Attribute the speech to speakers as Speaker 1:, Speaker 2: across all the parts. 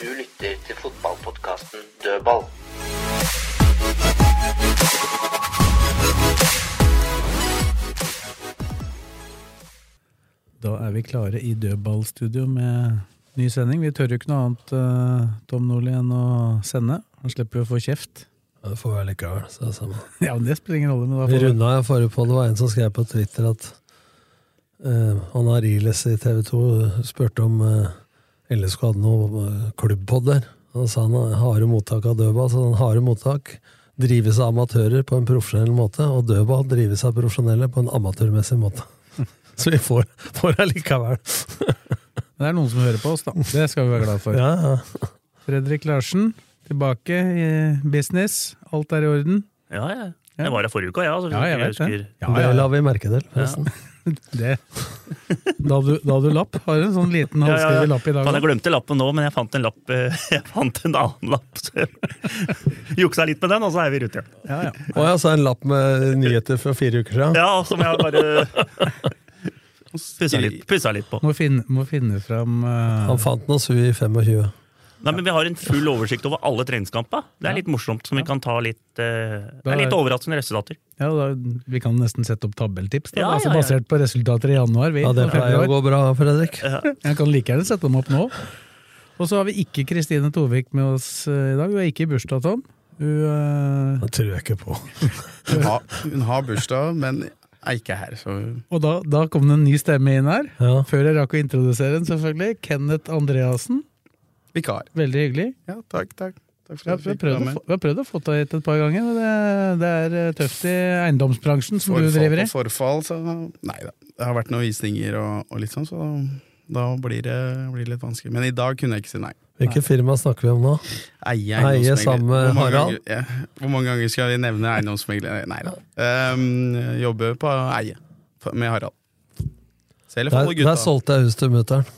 Speaker 1: Du lytter til fotballpodkasten Dødball.
Speaker 2: Da er vi klare i dødballstudio med ny sending. Vi tør jo ikke noe annet, eh, Tom Nordli, enn å sende. Han slipper jo å få kjeft.
Speaker 3: Ja, Det får være likevel. Så det er samme.
Speaker 2: Ja, men Det spiller ingen rolle. men da
Speaker 3: Vi
Speaker 2: får
Speaker 3: runda jeg forrige på, det var en som skrev på Twitter at eh, han Ariles i TV 2 spurte om eh, LSK hadde noe eh, klubbpod der. Han sa han har harde mottak av dødball, så han harde mottak drives av amatører på en profesjonell måte, og dødball drives av profesjonelle på en amatørmessig måte. Så vi får, får det likevel.
Speaker 2: Det er noen som hører på oss, da. Det skal vi være glad for.
Speaker 3: Ja, ja.
Speaker 2: Fredrik Larsen, tilbake i business. Alt er i orden.
Speaker 4: Ja, ja.
Speaker 2: Ja.
Speaker 4: Jeg var her forrige uka, ja, altså, så
Speaker 2: Ja, jeg vet
Speaker 4: husker.
Speaker 2: det. Ja,
Speaker 3: Det
Speaker 2: ja,
Speaker 3: la vi merke til, forresten.
Speaker 2: det. Da hadde du, da hadde du lapp. Har du en sånn liten
Speaker 4: Ja, ja, ja.
Speaker 2: halvskrevet lapp i dag?
Speaker 4: Faen,
Speaker 2: da?
Speaker 4: jeg glemte lappen nå, men jeg fant en lapp eh, Jeg fant en annen lapp. så jeg Juksa litt med den, og så er vi i rute. ja.
Speaker 2: Ja, ja.
Speaker 3: Og jeg sa en lapp med nyheter fra fire uker siden.
Speaker 4: Ja, som jeg bare pussa litt, pussa litt på.
Speaker 2: Må finne, må finne fram eh,
Speaker 3: Han fant noe sui i 25.
Speaker 4: Nei, men Vi har en full oversikt over alle treningskamper. Det er litt morsomt, som vi kan ta litt eh, Det
Speaker 2: Da er-
Speaker 4: er litt overraskende resultater.
Speaker 2: ja, da, Vi kan nesten sette opp tabelltips, da.
Speaker 4: Ja, ja,
Speaker 2: altså
Speaker 4: ja.
Speaker 2: basert på resultater i januar. Vi,
Speaker 3: Ja, det
Speaker 2: og
Speaker 3: pleier
Speaker 2: februar.
Speaker 3: å gå bra, Fredrik.
Speaker 2: Jeg kan like gjerne sette dem opp nå. Og så har vi ikke Kristine Tovik med oss eh, i dag. Hun er ikke i bursdag, Tom. Hun, eh,
Speaker 3: Det tror jeg ikke på.
Speaker 5: Hun har, hun har bursdag, men er ikke her, så
Speaker 2: og da, da kom det en ny stemme inn her.
Speaker 3: Ja.
Speaker 2: Før jeg rakk å introdusere den, selvfølgelig. Kenneth Andreassen.
Speaker 5: vikar.
Speaker 2: Veldig hyggelig.
Speaker 5: Ja, takk, takk. Takk for
Speaker 2: Ja, vi,
Speaker 5: at du
Speaker 2: har
Speaker 5: fikk
Speaker 2: prøvd
Speaker 5: være
Speaker 2: å
Speaker 5: med.
Speaker 2: få, vi har prøvd å få deg hit et par ganger, men det, det er eh, tøft i eiendomsbransjen som du driver i.
Speaker 5: Forfall, forfall, så Nei da. Det har vært noen visninger og, og litt sånn, så da blir det blir det litt vanskelig. Men i dag kunne jeg ikke si nei.
Speaker 3: Hvilket firma snakker vi om nå?
Speaker 5: Eie
Speaker 3: Eie
Speaker 5: eiendomsmegler.
Speaker 3: sammen med
Speaker 5: Hvor mange
Speaker 3: Harald?
Speaker 5: ganger- ja, Hvor mange ganger skal jeg nevne eiendomsmegler? Nei da. Ehm, jobbe på eie på- med Harald. Selv
Speaker 3: Der,
Speaker 5: for
Speaker 3: der
Speaker 5: gutta.
Speaker 3: solgte jeg hus til mutter'n.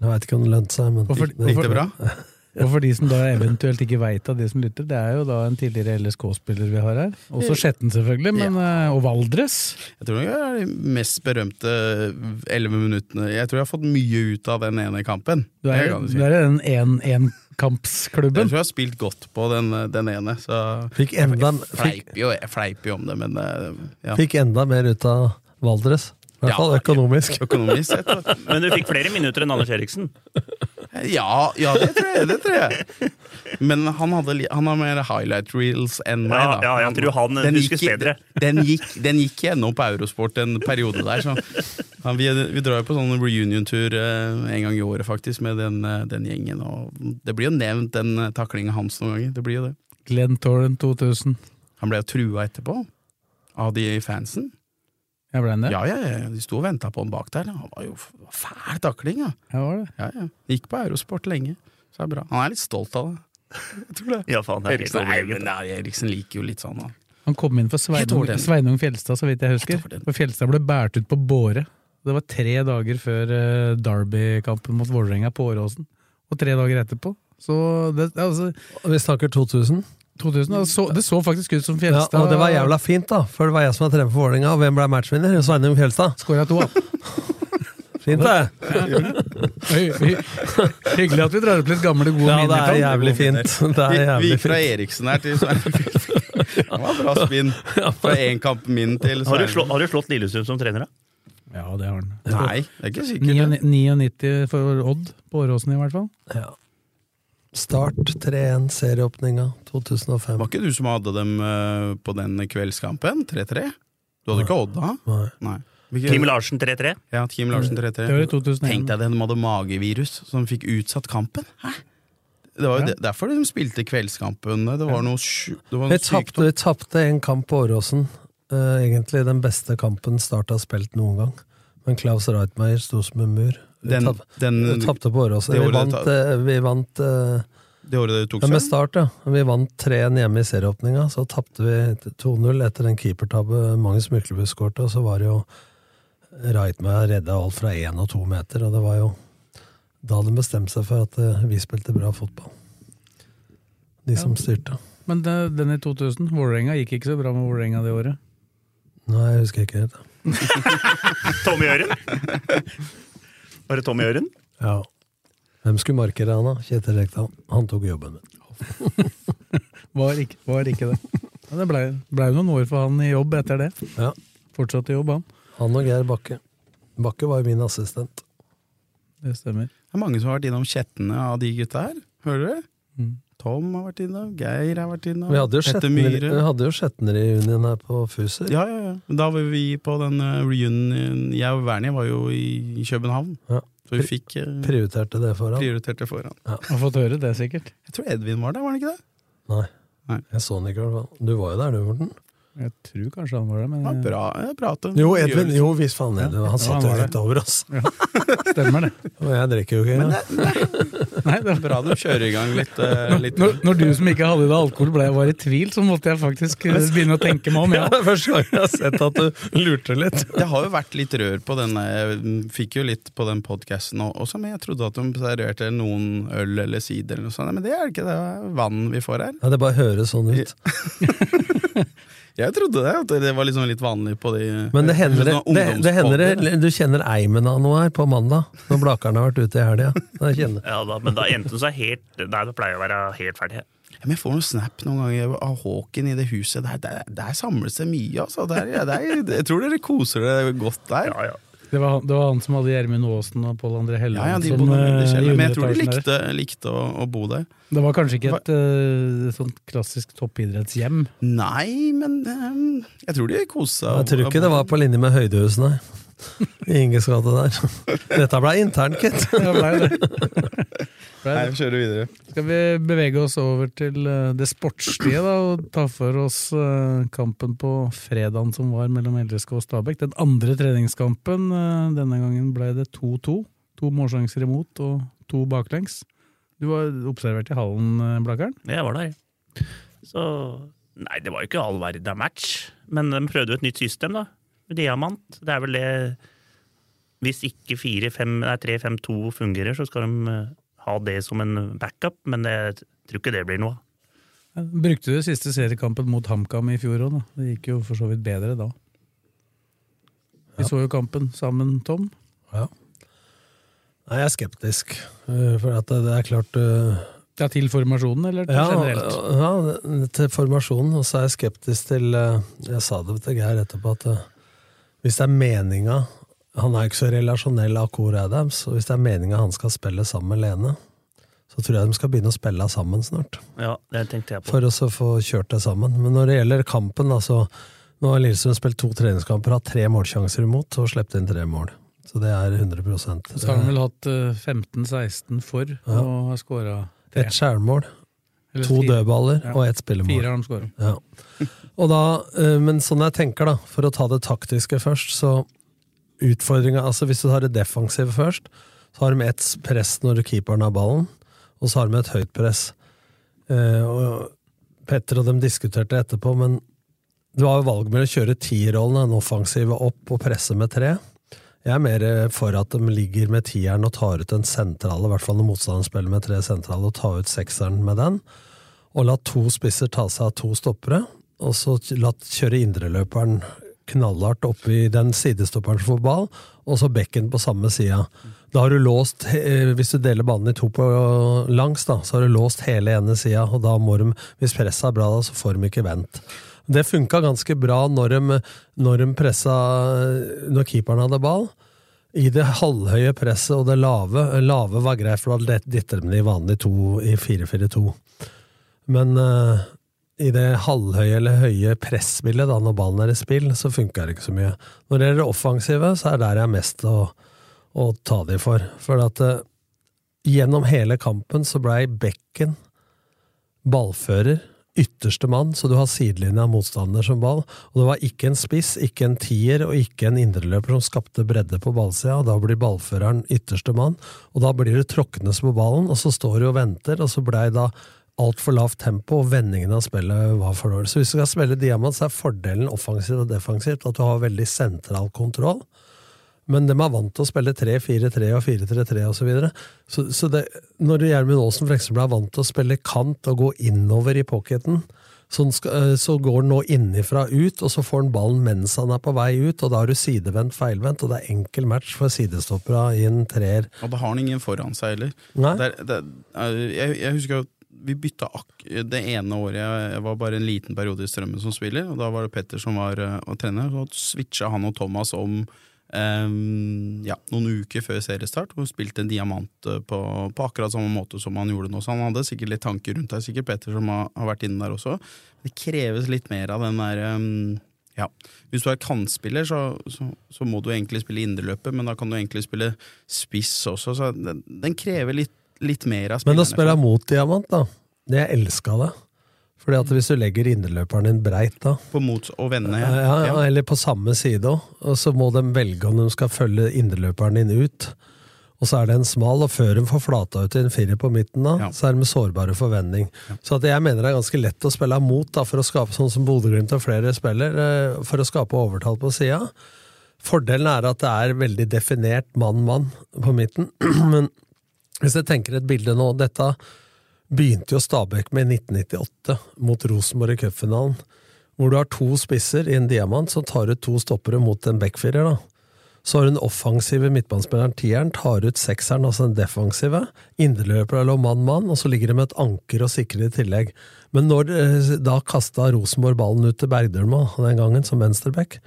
Speaker 3: Jeg veit ikke om det lønte seg, men
Speaker 2: Hvorfor-
Speaker 3: det-
Speaker 5: Gikk det bra? altså.
Speaker 2: Og for de som da eventuelt ikke veit av de som lytter, det er jo da en tidligere LSK-spiller vi har her. Også Skjetten, selvfølgelig, men, eh, og Valdres.
Speaker 5: Jeg tror det er de mest berømte elleve minuttene. Jeg tror jeg har fått mye ut av den ene kampen.
Speaker 2: Du
Speaker 5: Det
Speaker 2: er,
Speaker 5: kan du si.
Speaker 2: du er i den
Speaker 5: Jeg
Speaker 2: én-én-kampsklubben.
Speaker 5: tror jeg har spilt godt på den, den ene, så
Speaker 3: Fikk enda, fikk,
Speaker 5: fleiper jo, jeg fleiper jo om det, men eh, ja.
Speaker 3: fikk enda mer ut av Valdres. I hvert
Speaker 5: Ja,
Speaker 3: fall
Speaker 5: ja.
Speaker 3: økonomisk.
Speaker 5: Økonomisk sett. da.
Speaker 4: Men du fikk flere minutter enn Anders Eriksen.
Speaker 5: Ja, ja det, tror jeg, det tror jeg. Men han, hadde, li- han har mer highlight reels enn meg.
Speaker 4: Ja,
Speaker 5: da.
Speaker 4: ja, jeg tror han huskes
Speaker 5: gikk,
Speaker 4: bedre.
Speaker 5: Den gikk, den gikk gjennom på Eurosport en periode der. Så. Ja, vi, vi drar jo på sånn reunion-tur eh, en gang i året faktisk med den, eh, den gjengen. Og det blir jo nevnt den eh, taklingen hans noen ganger. Det blir jo det.
Speaker 2: Glenn Torren 2000.
Speaker 5: Han ble jo trua etterpå av de i fansen.
Speaker 2: Jeg ble en det?
Speaker 5: Ja, ja, ja, De sto og venta på han bak der. da. Han var jo f- fæl takling, ja.
Speaker 2: Jeg var det.
Speaker 5: ja, ja. Gikk på Eurosport lenge. Så det er bra. Han er litt stolt av det. Jeg tror det.
Speaker 4: Ja, faen, det er helt
Speaker 5: Eriksen, nei,
Speaker 4: overlegent.
Speaker 5: men nei, Eriksen liker jo litt sånn, da.
Speaker 2: Han kom inn for
Speaker 5: Jeg
Speaker 2: Sveinung,
Speaker 5: tror det.
Speaker 2: Sveinung Fjelstad, så vidt jeg
Speaker 5: Jeg
Speaker 2: husker.
Speaker 5: tror det.
Speaker 2: Og Fjelstad ble båret ut på båre. Det var tre dager før eh, Derby-kampen mot Vålerenga på Åråsen. Og tre dager etterpå. Så det, altså,
Speaker 3: Vi snakker 2000.
Speaker 2: 2000, det, så, det så faktisk ut som
Speaker 3: Ja,
Speaker 2: Fjelstad
Speaker 3: og det var jævla fint, da. For det var jeg som var trener for Vålerenga, og hvem ble matchvinner? Sveinung Fjelstad.
Speaker 2: skåra to. da.
Speaker 3: Fint, det!
Speaker 2: Hy- hy- Hyggelig at vi drar opp litt gamle, gode
Speaker 3: Ja, det
Speaker 2: minner.
Speaker 3: er
Speaker 2: Tom.
Speaker 3: jævlig fint. Det er
Speaker 5: Vi, vi
Speaker 3: jævlig
Speaker 5: gikk fra
Speaker 3: fint.
Speaker 5: Eriksen her til Sveinung Fjelstad. Det var bra spinn. Fra én kamp min til
Speaker 4: Har du, slå,
Speaker 5: Sveinung.
Speaker 4: har du slått Lillesund som trener, da?
Speaker 2: Ja, det har han.
Speaker 5: Nei, det er ikke sikkert.
Speaker 2: 99 99 for Odd på Åråsen, i hvert fall.
Speaker 3: Ja. Start 3-1, serieåpninga
Speaker 5: Var
Speaker 3: 2005.
Speaker 5: ikke du som hadde dem eh, på den kveldskampen? 3-3? Du hadde ikke Odd da?
Speaker 3: Nei.
Speaker 5: Nei. Hvilke-
Speaker 4: Kim Larsen 3-3.
Speaker 5: Ja, Kim Larsen
Speaker 2: Det var i
Speaker 5: 3-3.
Speaker 2: 2001.
Speaker 5: Tenk deg det, de hadde magevirus som fikk utsatt kampen. Hæ? Det var jo
Speaker 2: Ja.
Speaker 5: det- derfor de spilte kveldskampen. Det var noe, sju- det var
Speaker 3: Vi
Speaker 5: noe
Speaker 3: tapte,
Speaker 5: sykdom.
Speaker 3: vi tapte en kamp på Åråsen. Eh, egentlig den beste kampen Start har spilt noen gang. Men Klaus Reitmeier sto som en mur. Vi
Speaker 5: Den-
Speaker 3: tap-
Speaker 5: den-
Speaker 3: vi tapte på Åråsen.
Speaker 5: det
Speaker 3: Vi
Speaker 5: året
Speaker 3: vant,
Speaker 5: ta-
Speaker 3: eh, vi vant eh,
Speaker 5: Det året det tok
Speaker 3: ja, med
Speaker 5: seg?
Speaker 3: start, ja. Vi vant 3-1 hjemme i serieåpninga. Så tapte vi 2-0 etter en keepertabbe Magnus Myklebust skårte, og så var det jo Reitmeier redda alt fra én og to meter, og det var jo da de bestemte seg for at eh, vi spilte bra fotball. De som styrte.
Speaker 2: Men det, den i 2000, Vålerenga, gikk ikke så bra med Vålerenga det året.
Speaker 3: Nei, jeg husker ikke helt.
Speaker 4: Tommy Øren. Var det Tommy Øren?
Speaker 3: Ja. Hvem skulle markere han, da? Kjetil Rekdal. Han tok jobben min.
Speaker 2: Var ikke, var ikke det. Ja, det blei ble jo noen år for han i jobb etter det.
Speaker 3: Ja.
Speaker 2: Fortsatte i jobb, han.
Speaker 3: Han og Geir Bakke. Bakke var jo min assistent.
Speaker 2: Det stemmer.
Speaker 5: Det er mange som har vært innom kjettene av de gutta her. Hører dere?
Speaker 2: Mm.
Speaker 5: Tom har vært innom, Geir har vært innom,
Speaker 3: Vi hadde jo
Speaker 5: Petter
Speaker 3: Sjetner,
Speaker 5: Myhre.
Speaker 3: vi hadde jo Sjetner i junien her på Fuser.
Speaker 5: Ja, ja, ja. Men Da var vi på den eh, reunion Jeg og Wernie var jo i København,
Speaker 3: Ja.
Speaker 5: så vi fikk eh,
Speaker 3: Prioriterte det foran.
Speaker 5: prioritert det foran.
Speaker 2: Har fått høre det, sikkert.
Speaker 5: Jeg tror Edvin var der, var han ikke det?
Speaker 3: Nei.
Speaker 5: Nei.
Speaker 3: Jeg så den ikke, i hvert fall. Du var jo der, du, Morten.
Speaker 2: Jeg tror kanskje han var det,
Speaker 5: Ja,
Speaker 2: men
Speaker 5: bra eh, prate.
Speaker 3: Jo, Edvin. Jo, visst faen.
Speaker 2: Ja.
Speaker 3: Edvin.
Speaker 2: Ja,
Speaker 3: Han satt jo
Speaker 2: han var
Speaker 3: rett over oss.
Speaker 2: stemmer det.
Speaker 3: Og jeg drikker jo ikke engang.
Speaker 2: Nei, det var...
Speaker 5: Bra de kjører i gang litt. eh, litt.
Speaker 2: Når, når du som ikke hadde i deg alkohol ble, var i tvil, så måtte jeg faktisk eh, begynne å tenke meg om. Ja.
Speaker 3: Det er første gang jeg har sett at du lurte litt.
Speaker 5: Det har jo vært litt rør på den Jeg fikk jo litt på den podkasten også, men jeg trodde at de serverte noen øl eller sider eller noe sånt. Nei, Men det er det ikke, det er vann vi får her.
Speaker 3: Ja, Det bare høres sånn ut.
Speaker 5: Jeg trodde det, at det var liksom litt vanlig på de
Speaker 3: Men det hender, det,
Speaker 5: sånne
Speaker 3: det, det hender
Speaker 5: ungdomspodder.
Speaker 3: det- du kjenner eimen av noe her på mandag, når Blakeren har vært ute i helga. Da kjenner-
Speaker 4: Ja, da, men da endte hun seg helt Nei, det pleier å være helt ferdig.
Speaker 5: Ja, Men jeg får noen snap noen ganger av Håken i det huset. Der, der, der samles det mye, altså. Der, ja, der, jeg tror dere koser dere godt der.
Speaker 4: Ja, ja.
Speaker 2: Det, var han, det var han som hadde Gjermund Aasen og Pål André
Speaker 5: Ja, ja,
Speaker 2: Helleland
Speaker 5: de
Speaker 3: Sånn,
Speaker 2: som,
Speaker 5: bodde i
Speaker 2: eh,
Speaker 5: kjelleren,
Speaker 2: i
Speaker 5: men jeg tror de
Speaker 2: underetasjen der.
Speaker 5: likte, likte å, å bo der.
Speaker 2: Det var kanskje ikke et eh, sånt klassisk toppidrettshjem.
Speaker 5: Nei, men eh, jeg tror de koste seg.
Speaker 3: Jeg tror ikke det var på linje med Høydehusene i Inges gate der. Dette ble internt, gitt.
Speaker 2: Det ble det. Ble
Speaker 5: Nei,
Speaker 2: det.
Speaker 5: vi kjører videre.
Speaker 2: Skal vi bevege oss over til eh, det sportslige da, og ta for oss eh, kampen på fredagen som var mellom LSK og Stabæk. Den andre treningskampen. eh, Denne gangen ble det 2-2. To målsjanser imot og to baklengs. Du var observert i hallen, eh, Blakkaren.
Speaker 4: Jeg var der. Så Nei, det var jo ikke all verden av match. Men de prøvde jo et nytt system, da. Diamant. Det er vel det Hvis ikke 3-5-2 fungerer, så skal de eh, ha det som en backup, men jeg tror ikke det blir noe av.
Speaker 2: Ja, Eh, Brukte du siste seriekampen mot HamKam i fjor òg, da? Det gikk jo for så vidt bedre da. Vi så jo kampen sammen, Tom.
Speaker 3: Nei, jeg er skeptisk. eh, For at det det er klart eh,
Speaker 2: Ja, til formasjonen, eller til
Speaker 3: ja,
Speaker 2: generelt?
Speaker 3: ja, til formasjonen. Og så er jeg skeptisk til eh, Jeg sa det til Geir etterpå, at eh, hvis det er meninga Han er jo ikke så relasjonell av Core Adams, og hvis det er meninga han skal spille sammen med Lene, så tror jeg de skal begynne å spille sammen snart.
Speaker 4: Ja, det tenkte jeg på.
Speaker 3: for å så få kjørt det sammen. Men når det gjelder kampen, da, så nå har Lillestrøm spilt to treningskamper, hatt tre målsjanser imot og sluppet inn tre mål. Så det er 100
Speaker 2: Så har han
Speaker 3: eh,
Speaker 2: vel hatt eh, 15-16 for, og har skåra
Speaker 3: Ett skjærmål, to dødballer
Speaker 2: Ja.
Speaker 3: og ett spillemål.
Speaker 2: Fire har de skåra.
Speaker 3: Ja. Og da, eh, men sånn jeg tenker, da, for å ta det taktiske først, så utfordringa altså Hvis du tar det defensive først, så har de ett press når keeperen har ballen, og så har de et høyt press. Eh, og Petter og dem diskuterte etterpå, men du har jo valg mellom å kjøre tierrollen, den offensive, opp og presse med tre. Jeg er mer eh, for at de ligger med tieren og tar ut den sentrale, i hvert fall når motstanderen spiller med tre sentrale, og tar ut sekseren med den og la to spisser ta seg av to stoppere, og så la kjøre indreløperen knallhardt oppi den sidestopperen som får ball, og så bekken på samme sida. Da har du låst, eh, hvis du deler banen i to på eh, langs, da, så har du låst hele ene sida, og da må de, hvis presset er bra, da, så får de ikke vendt. Det funka ganske bra når de, når de pressa Når keeperen hadde ball. I det halvhøye presset og det lave. Lave var greit, for da dytter de de vanlig to i 4-4-2. Men eh, i det halvhøye eller høye presspillet, da, når ballen er i spill, så funker det ikke så mye. Når det gjelder det offensive, så er det der jeg er mest å, å ta de for. For at eh, gjennom hele kampen så blei bekken ballfører ytterste mann, så du har sidelinja av motstander som ball. Og det var ikke en spiss, ikke en tier og ikke en indreløper som skapte bredde på ballsida, og da blir ballføreren ytterste mann. Og da blir det tråknes på ballen, og så står du og venter, og så blei da altfor lavt tempo, og vendingen av spillet var for dårlig. Så hvis du skal spille diamant, så er fordelen offensivt og defensivt at du har veldig sentral kontroll. Men de er vant til å spille 3-4-3 og 4-3-3 osv. Så videre. så, så det, når Gjermund Aasen for eksempel er vant til å spille kant og gå innover i pocketen, så, han skal, øh, så går han nå innifra ut, og så får han ballen mens han er på vei ut, og da er du sidevendt, feilvendt, og det er enkel match for sidestoppera i en treer.
Speaker 5: Og da har han ingen foran seg heller.
Speaker 3: Nei.
Speaker 5: Det er- det er- jeg, jeg husker jo at vi bytta akk det ene året jeg, jeg var bare en liten periode i Strømmen som spiller, og da var det Petter som var eh, og trener. Så switcha han og Thomas om eh, ja, noen uker før seriestart, og spilte en diamant eh, på, på akkurat samme måte som han gjorde nå. Så han hadde sikkert litt tanker rundt det, sikkert Petter som har, har vært inne der også. Det kreves litt mer av den der eh, ja. Hvis du er kantspiller, så, så, så må du egentlig spille indreløpet, men da kan du egentlig spille spiss også, så den, den krever litt, litt mer av
Speaker 3: Men
Speaker 5: spillerne.
Speaker 3: å spille mot diamant, da. Det jeg elska det. Fordi at hvis du legger innerløperen din breit da,
Speaker 5: På mot og vende.
Speaker 3: ja, ja, eller på samme side òg, og så må de velge om de skal følge innerløperen din ut. Og så er det en smal, og før de får flata ut i en firer på midten, da,
Speaker 5: Ja.
Speaker 3: så er de sårbare for vending. Så at jeg mener det er ganske lett å spille mot, da, for å skape sånn som Bodø-Glimt og flere spiller, eh, for å skape overtall på sida. Fordelen er at det er veldig definert mann-mann på midten. Men hvis jeg tenker et bilde nå Dette begynte jo Stabæk med i 1998 mot Rosenborg i cupfinalen. Hvor du har to spisser i en diamant som tar ut to stoppere mot en backfirer. da. Så har du den offensive midtbanespilleren tieren, tar ut sekseren, altså den defensive. Indreløper eller mann-mann, og så ligger det med et anker og sikrer i tillegg. Men når eh, da kasta Rosenborg ballen ut til Bergdølma den gangen, som venstreback,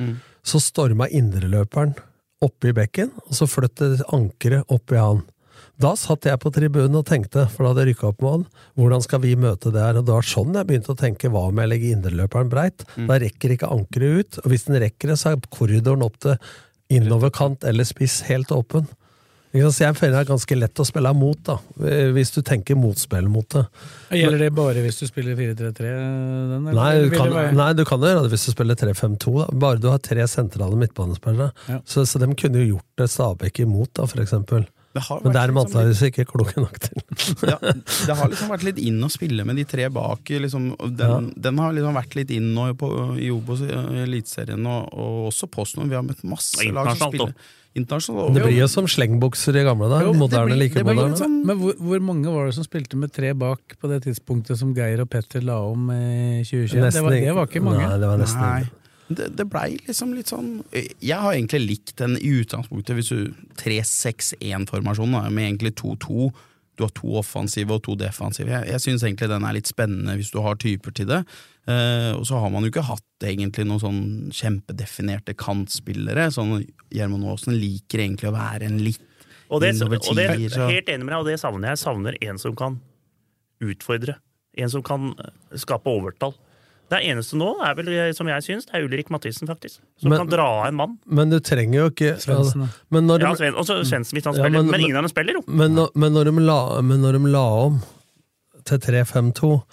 Speaker 3: så storma indreløperen opp i bekken, og så flyttet ankeret opp i han. Da satt jeg på tribunen og tenkte, for da hadde jeg rykka opp med han, hvordan skal vi møte det her? Og det var sånn jeg begynte å tenke, hva om jeg legger indreløperen breit?
Speaker 2: Mm.
Speaker 3: Da rekker ikke ankeret ut, og hvis den rekker det, så er korridoren opp til innoverkant eller spiss helt åpen. Ikke sant? Så jeg føler det er ganske lett å spille mot, da, eh, hvis du tenker motspill mot det.
Speaker 2: Gjelder det bare hvis du spiller 4-3-3? den, eller?
Speaker 3: Nei,
Speaker 2: Eller
Speaker 3: du
Speaker 2: vil
Speaker 3: kan,
Speaker 2: det være-
Speaker 3: nei, du kan jo gjøre det hvis du spiller 3-5-2, da. bare du har tre sentrale midtbanespillere.
Speaker 2: Ja.
Speaker 3: Så, så de kunne jo gjort det Stabæk imot, da, for eksempel.
Speaker 5: Det har
Speaker 3: Men det
Speaker 5: vært
Speaker 3: er de
Speaker 5: liksom
Speaker 2: sånn
Speaker 5: litt- sånn-
Speaker 3: antakeligvis ikke kloke nok til.
Speaker 5: ja, det har liksom vært litt inn å spille med de tre bak. Liksom, og den, den har liksom vært litt inn nå på, i Obos, i Eliteserien og, og også Posten. Vi har møtt masse
Speaker 4: Og
Speaker 5: lag
Speaker 4: internasjonalt
Speaker 5: som spiller
Speaker 4: også.
Speaker 5: internasjonalt.
Speaker 3: Men
Speaker 5: og-
Speaker 3: Det blir jo som slengbukser i gamle dager.
Speaker 2: Jo, det
Speaker 3: Moderne
Speaker 2: blir-
Speaker 3: like
Speaker 2: det blir
Speaker 3: moderne.
Speaker 2: litt sånn- Men hvor, hvor mange var det som spilte med tre bak på det tidspunktet som Geir og Petter la om i 2021? Det
Speaker 3: Nesten
Speaker 2: var, det
Speaker 3: ikke-
Speaker 2: var ikke mange.
Speaker 3: Nei, det var nesten
Speaker 5: Nei.
Speaker 3: ikke.
Speaker 5: Det, det blei liksom litt sånn Jeg har egentlig likt den i utgangspunktet, hvis du 3-6-1-formasjonen, da, med egentlig 2-2. Du har to offensive og to defensive. Jeg, jeg syns egentlig den er litt spennende hvis du har typer til det. Eh, og så har man jo ikke hatt egentlig noen sånn kjempedefinerte kantspillere. Sånn Gjermund Aasen liker egentlig å være en litt
Speaker 4: Og det,
Speaker 5: innover
Speaker 4: og det
Speaker 5: tier, så-
Speaker 4: helt enig med deg, og det savner jeg. Jeg savner en som kan utfordre. En som kan eh, skape overtall. Det eneste nå er vel, eh, som jeg syns, det er Ulrik Mathisen, faktisk. Som
Speaker 3: Men-
Speaker 4: kan dra av en mann.
Speaker 3: Men du trenger jo ikke altså,
Speaker 2: Svendsen, da.
Speaker 3: men når, de,
Speaker 4: Ja, Sven, også Svendsen, hvis han
Speaker 3: Ja,
Speaker 4: spiller.
Speaker 3: men-
Speaker 4: men, ingen av dem spiller, jo.
Speaker 3: men, når- men, når de la, men når de la om til 3-5-2,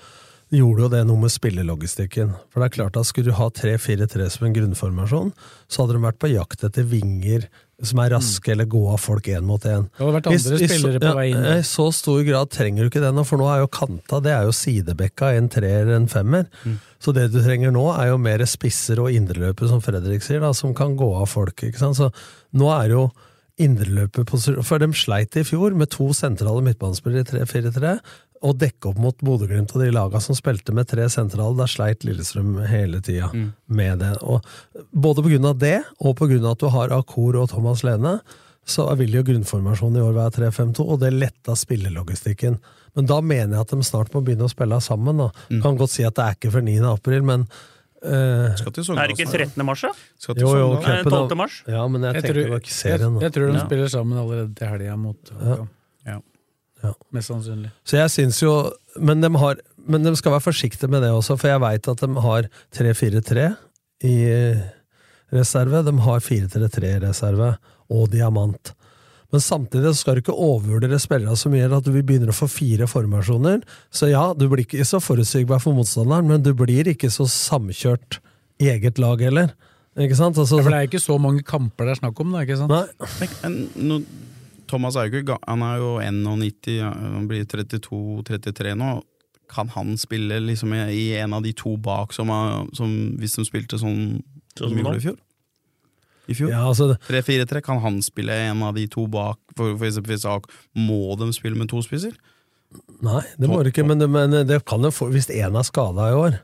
Speaker 3: gjorde jo det noe med spillelogistikken. For det er klart at Skulle du ha 3-4-3 som en grunnformasjon, så hadde de vært på jakt etter vinger som er raske, eller gå av folk én mot én.
Speaker 2: Mm. Det hadde vært andre
Speaker 3: I- i så-
Speaker 2: spillere på vei inn.
Speaker 3: Ja, I så stor grad trenger du ikke det nå, for nå er jo kanta det er jo sidebekka, en treer, en femmer. Så det du trenger nå, er jo mer spisser og indreløpere, som Fredrik sier, da, som kan gå av folk. ikke sant? Så nå er jo indreløperposisjon For de sleit i fjor med to sentrale midtbanespillere i 3-4-3. Og dekke opp mot Bodø-Glimt og de laga som spilte med tre sentrale. Da sleit Lillestrøm hele tida med det. Og både pga. det, og pga. at du har Akur og Thomas Lene, så vil jo grunnformasjonen i år være 3-5-2, og det letta spillelogistikken. Men da mener jeg at de snart må begynne å spille sammen. Da. Kan godt si at det er ikke før 9. april, men eh,
Speaker 5: Skal til
Speaker 4: Er det ikke 13. mars, da?
Speaker 5: Skal til
Speaker 3: jo, jo,
Speaker 5: Sogndal.
Speaker 4: Nei,
Speaker 3: cupen Sånn, da-
Speaker 4: 12. mars.
Speaker 3: Ja, men jeg,
Speaker 2: Jeg
Speaker 3: tenker
Speaker 2: tror,
Speaker 3: på ikke serien.
Speaker 2: jeg,
Speaker 3: da.
Speaker 2: jeg tror de
Speaker 4: Ja.
Speaker 2: spiller sammen allerede til helga mot HamKam.
Speaker 5: Ja.
Speaker 3: Ja. Altså-
Speaker 2: Mest sannsynlig.
Speaker 3: Så jeg syns jo men de, har, men de skal være forsiktige med det også, for jeg veit at de har 3-4-3 i reserve. De har 4-3-3 i reserve, og diamant. Men samtidig så skal du ikke overvurdere spillere så mye at vi begynner å få fire formasjoner. Så ja, du blir ikke så forutsigbar for motstanderen, men du blir ikke så samkjørt i eget lag heller. Ikke sant? Altså,
Speaker 2: Ja, for det er jo ikke så mange kamper det er snakk om, da, ikke sant?
Speaker 3: Nei,
Speaker 5: Men nå- Thomas er jo ikke ga- Han er jo 91, ja, han blir 32-33 nå. Kan han spille liksom i i en av de to bak som, er, som hvis de spilte sånn
Speaker 4: Sånn
Speaker 5: som de
Speaker 4: nå?
Speaker 5: gjorde i fjor? I fjor?
Speaker 3: ja, altså,
Speaker 5: 3-4-3, kan han spille en av de to bak? For, for eksempel hvis AK må de spille med to spisser?
Speaker 3: Nei, det må du ikke, men, men det kan jo få, hvis én er skada i år,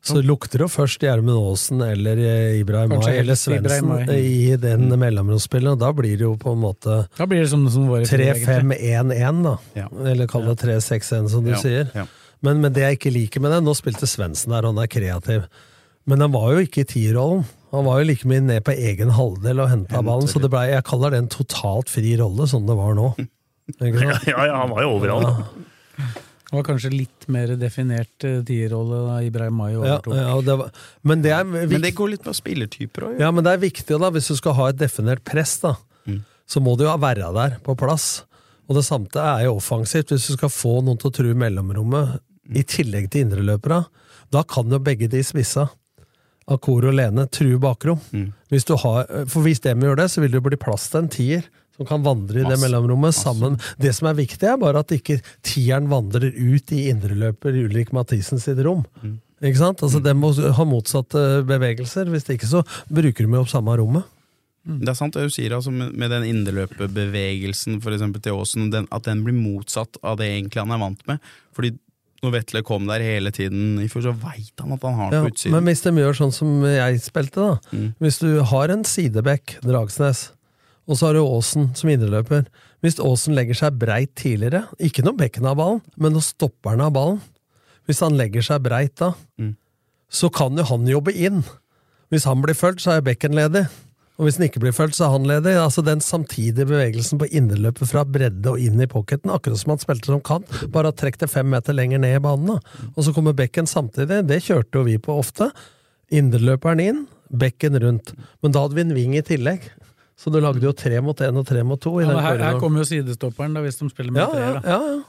Speaker 3: så lukter det jo først Gjermund Aasen eller eh, Ibrahim
Speaker 2: Kanskje
Speaker 3: Ay eller
Speaker 2: helst Ibrahim
Speaker 3: Svendsen
Speaker 2: Ay.
Speaker 3: i den mellomromsspillet, og da blir det jo på en måte
Speaker 2: Da blir det som, som våre egentlig.
Speaker 3: 3-5-1, da.
Speaker 5: Ja.
Speaker 3: Eller kall det 3-6-1, som du
Speaker 5: Ja,
Speaker 3: sier.
Speaker 5: ja.
Speaker 3: Men, men det jeg ikke liker med det Nå spilte Svendsen der, og han er kreativ. Men han var jo ikke i tierrollen. Han var jo like mye ned på egen halvdel og henta ballen, så det ble, jeg kaller det en totalt fri rolle, sånn det var nå. Ikke sant?
Speaker 4: Ja, ja, han var jo overalt.
Speaker 2: Det var kanskje litt mer definert eh, tierrolle da Ibrahim Mai
Speaker 3: Ja,
Speaker 2: overtok.
Speaker 3: ja, og det var, men det er
Speaker 5: Men
Speaker 3: viktig
Speaker 5: det går litt på spillertyper òg.
Speaker 3: Ja, men det er viktig da, hvis du skal ha et definert press, da,
Speaker 5: Mm.
Speaker 3: så må du jo være der på plass. Og det samme er jo offensivt. Hvis du skal få noen til å true mellomrommet,
Speaker 5: Mm.
Speaker 3: i tillegg til indreløperne, da kan jo begge de spissa, Akor og Lene, true bakrom.
Speaker 5: Mm.
Speaker 3: Hvis du har, for hvis dem gjør det, så vil det jo bli plass til en tier. Som kan vandre i det
Speaker 5: Masse.
Speaker 3: mellomrommet sammen. Det som er viktig, er bare at ikke tieren vandrer ut i indreløper Ulrik Mathisen sitt rom.
Speaker 5: Mm.
Speaker 3: Ikke sant? Altså, Den må ha motsatte bevegelser. Hvis ikke så bruker de jo opp samme rommet.
Speaker 5: Det er sant det du sier, altså, med med den indreløperbevegelsen for eksempel til Aasen, den, at den blir motsatt av det egentlig han er vant med. Fordi når Vetle kom der hele tiden i fjor, så veit han at han har den
Speaker 3: Ja,
Speaker 5: på utsiden. Mm.
Speaker 3: men hvis de gjør sånn som jeg spilte, da. Hvis du har en sidebekk, Dragsnes, og så har du Aasen som indreløper. Hvis Aasen legger seg breit tidligere, ikke når bekken har ballen, men når stopperen har ballen Hvis han legger seg breit da, så kan jo han jobbe inn. Hvis han blir fulgt, så er bekken ledig. Og hvis den ikke blir fulgt, så er han ledig. Altså Den samtidige bevegelsen på innerløpet fra bredde og inn i pocketen, akkurat som han spilte som kant, bare at trekk det fem meter lenger ned i banen. da. Og så kommer bekken samtidig. Det kjørte jo vi på ofte. Inderløperen inn, bekken rundt. Men da hadde vi en ving i tillegg. Så du lagde jo tre mot én og tre mot to. i
Speaker 2: Ja,
Speaker 3: den
Speaker 2: men her, her
Speaker 3: korridoren.
Speaker 2: kommer jo sidestopperen, da, hvis de spiller med
Speaker 3: ja, ja,
Speaker 2: treer. da.
Speaker 3: ja, ja.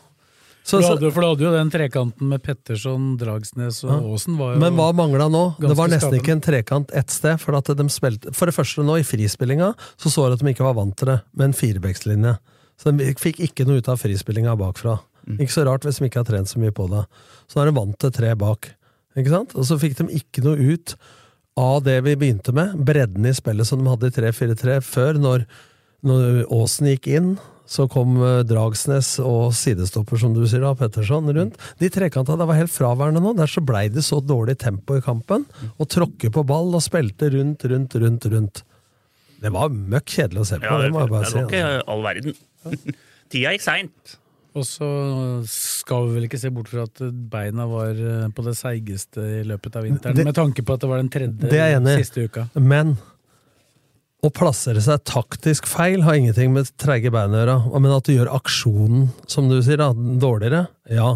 Speaker 3: Så,
Speaker 2: For du
Speaker 3: så,
Speaker 2: hadde, for du hadde jo den trekanten med Petterson, Dragsnes og Aasen. Var jo,
Speaker 3: Men hva mangla nå? Det var
Speaker 2: ganske
Speaker 3: nesten
Speaker 2: skapende.
Speaker 3: ikke en trekant ett sted. For, at de spilte, for det første nå, i frispillinga, så så jeg at de ikke var vant til det, med en firebeckslinje. Så de fikk ikke noe ut av frispillinga bakfra.
Speaker 2: Mm.
Speaker 3: Ikke så rart hvis de ikke har trent så mye på det. Så nå er de vant til tre bak. Ikke sant? Og så fikk de ikke noe ut av det vi begynte med, bredden i spillet som de hadde i 3-4-3 før, når, når Aasen gikk inn, så kom eh, Dragsnes og sidestopper, som du sier, da, Petterson rundt. De trekanta der var helt fraværende nå. Der så blei det så dårlig tempo i kampen. Og tråkke på ball og spilte rundt, rundt, rundt, rundt. Det var møkk kjedelig å se på,
Speaker 4: Ja,
Speaker 3: det
Speaker 4: det
Speaker 3: må jeg
Speaker 4: var
Speaker 3: bare si. altså.
Speaker 4: ikke all verden. Tida gikk seint.
Speaker 2: Og så skal vi vel ikke se bort fra at beina var eh, på det seigeste i løpet av vinteren,
Speaker 3: Det-
Speaker 2: med tanke på at det var den
Speaker 3: Det er jeg enig i.
Speaker 2: tredje siste uka.
Speaker 3: Men å plassere seg taktisk feil har ingenting med treige bein å gjøre. Men at du gjør aksjonen, som du sier, da, dårligere, ja.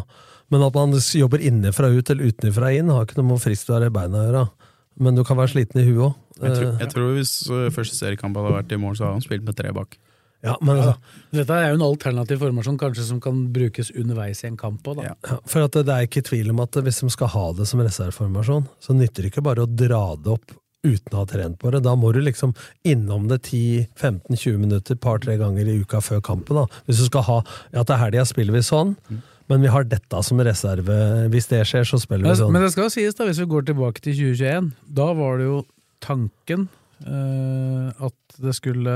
Speaker 3: Men at man jobber innenfra ut eller utenfra inn, har ikke noe med å friskvære beina å gjøre. Men du kan være sliten i huet òg.
Speaker 5: Jeg tror, jeg tror Hvis eh, første seriekamp hadde vært i morgen, så hadde han spilt med tre bak.
Speaker 3: Ja, men altså,
Speaker 2: Dette er jo en alternativ formasjon kanskje som kan brukes underveis i en kamp òg, da.
Speaker 5: Ja.
Speaker 3: ja, for at det det er ikke tvil om at hvis de skal ha det som reserveformasjon, så nytter det ikke bare å dra det opp uten å ha trent på det. Da må du liksom innom det 10-15-20 minutter par-tre ganger i uka før kampen. da. Hvis du skal ha ja, til helga spiller vi sånn,
Speaker 2: Mm.
Speaker 3: men vi har dette som reserve. Hvis det skjer, så spiller
Speaker 2: Men,
Speaker 3: vi sånn.
Speaker 2: men det skal jo sies, da, hvis vi går tilbake til 2021, da var det jo tanken eh, at det skulle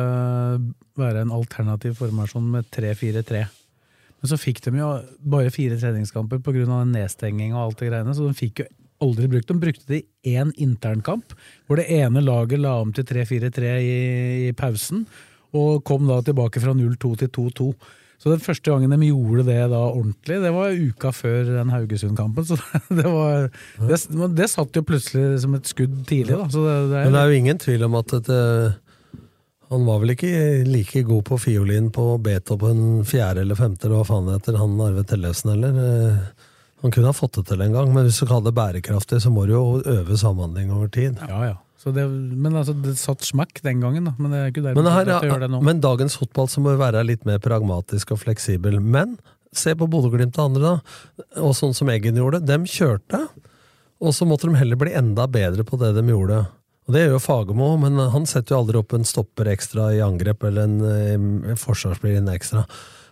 Speaker 2: være en alternativ formasjon med 3-4-3. Men så fikk de jo bare fire treningskamper pga. nedstenging og alt det greiene, så de fikk jo aldri brukt dem. Brukte det i én internkamp, hvor det ene laget la om til 3-4-3 i, i pausen, og kom da tilbake fra 0-2 til 2-2. Så den første gangen de gjorde det da ordentlig, det var uka før den Haugesund-kampen. Så det, var, det, men det satt jo plutselig som et skudd tidlig, da. Så det, det
Speaker 3: Men det
Speaker 2: er,
Speaker 3: er jo ingen tvil om at et, eh, han var vel ikke like god på fiolin på Beethoven fjerde eller femte, eller hva faen det heter, han Arve Tellefsen heller. Eh, Han kunne ha fått det til en gang, men hvis du kaller det bærekraftig, så må du jo øve samhandling over tid.
Speaker 2: ja, ja. Så det, men altså, det satt smakk den gangen, da. Men det er ikke derfor
Speaker 3: Men, her,
Speaker 2: at jeg gjør det nå.
Speaker 3: men dagens fotball så må jo være litt mer pragmatisk og fleksibel. Men se på Bodø-Glimt og andre, da. Og sånn som Eggen gjorde. De kjørte, og så måtte de heller bli enda bedre på det de gjorde. Og Det gjør jo Fagermo, men han setter jo aldri opp en stopper ekstra i angrep eller en, eh, en forsvarsspiller inn ekstra.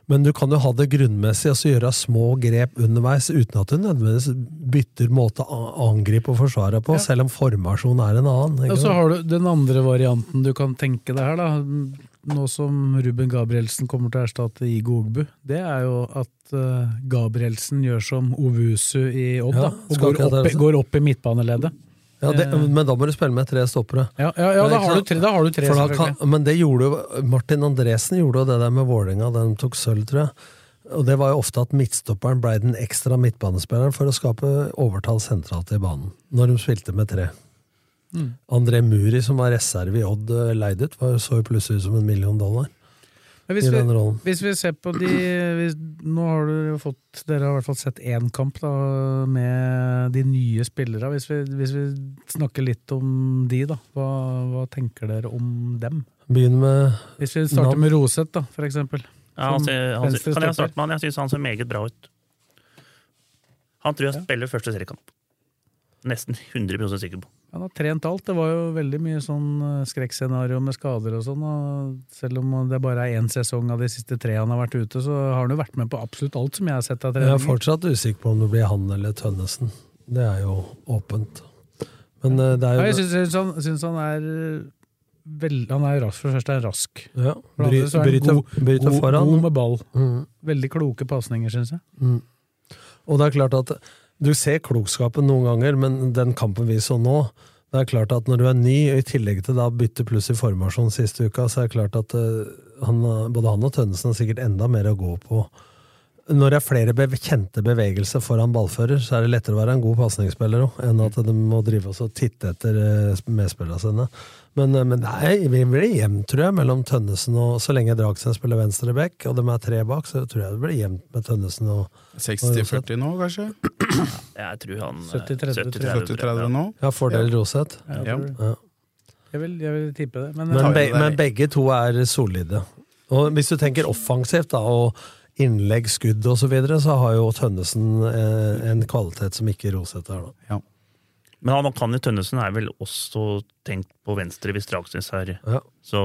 Speaker 3: Men du kan jo ha det grunnmessig og så gjøre små grep underveis uten at du nødvendigvis bytter måte å angripe og forsvare på, selv om formasjonen er en annen. ikke
Speaker 2: Og så
Speaker 3: sant?
Speaker 2: har du den andre varianten du kan tenke deg her, da. Nå som Ruben Gabrielsen kommer til å erstatte Igo Ogbu, det er jo at eh, Gabrielsen gjør som Ovusu i Odd,
Speaker 3: Ja,
Speaker 2: da. Og
Speaker 3: skal
Speaker 2: går
Speaker 3: ikke
Speaker 2: opp,
Speaker 3: det-
Speaker 2: i- går opp i midtbaneleddet.
Speaker 3: Ja, det,
Speaker 2: Eh.
Speaker 3: men da må du spille med tre stoppere.
Speaker 2: Ja, ja, ja da, har du tre, da har du tre,
Speaker 3: For da
Speaker 2: selvfølgelig.
Speaker 3: kan, men det gjorde jo Martin Andresen gjorde jo det der med Vålerenga, den tok sølv, tror jeg. Og det var jo ofte at midtstopperen blei den ekstra midtbanespilleren for å skape overtall sentralt i banen, når de spilte med tre.
Speaker 2: Mm.
Speaker 3: André Muri, som var reserve i Odd, eh, leid ut, var, så jo plutselig ut som en million dollar
Speaker 2: Men hvis
Speaker 3: i den
Speaker 2: vi,
Speaker 3: rollen.
Speaker 2: hvis vi ser på de hvis, Nå har dere jo fått Dere har i hvert fall sett én kamp da, med de nye spillere. Hvis vi, hvis vi snakker litt om de, da. Hva, hva tenker dere om dem?
Speaker 3: Begynn med
Speaker 2: Hvis vi starter med Roseth, da, for eksempel.
Speaker 4: Ja, han
Speaker 2: Som
Speaker 4: ser, han ser,
Speaker 2: venstre
Speaker 4: kan jeg
Speaker 2: stopper.
Speaker 4: starte med han? Jeg syns han ser meget bra ut. Han tror jeg spiller første seriekamp. Nesten 100 sikker på.
Speaker 2: Han har trent alt. Det var jo veldig mye sånn eh, skrekkscenario med skader og sånn. Og selv om det bare er én sesong av de siste tre han har vært ute, så har han jo vært med på absolutt alt som jeg har sett av
Speaker 3: Jeg er
Speaker 2: trening.
Speaker 3: fortsatt usikker på om det blir han eller Tønnesen. Det er jo åpent. Men eh, det er jo
Speaker 2: Ja, jeg syns, syns, han, syns han er eh, veld, Han er jo rask. For det første er han rask.
Speaker 3: ja,
Speaker 2: For det andre så er han
Speaker 3: bryter-
Speaker 2: god-
Speaker 3: bryter
Speaker 2: God,
Speaker 3: foran.
Speaker 2: god med ball.
Speaker 3: Mm.
Speaker 2: Veldig kloke pasninger, syns jeg.
Speaker 3: Og det er klart at du ser klokskapen noen ganger, men den kampen vi så nå Det er klart at når du er ny, og i tillegg til da bytte pluss i formasjon siste uka, så er det klart at eh, han, både han og Tønnesen har sikkert enda mer å gå på. Når det er flere be kjente bevegelser foran ballfører, så er det lettere å være en god pasningsspiller òg, enn at de må drive oss og titte etter eh, medspillerne sine. Men, eh, men nei, vi blir jevnt, tror jeg, mellom Tønnesen og Så lenge Dragsen spiller venstre back, og de er tre bak, så tror jeg det blir jevnt med Tønnesen og
Speaker 5: 60-40 nå, kanskje?
Speaker 4: Jeg tror han eh,
Speaker 2: 70-30, tror jeg.
Speaker 5: 70-30 nå?
Speaker 3: Ja, fordel Roseth.
Speaker 2: Jeg,
Speaker 5: Ja.
Speaker 2: tror-
Speaker 3: Ja.
Speaker 2: jeg, vil, jeg vil tippe det. Men, eh,
Speaker 3: Men,
Speaker 5: tar
Speaker 3: be
Speaker 5: jo det.
Speaker 3: men begge to er solide. Og hvis du tenker offensivt, da, og innlegg, skudd osv., så, videre, så har jo Tønnesen eh, en kvalitet som ikke Roseth har. da.
Speaker 4: Men han kan i Tønnesen er vel også tenkt på venstre hvis Dragsnes er
Speaker 3: Ja.
Speaker 4: Så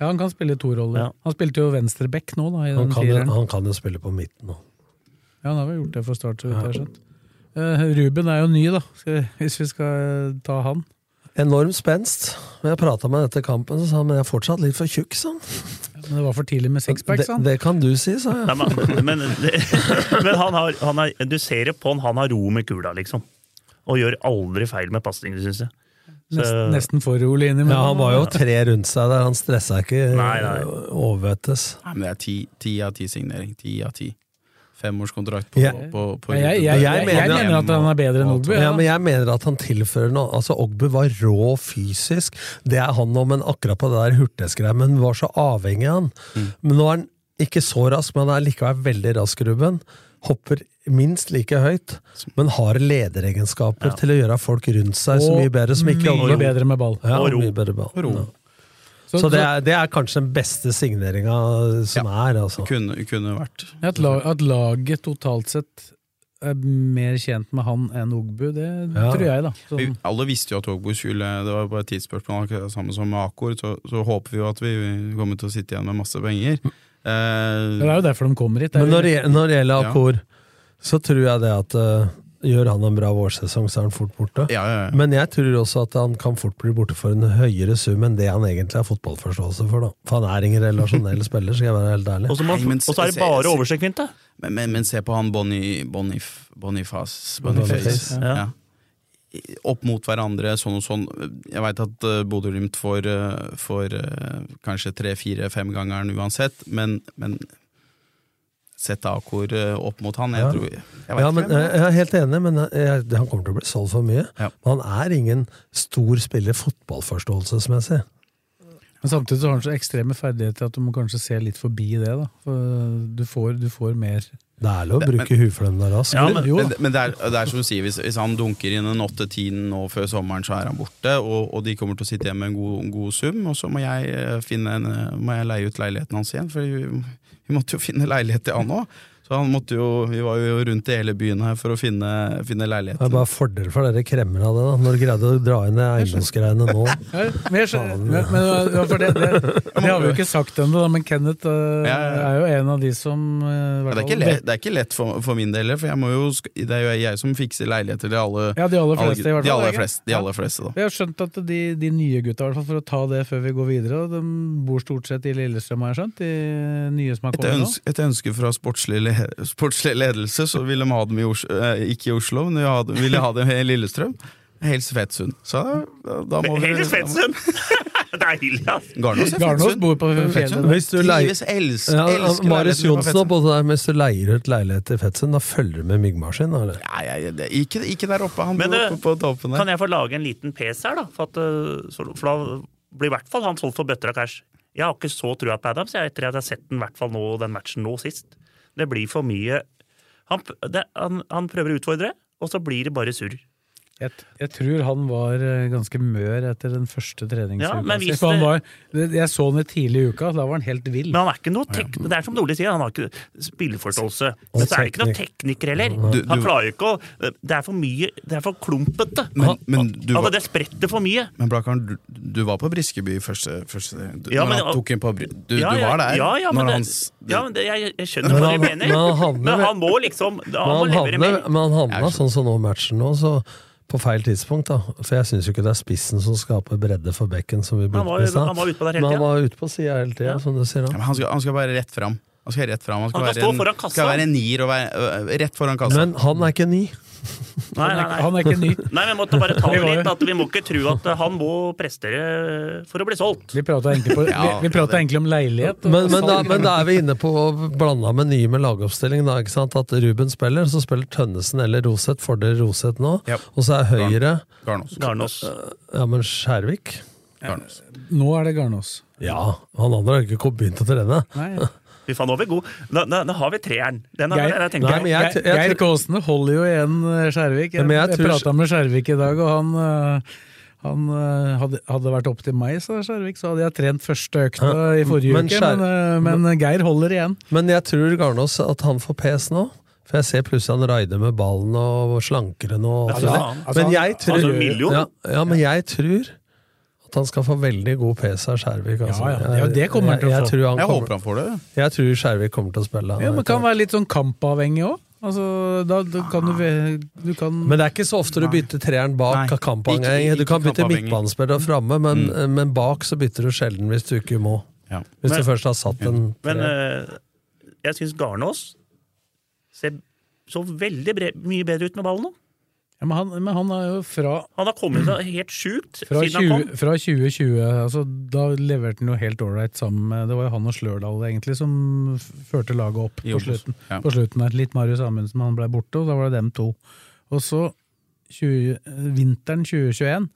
Speaker 2: ja, han kan spille to roller.
Speaker 4: Ja.
Speaker 2: Han spilte jo venstreback nå, da. I
Speaker 3: Han
Speaker 2: den
Speaker 3: kan, jo,
Speaker 2: fireren.
Speaker 3: han kan jo spille på midten òg.
Speaker 2: Ja, han har vel gjort det for Start, så vidt jeg har
Speaker 3: Ja.
Speaker 2: skjønt. Eh, Ruben er jo ny, da, skal, hvis vi skal ta han.
Speaker 3: Enorm spenst. Når jeg prata med han etter kampen, så sa han men jeg er fortsatt litt for tjukk. sa han.
Speaker 2: Men det var for tidlig med sixpack,
Speaker 3: Det,
Speaker 2: sa han.
Speaker 3: det kan du si, sa
Speaker 4: Nei,
Speaker 3: jeg.
Speaker 4: men, men, men han har, han har, du ser det på han, han har ro med kula, liksom. Og gjør aldri feil med pasningene, syns jeg. Så-
Speaker 2: Nesten, nesten for rolig innimellom.
Speaker 3: Ja, Han var jo tre rundt seg der, han stressa ikke eh,
Speaker 4: Nei, nei.
Speaker 3: overvettes.
Speaker 5: Nei, men det er ti, ti av ti signering. Ti av ti. Femårskontrakt på,
Speaker 3: Ja.
Speaker 5: på, på, på
Speaker 2: Men jeg, jeg,
Speaker 3: Jeg
Speaker 2: jeg, jeg
Speaker 3: mener-
Speaker 2: mener at han er bedre enn Ogbu.
Speaker 3: Ja,
Speaker 2: Ja,
Speaker 3: men jeg mener at han tilfører noe. Altså, Ogbu var rå fysisk. Det er han nå, men akkurat på det der hurtighetsgreia. Men vi var så avhengig av han. Men nå er han ikke så rask, men han er likevel veldig rask, Ruben. Hopper minst like høyt, men har lederegenskaper til å gjøre folk rundt seg så
Speaker 2: Og
Speaker 3: mye bedre. Som ikke
Speaker 2: mye bedre med ball.
Speaker 3: Ja,
Speaker 4: Og ro.
Speaker 3: mye bedre ball.
Speaker 5: ro.
Speaker 3: Ja.
Speaker 2: Så,
Speaker 3: Så det er, det er kanskje den beste signeringa som er, altså.
Speaker 5: Kunne, kunne vært.
Speaker 2: så at, la- at laget totalt sett er mer tjent med han enn Ogbu, det
Speaker 3: Ja.
Speaker 2: tror jeg, da.
Speaker 5: Vi,
Speaker 2: Sånn.
Speaker 5: alle visste jo at Ågbo skulle Det var bare et tidsspørsmål. akkurat det Samme som med Akor, så, så håper vi jo at vi kommer til å sitte igjen med masse penger.
Speaker 2: Men Det
Speaker 5: Eh,
Speaker 2: er jo derfor de kommer hit. Det
Speaker 3: Men når
Speaker 2: er,
Speaker 3: det,
Speaker 2: jo-
Speaker 3: når det gjelder
Speaker 5: Ja.
Speaker 3: Akor, så tror jeg det at eh, gjør han en bra vårsesong, så er han fort borte.
Speaker 5: ja, ja, ja.
Speaker 3: Men jeg tror også at han kan fort bli borte for en høyere sum enn det han egentlig har fotballforståelse for. da. For han er ingen relasjonell spiller, skal jeg være helt
Speaker 4: Og
Speaker 3: ærlig.
Speaker 4: så må-
Speaker 5: Nei, men
Speaker 4: og så er det
Speaker 5: se-
Speaker 4: bare
Speaker 5: se-
Speaker 4: overstrekksvinte!
Speaker 5: Men, men, men se på han Bonnie, Bonif, Boniface, Boniface.
Speaker 3: Boniface,
Speaker 4: ja.
Speaker 5: Ja. I- Opp mot hverandre, sånn og sånn. Jeg veit at uh, Bodø-Glimt får, eh, får eh, kanskje tre-fire-femgangeren uansett, men, men sett Akor eh, opp mot han, jeg
Speaker 3: Ja.
Speaker 5: tror Jeg, vet
Speaker 3: Ja, men, eh,
Speaker 5: ikke hvem.
Speaker 3: jeg jeg er helt enig, men jeg, han kommer til å bli solgt for mye.
Speaker 5: Ja.
Speaker 3: Men han er ingen stor spiller fotballforståelsesmessig.
Speaker 2: men samtidig så har han så ekstreme ferdigheter at du må kanskje se litt forbi det, da. For du får, du får mer
Speaker 3: Det er lov å bruke huflem der raskt.
Speaker 5: men,
Speaker 3: jo,
Speaker 5: men, men det, er, det er som du sier, hvis, hvis han dunker inn en 8-10 nå før sommeren, så er han borte. Og, og de kommer til å sitte igjen med en god, en god sum, og så må jeg, eh, finne en, eh, må jeg leie ut leiligheten hans igjen. For vi, vi måtte jo finne leilighet til han òg. Så han måtte jo, vi var jo rundt i hele byen her for å finne, finne
Speaker 3: det er
Speaker 5: leiligheten.
Speaker 3: bare fordel for dere kremmer av det, da. Når du greide å dra inn de eiendomsgreiene nå.
Speaker 2: Ja, men jeg skjønner, men, men, ja, for det, det, det har vi jo ikke sagt ennå, da, men Kenneth eh,
Speaker 5: Ja, ja, ja.
Speaker 2: er jo en av de som eh, i hvert
Speaker 5: Ja, det, er ikke
Speaker 2: fall-
Speaker 5: lett, det er ikke lett for, for min del, for jeg må jo, sk- det er jo jeg som fikser leiligheter til alle.
Speaker 2: Ja, de aller fleste, i hvert fall.
Speaker 5: de aller
Speaker 2: ikke?
Speaker 5: fleste, de aller fleste da.
Speaker 2: Jeg har skjønt at de, de nye gutta, i hvert fall for å ta det før vi går videre, de bor stort sett i Lillestrøm, har jeg skjønt? De nye som har
Speaker 5: Etter
Speaker 2: kommet nå?
Speaker 5: ønske, etter ønske fra sportslig, le, sportslig ledelse så ville de ha dem i Oslo, eh, ikke i Oslo, men de ha- ville ha dem i Lillestrøm. Helst Fettsund. Så da, da må vi
Speaker 4: Helt Svendsen! Deilig, ass!
Speaker 5: Garnås er
Speaker 2: Garnås
Speaker 5: Fettsund.
Speaker 2: bor på
Speaker 5: Fettsund.
Speaker 2: fjellet.
Speaker 3: Hvis du leier
Speaker 5: Trives, elsker,
Speaker 3: ja, Marius
Speaker 5: elsker leiligheten på
Speaker 3: Johnsen og
Speaker 5: Fettsund.
Speaker 3: både der, hvis du leier ut leilighet i Fetsund, da følger du med myggmaskin? da, eller?
Speaker 5: Nei, jeg- det- ikke, ikke der oppe, han
Speaker 4: Men,
Speaker 5: bor
Speaker 4: eh,
Speaker 5: oppe på toppen der.
Speaker 4: Kan jeg få lage en liten PC her, da? For, at, eh, så- for da blir i hvert fall han solgt for bøtter av cash. Jeg har ikke så trua på Adams jeg, etter at jeg har sett den, i hvert fall nå, den matchen nå sist. Det blir for mye Han, p- det, han, han prøver å utfordre, og så blir det bare surr.
Speaker 2: Jeg, jeg tror han var eh, ganske mør etter den første treningsuka.
Speaker 4: Ja, men
Speaker 2: si,
Speaker 4: hvis
Speaker 2: for han
Speaker 4: det-
Speaker 2: var, det- jeg så han i tidlig i uka, da var han helt vill.
Speaker 4: Men han er ikke noe tek det er som Nordli sier, han har ikke spilleforståelse. Men så er det ikke noe tekniker heller.
Speaker 5: Du-
Speaker 4: Han
Speaker 5: du-
Speaker 4: klarer ikke å eh, Det er for mye Det er for klumpete.
Speaker 5: Men- men du
Speaker 4: altså,
Speaker 5: var-
Speaker 4: det spretter for mye.
Speaker 5: Men Blakkaren, du, du var på Briskeby første, første du,
Speaker 4: Ja,
Speaker 5: når
Speaker 4: men-
Speaker 5: han tok inn på Bry... Du,
Speaker 4: Ja,
Speaker 5: du
Speaker 4: ja,
Speaker 5: var der?
Speaker 4: Ja, ja,
Speaker 5: når
Speaker 4: men,
Speaker 5: hans,
Speaker 4: det, ja, men det, jeg, jeg skjønner
Speaker 3: Men
Speaker 4: hva
Speaker 3: han-
Speaker 4: du mener.
Speaker 3: men han havner
Speaker 4: Men
Speaker 3: vel-
Speaker 4: han må liksom Han må
Speaker 3: Men han
Speaker 4: levere
Speaker 3: havner,
Speaker 4: mer.
Speaker 3: men han havna
Speaker 5: Jeg
Speaker 3: sånn som nå matchen nå, så på feil tidspunkt, da. For jeg syns jo ikke det er spissen som skaper bredde for bekken, som vi
Speaker 4: Han
Speaker 3: brukte
Speaker 4: var-
Speaker 3: i stad.
Speaker 4: han var ute på der hele
Speaker 3: Men
Speaker 4: tiden.
Speaker 3: han var ute på sida hele tida,
Speaker 4: Ja.
Speaker 3: som du sier.
Speaker 5: Ja,
Speaker 3: da.
Speaker 5: men han, skal, han skal bare rett fram. Han skal rett fram. Han skal,
Speaker 4: Han skal
Speaker 5: være,
Speaker 4: stå foran
Speaker 5: en,
Speaker 4: kassa.
Speaker 5: skal være en nier og være, øh, rett foran kassa.
Speaker 3: Men han er ikke ny.
Speaker 4: Nei, nei, nei.
Speaker 2: Han er ikke ny.
Speaker 4: nei, vi måtte bare ta
Speaker 2: Vi
Speaker 4: det
Speaker 2: var jo-
Speaker 4: litt. At vi må ikke tro at han må prestere for å bli solgt.
Speaker 2: Vi prata egentlig, på-
Speaker 5: Ja,
Speaker 2: vi, vi pratet egentlig om leilighet. og-
Speaker 3: Men, men, da, men da er vi inne på blanda med nye med lagoppstilling. Da, ikke sant? At Ruben spiller, så spiller Tønnesen eller Roseth. Fordel Roseth nå.
Speaker 5: Ja.
Speaker 3: Og så er Høyre
Speaker 5: Garnås.
Speaker 4: Garnås.
Speaker 3: Ja, men Skjærvik?
Speaker 5: Garnås.
Speaker 2: Nå er det Garnås.
Speaker 3: Ja, han andre har ikke kommet- begynt å trene.
Speaker 2: Nei,
Speaker 4: Fy faen, nå er vi gode. Da, da, da har vi treeren. Den er,
Speaker 2: Geir-
Speaker 4: den er tenkt
Speaker 3: Nei,
Speaker 4: på.
Speaker 3: men jeg, jeg,
Speaker 2: Geir
Speaker 3: jeg,
Speaker 2: Geir Kåsene holder jo igjen eh, Skjervik. Jeg,
Speaker 3: Men jeg
Speaker 2: jeg,
Speaker 3: tror-
Speaker 2: prata med Skjervik i dag, og han, eh, han eh, hadde, hadde det vært opp til meg, sa Skjervik, så hadde jeg trent første økta i forrige
Speaker 3: men
Speaker 2: uke.
Speaker 3: Skjer-
Speaker 2: Men, eh, men Geir holder igjen.
Speaker 3: Men jeg tror Garnås at han får pes nå. For jeg ser plutselig han raider med ballen og slankere nå.
Speaker 4: Ja, altså,
Speaker 3: men jeg
Speaker 4: han-
Speaker 3: tror,
Speaker 4: altså, en million?
Speaker 3: ja, ja, men jeg tror at han skal få veldig god pes av Skjærvik. Altså.
Speaker 2: Ja, ja. Ja, det kommer han til å
Speaker 3: jeg, jeg,
Speaker 2: få.
Speaker 3: tror han
Speaker 5: Jeg
Speaker 3: kommer,
Speaker 5: håper han får det.
Speaker 3: jeg tror Skjærvik kommer til å spille.
Speaker 2: Ja, men Kan være litt sånn kampavhengig òg. Altså, da, da kan du, ve- du kan
Speaker 3: Men det er ikke så ofte du bytter treeren bak
Speaker 5: Nei,
Speaker 3: kampavhengig.
Speaker 5: ikke-
Speaker 3: Du kan
Speaker 5: ikke
Speaker 3: bytte
Speaker 5: kampavhengig.
Speaker 3: midtbanespiller framme, men,
Speaker 2: Mm.
Speaker 3: eh, men bak så bytter du sjelden hvis du ikke må.
Speaker 5: Ja.
Speaker 3: Hvis
Speaker 4: Men-
Speaker 3: du først har satt en
Speaker 4: Men
Speaker 3: treer.
Speaker 4: eh, jeg syns Garnås ser så veldig bre mye bedre ut med ballen nå.
Speaker 2: ja, men, han, men han er jo fra,
Speaker 4: Han har kommet seg helt sjukt
Speaker 2: fra,
Speaker 4: siden han
Speaker 2: 20,
Speaker 4: kom.
Speaker 2: fra 2020 altså, Da leverte han jo helt ålreit sammen med Det var jo han og Slørdal egentlig som f- førte laget opp
Speaker 5: I
Speaker 2: på
Speaker 5: Obos.
Speaker 2: slutten.
Speaker 5: Ja.
Speaker 2: på slutten der. Litt Marius Amundsen, han ble borte, og da var det dem to. Og så 20, eh, vinteren 2021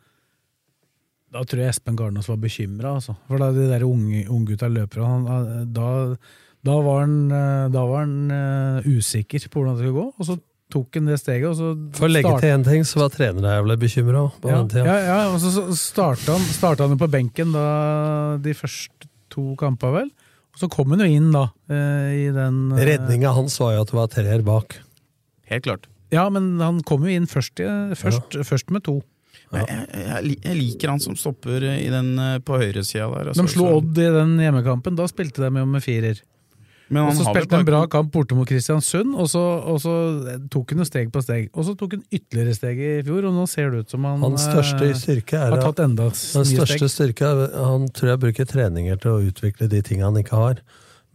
Speaker 2: da tror jeg Espen Garnås var bekymra, altså. For da de der unge- unggutta løpere han, eh, da, da var han, eh, da var han eh, usikker på hvordan det skulle gå, og så tok han det steget, og så
Speaker 3: For å legge
Speaker 2: start-
Speaker 3: til én ting, så var trenere jævlig bekymra.
Speaker 2: ja, ja, ja, og så så starta han, starta han jo på benken da de første to kampene, vel. Og så kom han jo inn, da, eh, i den eh,
Speaker 3: Redninga hans var jo at det var treer bak.
Speaker 5: Helt klart.
Speaker 2: Ja, men han kom jo inn først, i- først, først med to.
Speaker 5: Men jeg, jeg, li- jeg liker han som stopper i den, eh, på høyresida der. altså.
Speaker 2: De slo
Speaker 5: Så-
Speaker 2: Odd i den hjemmekampen, da spilte de jo med firer.
Speaker 5: Men
Speaker 2: Og
Speaker 5: han
Speaker 2: så
Speaker 5: har vel
Speaker 2: spilte de en bra
Speaker 5: bare-
Speaker 2: kamp borte mot Kristiansund, og så, og så tok han jo steg på steg. Og så tok han ytterligere steg i fjor, og nå ser det ut som han
Speaker 3: Hans største
Speaker 2: eh,
Speaker 3: styrke er
Speaker 2: har
Speaker 3: at
Speaker 2: tatt enda
Speaker 3: den
Speaker 2: nye
Speaker 3: største
Speaker 2: steg.
Speaker 3: styrke er, Han tror jeg bruker treninger til å utvikle de tingene han ikke har.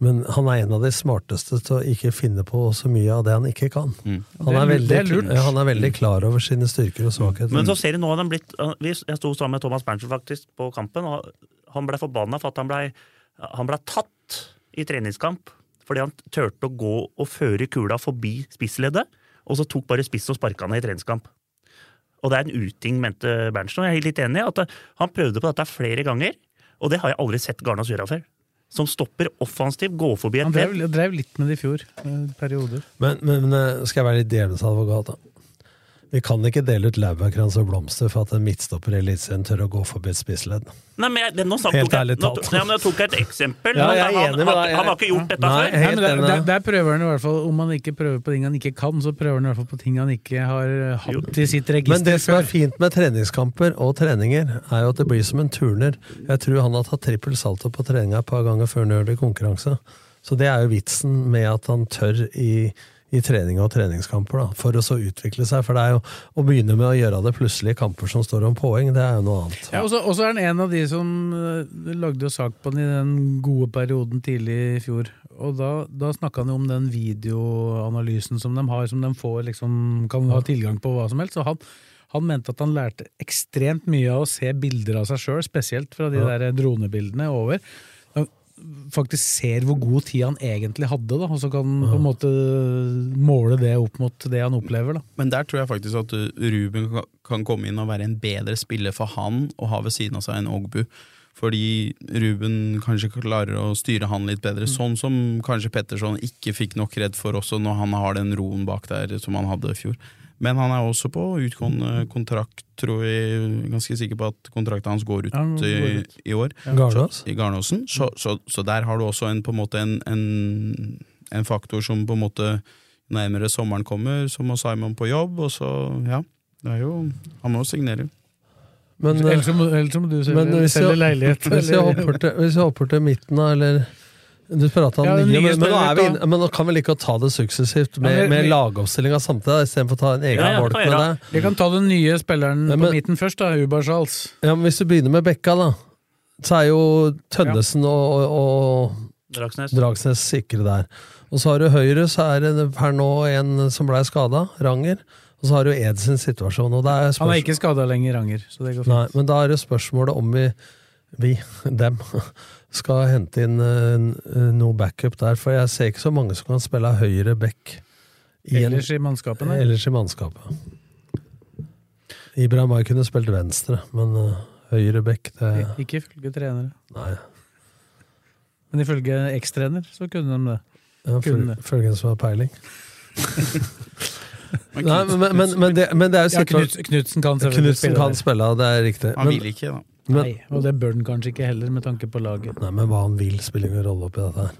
Speaker 3: Men han er en av de smarteste til å ikke finne på så mye av det han ikke kan.
Speaker 4: Mm.
Speaker 3: Han, er
Speaker 2: Det er lurt,
Speaker 3: veldig,
Speaker 2: det er lurt.
Speaker 3: Ja, han er veldig klar over sine styrker og svakheter.
Speaker 4: Men så ser du nå at han blitt vi- Jeg sto sammen med Thomas Berntsen faktisk på kampen, og han ble forbanna for at han ble, han ble tatt i treningskamp fordi han turte å gå og føre kula forbi spissleddet, og så tok bare spissen og sparka han i treningskamp. Og det er en uting, mente eh, Berntsen. Og jeg er helt litt enig i at han prøvde på dette flere ganger, og det har jeg aldri sett Garnås gjøre før. som stopper offensivt, går forbi
Speaker 2: Han
Speaker 4: et
Speaker 2: drev,
Speaker 4: ledd.
Speaker 2: drev litt med det i fjor, eh, perioder.
Speaker 3: Men, men eh, skal jeg være litt djevelens advokat, da? Vi kan ikke dele ut laurbærkrans og blomster for at en midtstopper i Eliteserien tør å gå forbi et spissledd.
Speaker 4: Nei, men jeg, det, nå, sa-
Speaker 3: Helt
Speaker 4: tok jeg,
Speaker 3: ærlig
Speaker 4: nå,
Speaker 3: talt.
Speaker 4: nei, men jeg tok et eksempel.
Speaker 3: Ja,
Speaker 4: Han-
Speaker 3: jeg er
Speaker 4: han,
Speaker 3: enig med
Speaker 4: han,
Speaker 3: deg.
Speaker 4: han har ikke gjort dette
Speaker 3: Nei,
Speaker 4: før.
Speaker 3: jeg-
Speaker 2: Nei, men
Speaker 3: Helt
Speaker 2: der,
Speaker 3: enig.
Speaker 2: der, der prøver han i hvert fall, Om han ikke prøver på ting han ikke kan, så prøver han i hvert fall på ting han ikke har eh, hatt i sitt
Speaker 3: Men det
Speaker 2: register
Speaker 3: som er
Speaker 2: før.
Speaker 3: fint med treningskamper og treninger, er jo at det blir som en turner. Jeg tror han har tatt trippel salto på treninga et par ganger før han gjør det i konkurranse. Så det er jo vitsen med at han tør i, i trening og treningskamper, da, for å så utvikle seg. For det er jo å begynne med å gjøre det plutselig i kamper som står om poeng, det er jo noe annet.
Speaker 2: Ja, og så og så er han en av de som eh, lagde jo sak på han i den gode perioden tidlig i fjor. Og da, da snakka han jo om den videoanalysen som de har, som de får, liksom, kan ha tilgang på hva som helst. Så han, han mente at han lærte ekstremt mye av å se bilder av seg sjøl, spesielt fra de der dronebildene over. Han faktisk ser hvor god tid han egentlig hadde, da, og så kan han på en måte måle det opp mot det han opplever. da.
Speaker 5: Men der tror jeg faktisk at uh, Ruben ka- kan komme inn og være en bedre spiller for han å ha ved siden av seg en Ogbu. Fordi Ruben kanskje klarer å styre han litt bedre,
Speaker 2: Mm.
Speaker 5: sånn som kanskje Petterson ikke fikk nok redd for også når han har den roen bak der som han hadde i fjor. Men han er også på utgående kontrakt, tror jeg. Ganske sikker på at kontrakten hans går ut,
Speaker 2: Ja, den går
Speaker 5: i,
Speaker 2: ut.
Speaker 5: i år.
Speaker 3: Garnås?
Speaker 5: I Garnåsen.
Speaker 3: Mm.
Speaker 5: Så, så, så der har du også en, på en, måte en, en, en faktor som på en måte nærmere sommeren kommer, så må Simon på jobb, og så ja. Det er jo, han må jo signere.
Speaker 3: Men, eh,
Speaker 2: Ellers så må, ellers så må du
Speaker 3: men
Speaker 2: selge,
Speaker 3: hvis jeg-
Speaker 2: selge leilighet.
Speaker 3: Hvis jeg
Speaker 2: eller-
Speaker 3: hopper til, hvis jeg hopper til midten, da, eller du prata om
Speaker 2: Ja, den
Speaker 3: nye,
Speaker 2: nye
Speaker 3: men, men, nå er vi
Speaker 2: spilleren,
Speaker 3: inne, men nå kan vi like å ta det suksessivt med,
Speaker 2: Ja, men-
Speaker 3: med lagoppstillinga samtidig, da, istedenfor å ta en egen
Speaker 4: Ja, ja,
Speaker 3: bolk
Speaker 4: kan
Speaker 3: med
Speaker 4: gjøre.
Speaker 3: det.
Speaker 2: Vi kan ta den nye spilleren
Speaker 3: Ja,
Speaker 2: på
Speaker 3: men-
Speaker 2: midten først, da, Ubar Charles.
Speaker 3: Ja, men Hvis du begynner med Bekka, da, så er jo Tønnesen og, og,
Speaker 4: Dragsnes.
Speaker 3: og Dragsnes sikre der. Og så har du høyre, så er det per nå en som blei skada, Ranger. Og så har du Ed sin situasjon. Og det er
Speaker 2: Han er
Speaker 3: spørsmål,
Speaker 2: ikke skada lenger, Ranger. Så det går fint.
Speaker 3: nei, men da er det spørsmålet om vi, vi dem, skal hente inn eh, noe backup der. For jeg ser ikke så mange som kan spille høyre back i en,
Speaker 2: Ellers i mannskapene.
Speaker 3: ellers i mannskapet. Ibrahim Ay kunne spilt venstre, men eh, høyre back, det
Speaker 2: I- Ikke ifølge trenere.
Speaker 3: Nei.
Speaker 2: Men ifølge ekstrener så kunne de det.
Speaker 3: Ja,
Speaker 2: Kunne.
Speaker 3: Følgen som har peiling.
Speaker 5: Men
Speaker 3: Nei,
Speaker 5: Knut-
Speaker 3: men, men, men, det, men det er jo
Speaker 2: Ja,
Speaker 3: sikkert
Speaker 2: Knut, Knutsen kan selvfølgelig
Speaker 3: Knutsen kan
Speaker 2: spille.
Speaker 3: spille, det er riktig.
Speaker 5: han
Speaker 3: Men,
Speaker 5: vil ikke, da.
Speaker 2: der.
Speaker 3: men,
Speaker 2: Nei, og det bør den kanskje ikke heller, med tanke på laget.
Speaker 3: nei, men hva han vil, spiller ingen rolle oppi dette her.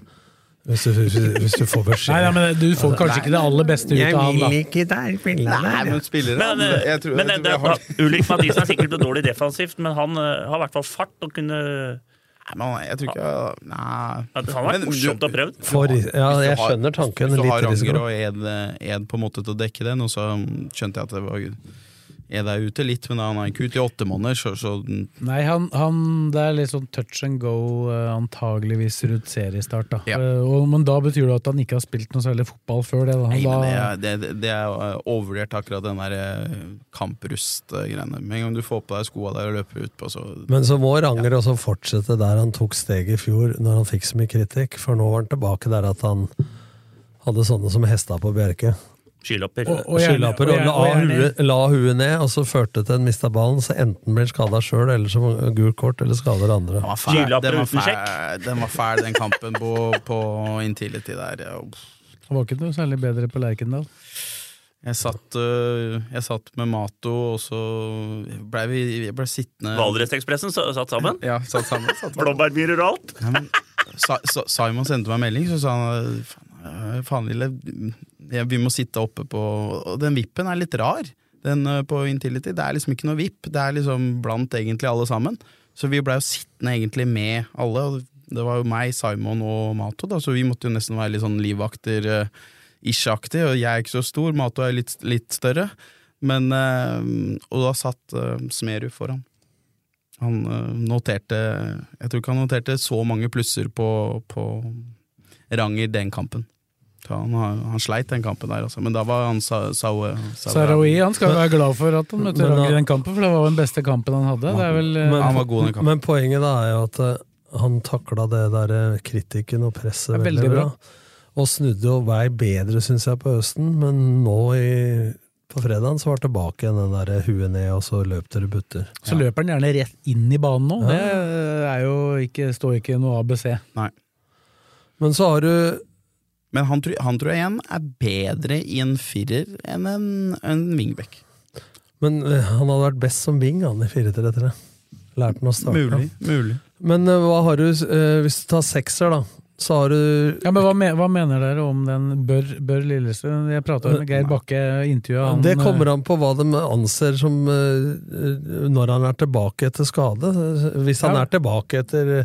Speaker 3: Hvis du, hvis, du- hvis du får beskjed.
Speaker 2: Nei, nei, men Du får kanskje ikke det aller beste ut av han, da.
Speaker 3: ikke der spille
Speaker 5: men spillere
Speaker 4: Men, eh, men det- det- Ulrik Mathisen er sikkert noe dårlig defensivt, men han eh, har i hvert fall fart og kunne
Speaker 5: Nei, men jeg tror ikke Nei.
Speaker 4: Ja, det hadde vært morsomt å prøve.
Speaker 3: For, ja, Altså, jeg skjønner tanken.
Speaker 5: Hvis du har
Speaker 3: Litt
Speaker 5: Ranger
Speaker 3: risiko.
Speaker 5: og Ed, Ed på en måte til å dekke den, og så skjønte jeg at det var Ed er ute litt, men han er ikke ute i åtte måneder, så, så
Speaker 2: Nei, han, han, det er litt sånn touch and go, eh, antageligvis rundt seriestart. da.
Speaker 5: Ja.
Speaker 2: Eh, og, men da betyr det at han ikke har spilt noe særlig fotball før det. Da. Han
Speaker 5: Nei,
Speaker 2: da,
Speaker 5: men det er, det, det- det er eh, overvurdert, akkurat den der eh, kamprust-greiene. Med en gang du får på deg skoa der og løper utpå, så
Speaker 3: Men så må Ranger også fortsette der han tok steget i fjor, når han fikk så mye kritikk. For nå var han tilbake der at han hadde sånne som hesta på Bjerke.
Speaker 4: skylapper.
Speaker 2: Og- og gjerne-
Speaker 3: skylapper
Speaker 2: og
Speaker 3: og
Speaker 2: gjerne-
Speaker 3: la
Speaker 2: og gjerne-
Speaker 3: huet, la huet ned, og så førte det til en mista ballen, så enten blir han skada sjøl, eller så gult kort, eller skader andre.
Speaker 5: Den var fæl,
Speaker 4: Skylapper
Speaker 5: den, var
Speaker 4: uten
Speaker 5: fæl, den var fæl, den kampen på, på Intility der. Ja, uff.
Speaker 2: Han var ikke noe særlig bedre på Lerkendal.
Speaker 5: Jeg satt, øh, jeg satt med Mato, og så blei vi jeg ble sittende
Speaker 4: Valdresekspressen så- satt sammen.
Speaker 5: Ja, satt sammen. Satt sammen.
Speaker 4: Blåbærmyrer og alt.
Speaker 5: Nei, men, Sa- Sa- Simon sendte meg en melding, så sa han "Faen, øh, faen lille, ja, vi må sitte oppe på Og den vippen er litt rar, den øh, på Intility. Det er liksom ikke noe vipp, det er liksom blant egentlig alle sammen. Så vi blei jo sittende egentlig med alle. og Det var jo meg, Simon og Mato, da, så vi måtte jo nesten være litt sånn livvakter. øh, Ish-aktig, og jeg er ikke så stor, Mato er litt, litt større. Men, øh, og da satt øh, Smerud foran. Han øh, noterte Jeg tror ikke han noterte så mange plusser på, på Ranger den kampen. Så han, har- han sleit den kampen der, altså. Men da var han sa, sa, sa,
Speaker 2: Sarawi han skal jo være glad for at han møtte
Speaker 3: Men da-
Speaker 2: Ranger i den kampen, for det var jo den beste kampen han hadde. Det er vel, eh,
Speaker 5: han var god den kampen.
Speaker 3: Men poenget da er jo at eh, han takla det der eh, kritikken og presset
Speaker 2: Det er
Speaker 3: veldig,
Speaker 2: veldig
Speaker 3: bra.
Speaker 2: bra.
Speaker 3: Og snudde jo vei bedre, syns jeg, på høsten, men nå i, på fredagen så var det tilbake igjen den der huet ned, og så løp dere butter.
Speaker 2: så løper han gjerne rett inn i banen nå. Det eh, er er jo ikke, står ikke i noe ABC.
Speaker 5: Nei.
Speaker 3: Men så har du
Speaker 5: Men han, tror- han tror jeg igjen er bedre i en firer enn en, en wingback.
Speaker 3: Men eh, han hadde vært best som wing, han i 4-3-3. Lærte han å starte.
Speaker 5: Mulig. mulig.
Speaker 3: Men eh, hva har du, eh, hvis du tar sekser, da, så har du
Speaker 2: Ja, men hva, me- hva mener dere om den Bør, bør Lillesund? Jeg prata med Geir Bakke, intervjua han.
Speaker 3: Eh,
Speaker 2: eh,
Speaker 3: Det kommer an på hva de anser som eh, Når han er tilbake etter skade. Hvis han
Speaker 2: Ja.
Speaker 3: er tilbake etter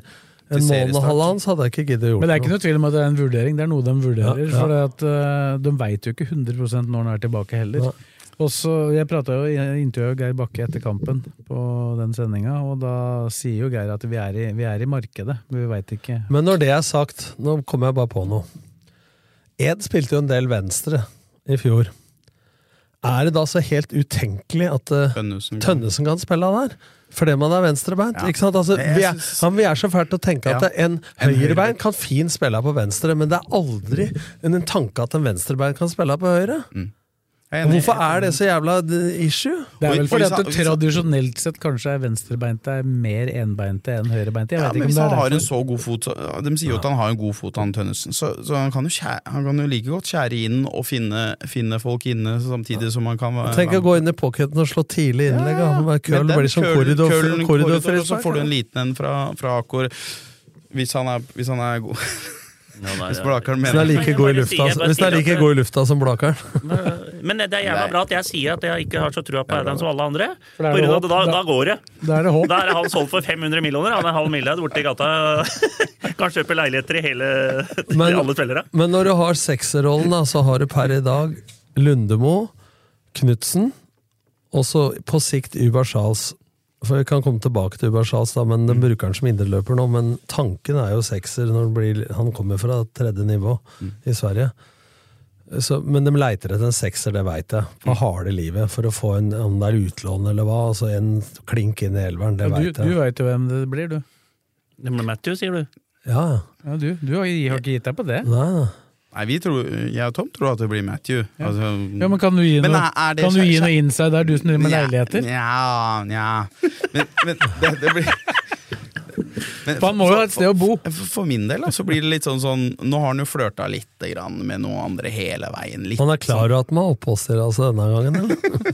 Speaker 3: en måned og
Speaker 5: seriestart.
Speaker 3: halvannen, så hadde jeg ikke giddet å gjort
Speaker 2: Men det er ikke noe tvil om at det er en vurdering. Det er noe de vurderer.
Speaker 3: Ja, ja.
Speaker 2: For at, eh, de veit jo ikke 100 når han er tilbake heller.
Speaker 3: Nei.
Speaker 2: Og så, Jeg prata jo jeg intervjuet Geir Bakke etter kampen på den sendinga, og da sier jo Geir at vi er i, vi er i markedet, men vi veit ikke.
Speaker 3: Men når det er sagt, nå kommer jeg bare på noe. Ed spilte jo en del venstre i fjor. Er det da så helt utenkelig at eh,
Speaker 5: Tønnesen.
Speaker 3: Tønnesen kan spille han her. Fordi man er venstrebeint.
Speaker 5: Mm. Ja.
Speaker 3: ikke sant? Altså,
Speaker 5: Jeg
Speaker 3: vi, er,
Speaker 5: synes-
Speaker 3: han, vi er så fælt å tenke at
Speaker 5: Ja.
Speaker 3: en høyrebeint kan fint spille på venstre, men det er aldri en en tanke at en venstrebeint kan spille på høyre.
Speaker 5: Mm. Jeg er enig.
Speaker 3: Hvorfor er det så jævla d- issue?
Speaker 2: Det er
Speaker 5: Og-
Speaker 2: vel
Speaker 5: og
Speaker 2: fordi
Speaker 5: hvis
Speaker 2: at
Speaker 5: han-
Speaker 2: det
Speaker 5: hvis han-
Speaker 2: tradisjonelt sett kanskje er venstrebeinte er mer enbeinte enn høyrebeinte. Jeg
Speaker 5: Ja,
Speaker 2: vet ikke
Speaker 5: men
Speaker 2: om
Speaker 5: hvis
Speaker 2: det
Speaker 5: han
Speaker 2: er
Speaker 5: har
Speaker 2: derfor.
Speaker 5: en sånn- så god fot så, De sier jo at han har en god fot, han Tønnesen. Så, så han, kan jo skjære, han kan jo like godt skjære inn og finne, finne folk inne samtidig som han kan være-
Speaker 3: Tenk å gå inn i pocketen og slå tidlig innlegg. Ja, ja. Køll
Speaker 5: Men den
Speaker 3: blir som
Speaker 5: køll-
Speaker 3: korridor,
Speaker 5: køllen-
Speaker 3: korridor,
Speaker 5: korridor, og Så får du en liten en fra, fra Akor. Hvis han er, hvis han er god. Hvis Blakaren
Speaker 3: Hvis den er
Speaker 5: mener
Speaker 3: like god i lufta,
Speaker 4: Jeg bare sier- jeg bare
Speaker 3: hvis den er
Speaker 4: sier
Speaker 3: like
Speaker 4: at-
Speaker 3: god i lufta som Blakeren.
Speaker 4: Men eh, det er jævla
Speaker 5: Nei.
Speaker 4: bra at jeg sier at jeg ikke har så trua på Adam som alle andre.
Speaker 2: er
Speaker 4: For
Speaker 2: det
Speaker 4: da,
Speaker 2: håp.
Speaker 4: da,
Speaker 2: Da-
Speaker 4: da går det.
Speaker 2: Da er det håp.
Speaker 4: Da er han solgt for 500 millioner. Han er halv milliard borte i gata. Kan kjøpe leiligheter i hele i
Speaker 3: Men-
Speaker 4: alle spillere.
Speaker 3: Men når du har sekserrollen, da, så har du per i dag Lundemo, Knutsen, og så på sikt Uber Charles. For Vi kan komme tilbake til Uber Charles, da, men den bruker han som indreløper nå. Men tanken er jo sekser. Når det blir, han kommer fra tredje nivå i Sverige. Så, men de leiter etter en sekser, det veit jeg, på harde livet. For å få en, om det er utlån eller hva, altså en klink inn i elveren, det
Speaker 2: Du,
Speaker 3: veit
Speaker 2: du
Speaker 3: jeg.
Speaker 2: veit jo hvem det blir, du.
Speaker 4: Det blir Matthew, sier du.
Speaker 3: Ja, ja.
Speaker 2: Ja, du, du har har ikke gitt deg på det.
Speaker 3: Nei, nei.
Speaker 5: Nei, vi tror, jeg og Tom tror at det blir Matthew. Altså,
Speaker 2: Ja, men Kan du gi
Speaker 5: Men
Speaker 2: noe,
Speaker 5: er- er det
Speaker 2: kan du
Speaker 5: skjær-
Speaker 2: gi noe inside der, du som driver med
Speaker 5: Nja,
Speaker 2: leiligheter?
Speaker 5: Nja, nja. Men, men det, det blir Men
Speaker 2: For han må jo ha et sted å bo.
Speaker 5: For, for min del da, så blir det litt sånn sånn Nå har han jo flørta litt grann, med noen andre hele veien. Litt,
Speaker 3: Han er klar over at han har oppholdsstyre altså, denne gangen, eller?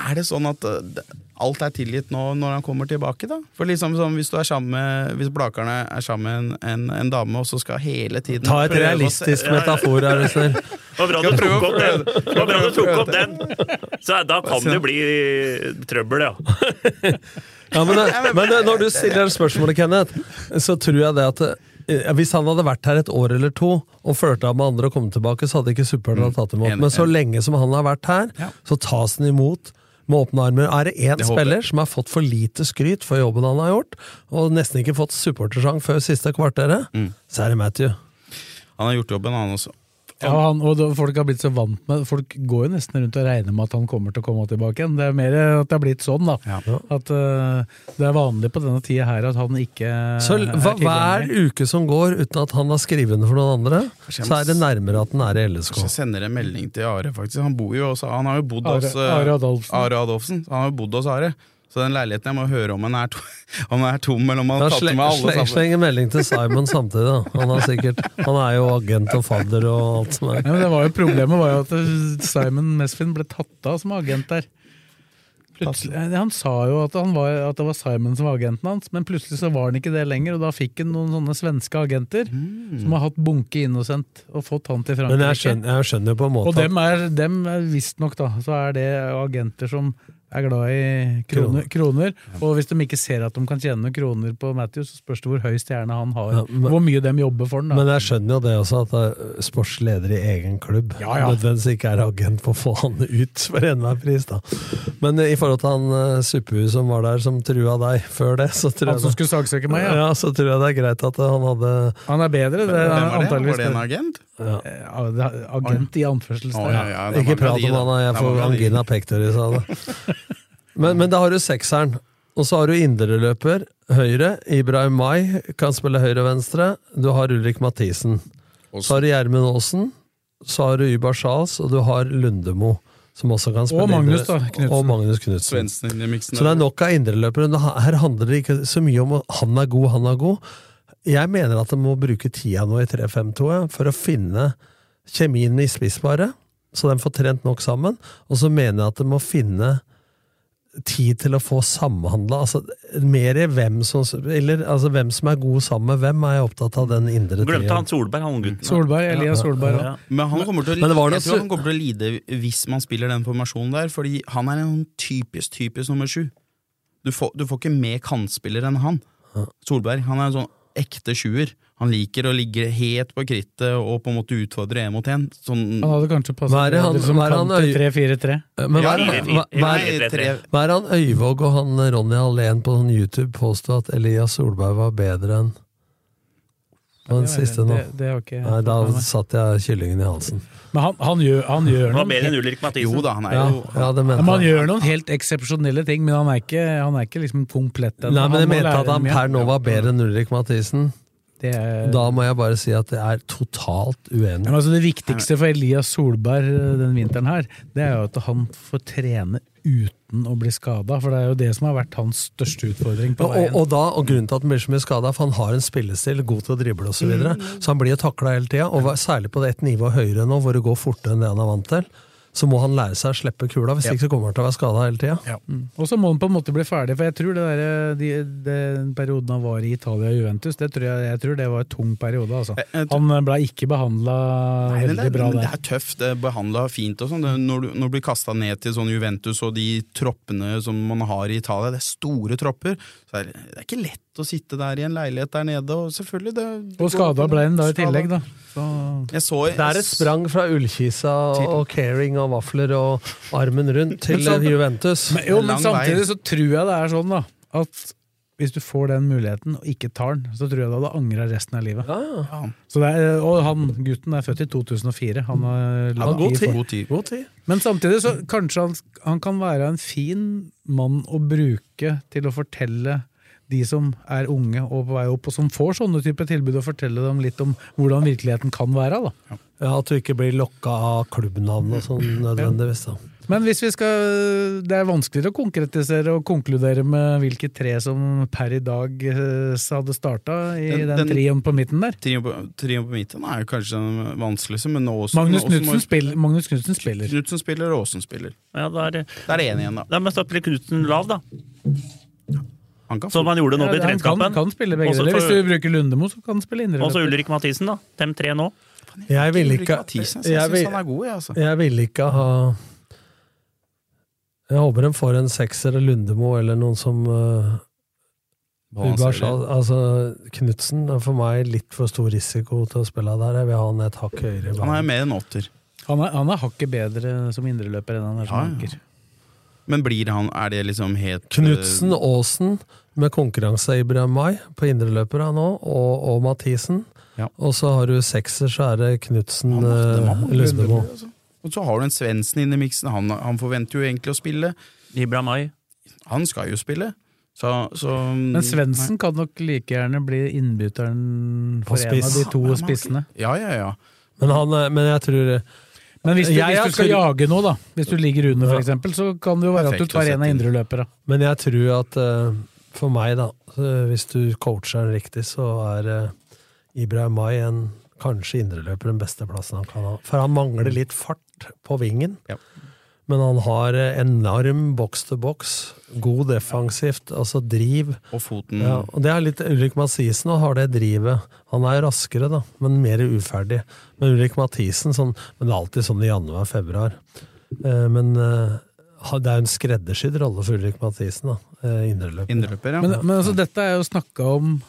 Speaker 5: Er det sånn at uh, det- alt er tilgitt nå når han kommer tilbake, da? For liksom sånn, Hvis du er sammen med Hvis Blakerne er sammen med en, en, en dame, og så skal hele tiden
Speaker 3: Ta et
Speaker 5: prøve å se-
Speaker 3: realistisk metafor, er du snill.
Speaker 4: Det var bra du
Speaker 5: Skal prøve
Speaker 4: tok
Speaker 5: å
Speaker 4: opp
Speaker 5: prøve
Speaker 4: den!
Speaker 5: det.
Speaker 4: Det var bra du tok opp den. Så da kan det bli trøbbel, ja.
Speaker 3: Ja, men, men når du stiller spørsmålet, Kenneth, så tror jeg det at eh, hvis han hadde vært her et år eller to og flørta med andre og kommet tilbake, så hadde ikke supporterne tatt imot.
Speaker 5: Mm. enig,
Speaker 3: Men så
Speaker 5: enig.
Speaker 3: lenge som han har vært
Speaker 5: Ja.
Speaker 3: her, så tas han imot med åpne armer. Er det én
Speaker 5: Det håper
Speaker 3: spiller som har fått for lite skryt for jobben han har gjort, og nesten ikke fått supportersang før siste kvarteret,
Speaker 5: Mm.
Speaker 3: så er det Matthew.
Speaker 5: Han har gjort jobben, han også.
Speaker 2: Ja,
Speaker 3: Sånn.
Speaker 2: og han, og da- folk har blitt så vant med Folk går jo nesten rundt og regner med at han kommer til å komme tilbake igjen. Det er mer at det har blitt sånn, da.
Speaker 5: Ja.
Speaker 2: At eh, det er vanlig på denne tida her at han ikke
Speaker 5: Eh,
Speaker 3: Så
Speaker 2: er
Speaker 3: hva, hver
Speaker 2: tilgjengelig.
Speaker 3: uke som går uten at han har skrevet under for noen andre,
Speaker 5: Kanskje jeg
Speaker 3: så
Speaker 5: må
Speaker 3: er det nærmere at han er i LSK.
Speaker 5: Så jeg sender en melding til Are, faktisk. Han bor jo også, han har jo bodd
Speaker 2: Are-
Speaker 5: hos eh,
Speaker 2: Are Adolfsen.
Speaker 5: Are Adolfsen. Han har jo bodd hos Are. Så den leiligheten jeg må høre om den er, to, om den er tom, eller om han
Speaker 3: Da
Speaker 5: har tatt
Speaker 3: sle,
Speaker 5: med alle
Speaker 3: sle,
Speaker 5: sammen.
Speaker 3: slenger melding til Simon samtidig. Da. Han er sikkert Han er jo agent og fadder og alt som er.
Speaker 2: ja, men det var jo Problemet var jo at eh, Simon Mesfin ble tatt av som agent der. Plutselig, han sa jo at, han var, at det var Simon som var agenten hans, men plutselig så var han ikke det lenger. Og da fikk han noen sånne svenske agenter som har hatt bunke innocent og fått han til Frankrike.
Speaker 3: Mm. Men jeg skjønner, jeg skjønner på en måte
Speaker 2: Og dem er, dem er visstnok, da, så er det agenter som er glad i kroner, kroner. Og hvis de ikke ser at de kan tjene noen kroner på Matthew, så spørs det hvor høy stjerne han har.
Speaker 3: Ja, men-
Speaker 2: hvor mye de jobber for
Speaker 3: at,
Speaker 2: den, da.
Speaker 3: men jeg skjønner jo det også, at eh, sportsleder i egen klubb
Speaker 2: Ja, ja.
Speaker 3: nødvendigvis ikke er agent på å få han ut for enhver pris, da. Men eh, i forhold til han uh, suppehuet som var der, som trua deg før det, så tror
Speaker 2: han som
Speaker 3: jeg det,
Speaker 2: skulle saksøke meg, ja.
Speaker 3: ja, så tror jeg det er greit at eh, han hadde
Speaker 2: Han er bedre, det er
Speaker 5: Hvem var det?
Speaker 2: antakeligvis
Speaker 5: Var det en agent?
Speaker 2: Ja, det er agent i anførselstegn.
Speaker 5: Å, ja, ja, det er
Speaker 3: Ikke
Speaker 5: mange av
Speaker 3: prat
Speaker 5: de,
Speaker 3: om
Speaker 5: da.
Speaker 3: han, jeg
Speaker 5: Det er
Speaker 3: får
Speaker 5: mange av de.
Speaker 3: angina pectoris av det. Men, men da har du sekseren, og så har du indreløper, høyre. Ibrahim Mai kan spille høyre og venstre. Du har Ulrik Mathisen. Så har du Gjermund Aasen. Så har du Ybar Charles, og du har Lundemo. Som også kan spille
Speaker 2: Og Magnus, da,
Speaker 3: indre-
Speaker 2: Knudsen.
Speaker 3: Og Magnus Knutsen.
Speaker 5: Svendsen inn i miksen.
Speaker 3: Så det er nok av indreløpere. men Her handler det ikke så mye om at han er god, han er god. Jeg mener at de må bruke tida nå i 3-5-2 jeg, for å finne kjemien i spissparet, så de får trent nok sammen. Og så mener jeg at de må finne tid til å få samhandla. Altså, mer i hvem som, eller, altså, hvem som er god sammen med hvem, er jeg opptatt av den indre
Speaker 4: Glemte
Speaker 3: tida.
Speaker 4: han Solberg, han gutten.
Speaker 2: Solberg, Elias Solberg
Speaker 4: Ja.
Speaker 2: ja.
Speaker 5: Men han kommer til å,
Speaker 3: Men det var noe
Speaker 5: jeg tror
Speaker 3: su-
Speaker 5: han kommer til å lide hvis man spiller den formasjonen der, fordi han er en typisk typisk nummer sju. Du får, du får ikke med kantspiller enn han. Solberg han er en sånn ekte sjuer. Han liker å ligge helt på krittet og på en måte utfordre én mot én. Sånn
Speaker 2: Han hadde kanskje
Speaker 3: Hva er
Speaker 2: passet
Speaker 3: det han-
Speaker 2: bedre som
Speaker 3: hva er det
Speaker 2: kant
Speaker 3: han
Speaker 2: til
Speaker 3: øy-
Speaker 2: 3-4-3.
Speaker 3: Men hva er,
Speaker 4: Ja,
Speaker 3: hva, hva er,
Speaker 4: Nei,
Speaker 5: Nei, tre,
Speaker 3: hva er han Øyvåg og han eh, Ronny Alén på sånn YouTube påstod at Elias Solberg var bedre enn den siste nå?
Speaker 2: Det, det har ikke jeg
Speaker 3: Nei,
Speaker 2: fått
Speaker 3: da
Speaker 2: med meg.
Speaker 3: satt jeg kyllingen i halsen.
Speaker 2: Men han, han gjør, han gjør
Speaker 4: Han var
Speaker 2: noen
Speaker 4: bedre enn Ulrik Mathisen.
Speaker 5: jo da, han er
Speaker 3: Ja,
Speaker 5: jo
Speaker 3: ja det
Speaker 2: Ja, men
Speaker 3: mente
Speaker 2: han
Speaker 3: jeg.
Speaker 2: gjør noen helt eksepsjonelle ting, men han er ikke, han er ikke liksom komplett ennå.
Speaker 3: Nei, men
Speaker 2: Han
Speaker 3: jeg
Speaker 2: må
Speaker 3: mente
Speaker 2: lære
Speaker 3: at han
Speaker 2: mye.
Speaker 3: per nå var bedre enn Ulrik Mathisen.
Speaker 2: Det er,
Speaker 3: Da må jeg bare si at jeg er totalt
Speaker 2: Ja,
Speaker 3: uenig.
Speaker 2: men altså det viktigste for Elias Solberg eh, den vinteren her, det er jo at han får trene uten å bli skada. For det er jo det som har vært hans største utfordring på
Speaker 3: Og, og,
Speaker 2: veien.
Speaker 3: og, da, og grunnen til at han blir så mye skada, for han har en spillestil, god til å drible osv. Så, videre,
Speaker 2: Mm.
Speaker 3: så han blir jo takla hele tida, og hva- særlig på det ett nivå høyere nå, hvor det går fortere enn det han er vant til. Så må han lære seg å slippe kula, hvis ikke så kommer han til å være skada hele tida.
Speaker 2: Mm. Og så må han på en måte bli ferdig, for jeg tror det der, eh, de, den perioden han var i Italia og Juventus, det tror jeg, jeg tror det var en tung periode. Altså.
Speaker 5: Jeg- jeg tror-
Speaker 2: Han ble ikke behandla
Speaker 5: Nei, men det,
Speaker 2: veldig
Speaker 5: er-
Speaker 2: bra
Speaker 5: men det
Speaker 2: der.
Speaker 5: er tøft. Det er behandla fint og sånn. Det- Når, du- når du blir kasta ned til sånn Juventus og de troppene som man har i Italia, det er store tropper, så er det, det er ikke lett å sitte der i en leilighet der nede. Og selvfølgelig det, det
Speaker 2: Og skada ble han da i
Speaker 5: Skada.
Speaker 2: tillegg, da. Så
Speaker 5: Jeg så,
Speaker 3: Det er et sprang fra ullkisa og caring og vafler og armen rundt til Juventus.
Speaker 2: Men, jo,
Speaker 5: Det
Speaker 2: men
Speaker 5: er lang
Speaker 2: samtidig
Speaker 5: vei.
Speaker 2: så tror jeg det er sånn, da, at hvis du får den muligheten og ikke tar den, så tror jeg du hadde angra resten av livet. Så det er, og han gutten er født i 2004. Han har lang
Speaker 3: god
Speaker 2: tid.
Speaker 3: tid.
Speaker 2: for-
Speaker 5: God tid.
Speaker 3: God tid.
Speaker 2: Men samtidig så kanskje han, han kan være en fin mann å bruke til å fortelle de som er unge og på vei opp, og som får sånne type tilbud, og fortelle dem litt om hvordan virkeligheten kan være. da.
Speaker 3: Ja, At du ikke blir lokka av klubbnavn og sånn nødvendigvis. da.
Speaker 2: Men hvis vi skal Det er vanskeligere å konkretisere og konkludere med hvilke tre som per i dag eh, hadde starta i den,
Speaker 5: Den- den-
Speaker 2: trioen på midten der.
Speaker 5: Trio på, trio på midten er jo kanskje den vanskeligste, men nå også
Speaker 2: Magnus
Speaker 5: men også må-
Speaker 2: Knutsen spiller, Magnus Knudsen spiller.
Speaker 5: Knudsen spiller, og Aasen spiller.
Speaker 4: Ja, da er det
Speaker 5: Da er det én igjen, da.
Speaker 4: Da må jeg starte Knutsen lav, da.
Speaker 5: Han kan få
Speaker 4: Som han gjorde nå i
Speaker 2: Ja, han kan,
Speaker 4: treningskampen.
Speaker 2: kan spille begge
Speaker 4: Også
Speaker 2: deler. Hvis
Speaker 4: for-
Speaker 2: du bruker Lundemo, så kan han spille indre.
Speaker 4: Og så
Speaker 2: løper.
Speaker 4: Ulrik Mathisen, da. Dem tre nå.
Speaker 3: Jeg ville ikke,
Speaker 5: Jeg syns
Speaker 3: jeg vil,
Speaker 5: han er god, jeg, altså.
Speaker 3: jeg vil ikke ha Jeg håper de får en sekser eller Lundemo eller noen som uh, Ubar sa. Altså, Knutsen er for meg litt for stor risiko til å spille der. Jeg vil ha han et hakk høyere i
Speaker 5: Han er
Speaker 3: banen.
Speaker 5: mer enn åtter.
Speaker 2: Han er, han er hakket bedre som indreløper enn han er som
Speaker 5: Ja, ja.
Speaker 2: anker.
Speaker 5: Men blir han Er det liksom helt
Speaker 3: Knutsen
Speaker 5: eh,
Speaker 3: Aasen med konkurranse av Ibrahim Mai på indreløpere nå, og, og Mathisen.
Speaker 5: Ja.
Speaker 3: Og så har du sekser, så er det Knutsen eh,
Speaker 5: Han har- de har mange
Speaker 3: Lundemo.
Speaker 5: runder, altså. Og så har du en Svendsen inn i miksen. Han, han forventer jo egentlig å spille.
Speaker 4: Ibra Mai.
Speaker 5: Han skal jo spille. Så, så mm,
Speaker 2: Men Svendsen kan nok like gjerne bli innbytteren
Speaker 3: På
Speaker 2: for en av
Speaker 3: spiss.
Speaker 2: de to
Speaker 5: Nei, men han-
Speaker 2: spissene.
Speaker 5: Ja, ja, ja.
Speaker 3: Men, han, er- men jeg tror
Speaker 2: Men hvis du,
Speaker 3: Jeg har
Speaker 2: hvis du skal
Speaker 3: tro-
Speaker 2: jage nå, da, hvis du ligger under
Speaker 3: Ja.
Speaker 2: f.eks., så kan det jo være at du
Speaker 5: Perfekt å
Speaker 2: tar en
Speaker 5: sette
Speaker 2: av
Speaker 5: inn.
Speaker 2: indreløperne.
Speaker 3: Men jeg tror at eh, for meg, da, eh, hvis du coacher han riktig, så er uh, Ibrahim Mai en kanskje indreløper den beste plassen han kan ha. For han mangler litt fart på vingen.
Speaker 5: Ja.
Speaker 3: Men han har eh, enorm boks til boks, god defensivt, altså driv.
Speaker 5: Og foten
Speaker 3: Ja, og det er litt Ulrik Mathisen og har det drivet. Han er raskere, da, men mer uferdig. Men Ulrik Mathisen sånn, Men det er alltid sånn i januar-februar. Eh, men eh, ha- det er jo en skreddersydd rolle for Ulrik Mathisen, da. Eh, Indreløper.
Speaker 5: Indreløper, ja.
Speaker 2: Men, men altså, dette er jo snakka om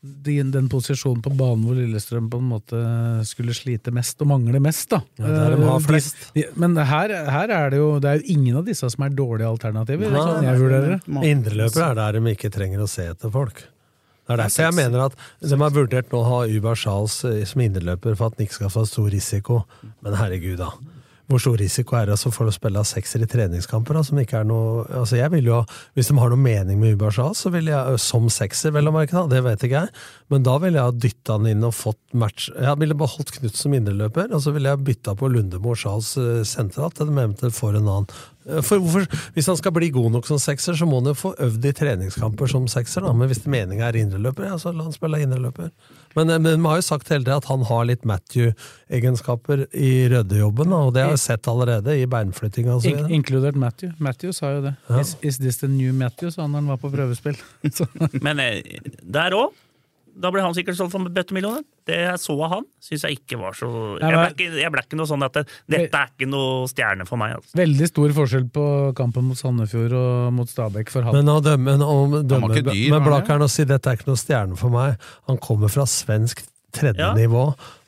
Speaker 2: den, den posisjonen på banen hvor Lillestrøm på en måte skulle slite mest og mangle mest. da.
Speaker 3: Ja, der de har
Speaker 2: Eh,
Speaker 3: flest.
Speaker 2: de, men her, her er det jo det er jo ingen av disse som er dårlige alternativer.
Speaker 3: Nei,
Speaker 2: sånn jeg vurderer det.
Speaker 3: Indreløpere er der de ikke trenger å se etter folk. Det er derfor jeg
Speaker 5: seks.
Speaker 3: mener at de har vurdert nå å ha Uber Charles eh, som indreløper for at han ikke skal få stor risiko. Men herregud, da. Hvor stor risiko er det altså for å spille av sekser i treningskamper? Da, som ikke er noe, altså jeg vil jo, ha- hvis de har noe mening med Ubashal, så vil jeg, eh, som sekser, vel å merke, da, det vet ikke jeg, men da ville jeg ha dytta han inn og fått match Jeg ville beholdt Knut som indreløper, og så ville jeg bytta på Lundemo og Charles eh, sentralt, eller eventuelt for en annen. Eh, For hvorfor, hvis han skal bli god nok som sekser, så må han jo få øvd i treningskamper som sekser, da, men hvis meninga er indreløper, ja, så la han spille indreløper. Men, eh, men de har jo sagt hele tida at han har litt Matthew-egenskaper i røddejobben, da, og det har jeg sett allerede i altså. beinflyttinga. og så
Speaker 2: In
Speaker 3: videre.
Speaker 2: inkludert Matthew. Matthew sa jo det.
Speaker 3: Ja.
Speaker 2: Is, is this the new Matthew? sa han når han var på prøvespill. Så,
Speaker 4: Men eh, der òg. Da ble han sikkert solgt for bøttemillioner. Det jeg så av han, syns jeg ikke var så
Speaker 2: Nei,
Speaker 4: Jeg ble
Speaker 2: men-
Speaker 4: ikke, jeg ble ikke noe sånn at det, dette er ikke noe stjerne for meg. Altså.
Speaker 2: veldig stor forskjell på kampen mot Sandefjord og mot Stabæk for han.
Speaker 3: Men å dømme, om dømme
Speaker 5: ikke dyr,
Speaker 3: Men
Speaker 5: var han
Speaker 3: Blakkern å si dette er ikke noe stjerne for meg. Han kommer fra svensk tredje
Speaker 4: Ja.
Speaker 3: nivå,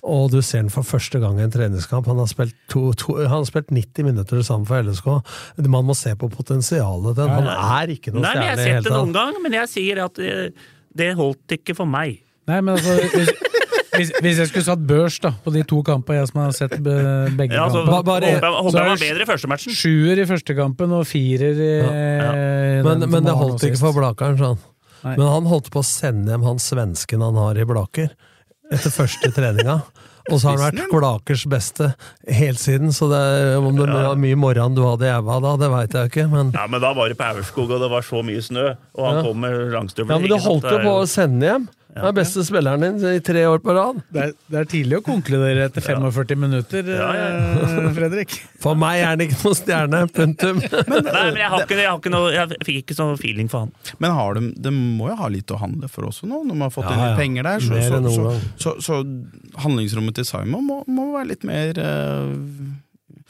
Speaker 3: og du ser han for første gang i en treningskamp. Han har spilt, to, to, han har spilt 90 minutter sammen for LSK. Man må se på potensialet til han. Han er ikke noe
Speaker 4: Nei, men
Speaker 3: stjerne i
Speaker 4: Jeg har
Speaker 3: det
Speaker 4: sett det
Speaker 3: hele
Speaker 4: noen
Speaker 3: tatt.
Speaker 4: gang, men jeg sier at eh, det holdt ikke for meg.
Speaker 2: Nei, men altså, hvis, hvis, hvis jeg skulle satt børs da, på de to kampene jeg som har sett be- begge
Speaker 4: Ja, altså,
Speaker 2: kampene
Speaker 3: Ba- bare-
Speaker 4: håper jeg, håper jeg var
Speaker 2: så er det-
Speaker 4: bedre i første matchen.
Speaker 2: Sjuer i første kampen og firer i den
Speaker 3: Men,
Speaker 2: som
Speaker 3: men det
Speaker 2: var nå
Speaker 3: holdt ikke
Speaker 2: sist.
Speaker 3: for Blakkern, sa han.
Speaker 2: Nei.
Speaker 3: Men han holdt på å sende hjem han svensken han har i Blaker, etter første treninga. Og så har han vært Blakers beste helt siden, så det, er- om det var mye morgen du hadde i æva da, det veit jeg ikke, men
Speaker 4: Ja, men Da var det på Aurskog, og det var så mye snø, og han
Speaker 3: Ja.
Speaker 4: kom med langstøvler.
Speaker 3: Ja, men du
Speaker 4: ikke sant?
Speaker 3: holdt jo
Speaker 4: Det er
Speaker 3: på å sende hjem. Den er beste spilleren din i tre år på rad.
Speaker 2: Det er, det er tidlig å konkludere etter 45 minutter,
Speaker 4: Ja, ja.
Speaker 2: eh, Fredrik.
Speaker 3: For meg er han ikke noen stjerne. Punktum.
Speaker 4: Nei, men jeg, har ikke, jeg, har ikke noe, jeg fikk ikke sånn feeling for han.
Speaker 5: Men har de, de må jo ha litt å handle for også nå, når man har fått
Speaker 3: Ja,
Speaker 5: inn
Speaker 3: ja.
Speaker 5: litt penger der. Så,
Speaker 3: Mer
Speaker 5: så,
Speaker 3: enn noen
Speaker 5: så,
Speaker 3: gang.
Speaker 5: så, så, handlingsrommet til Simon må, må være litt mer eh,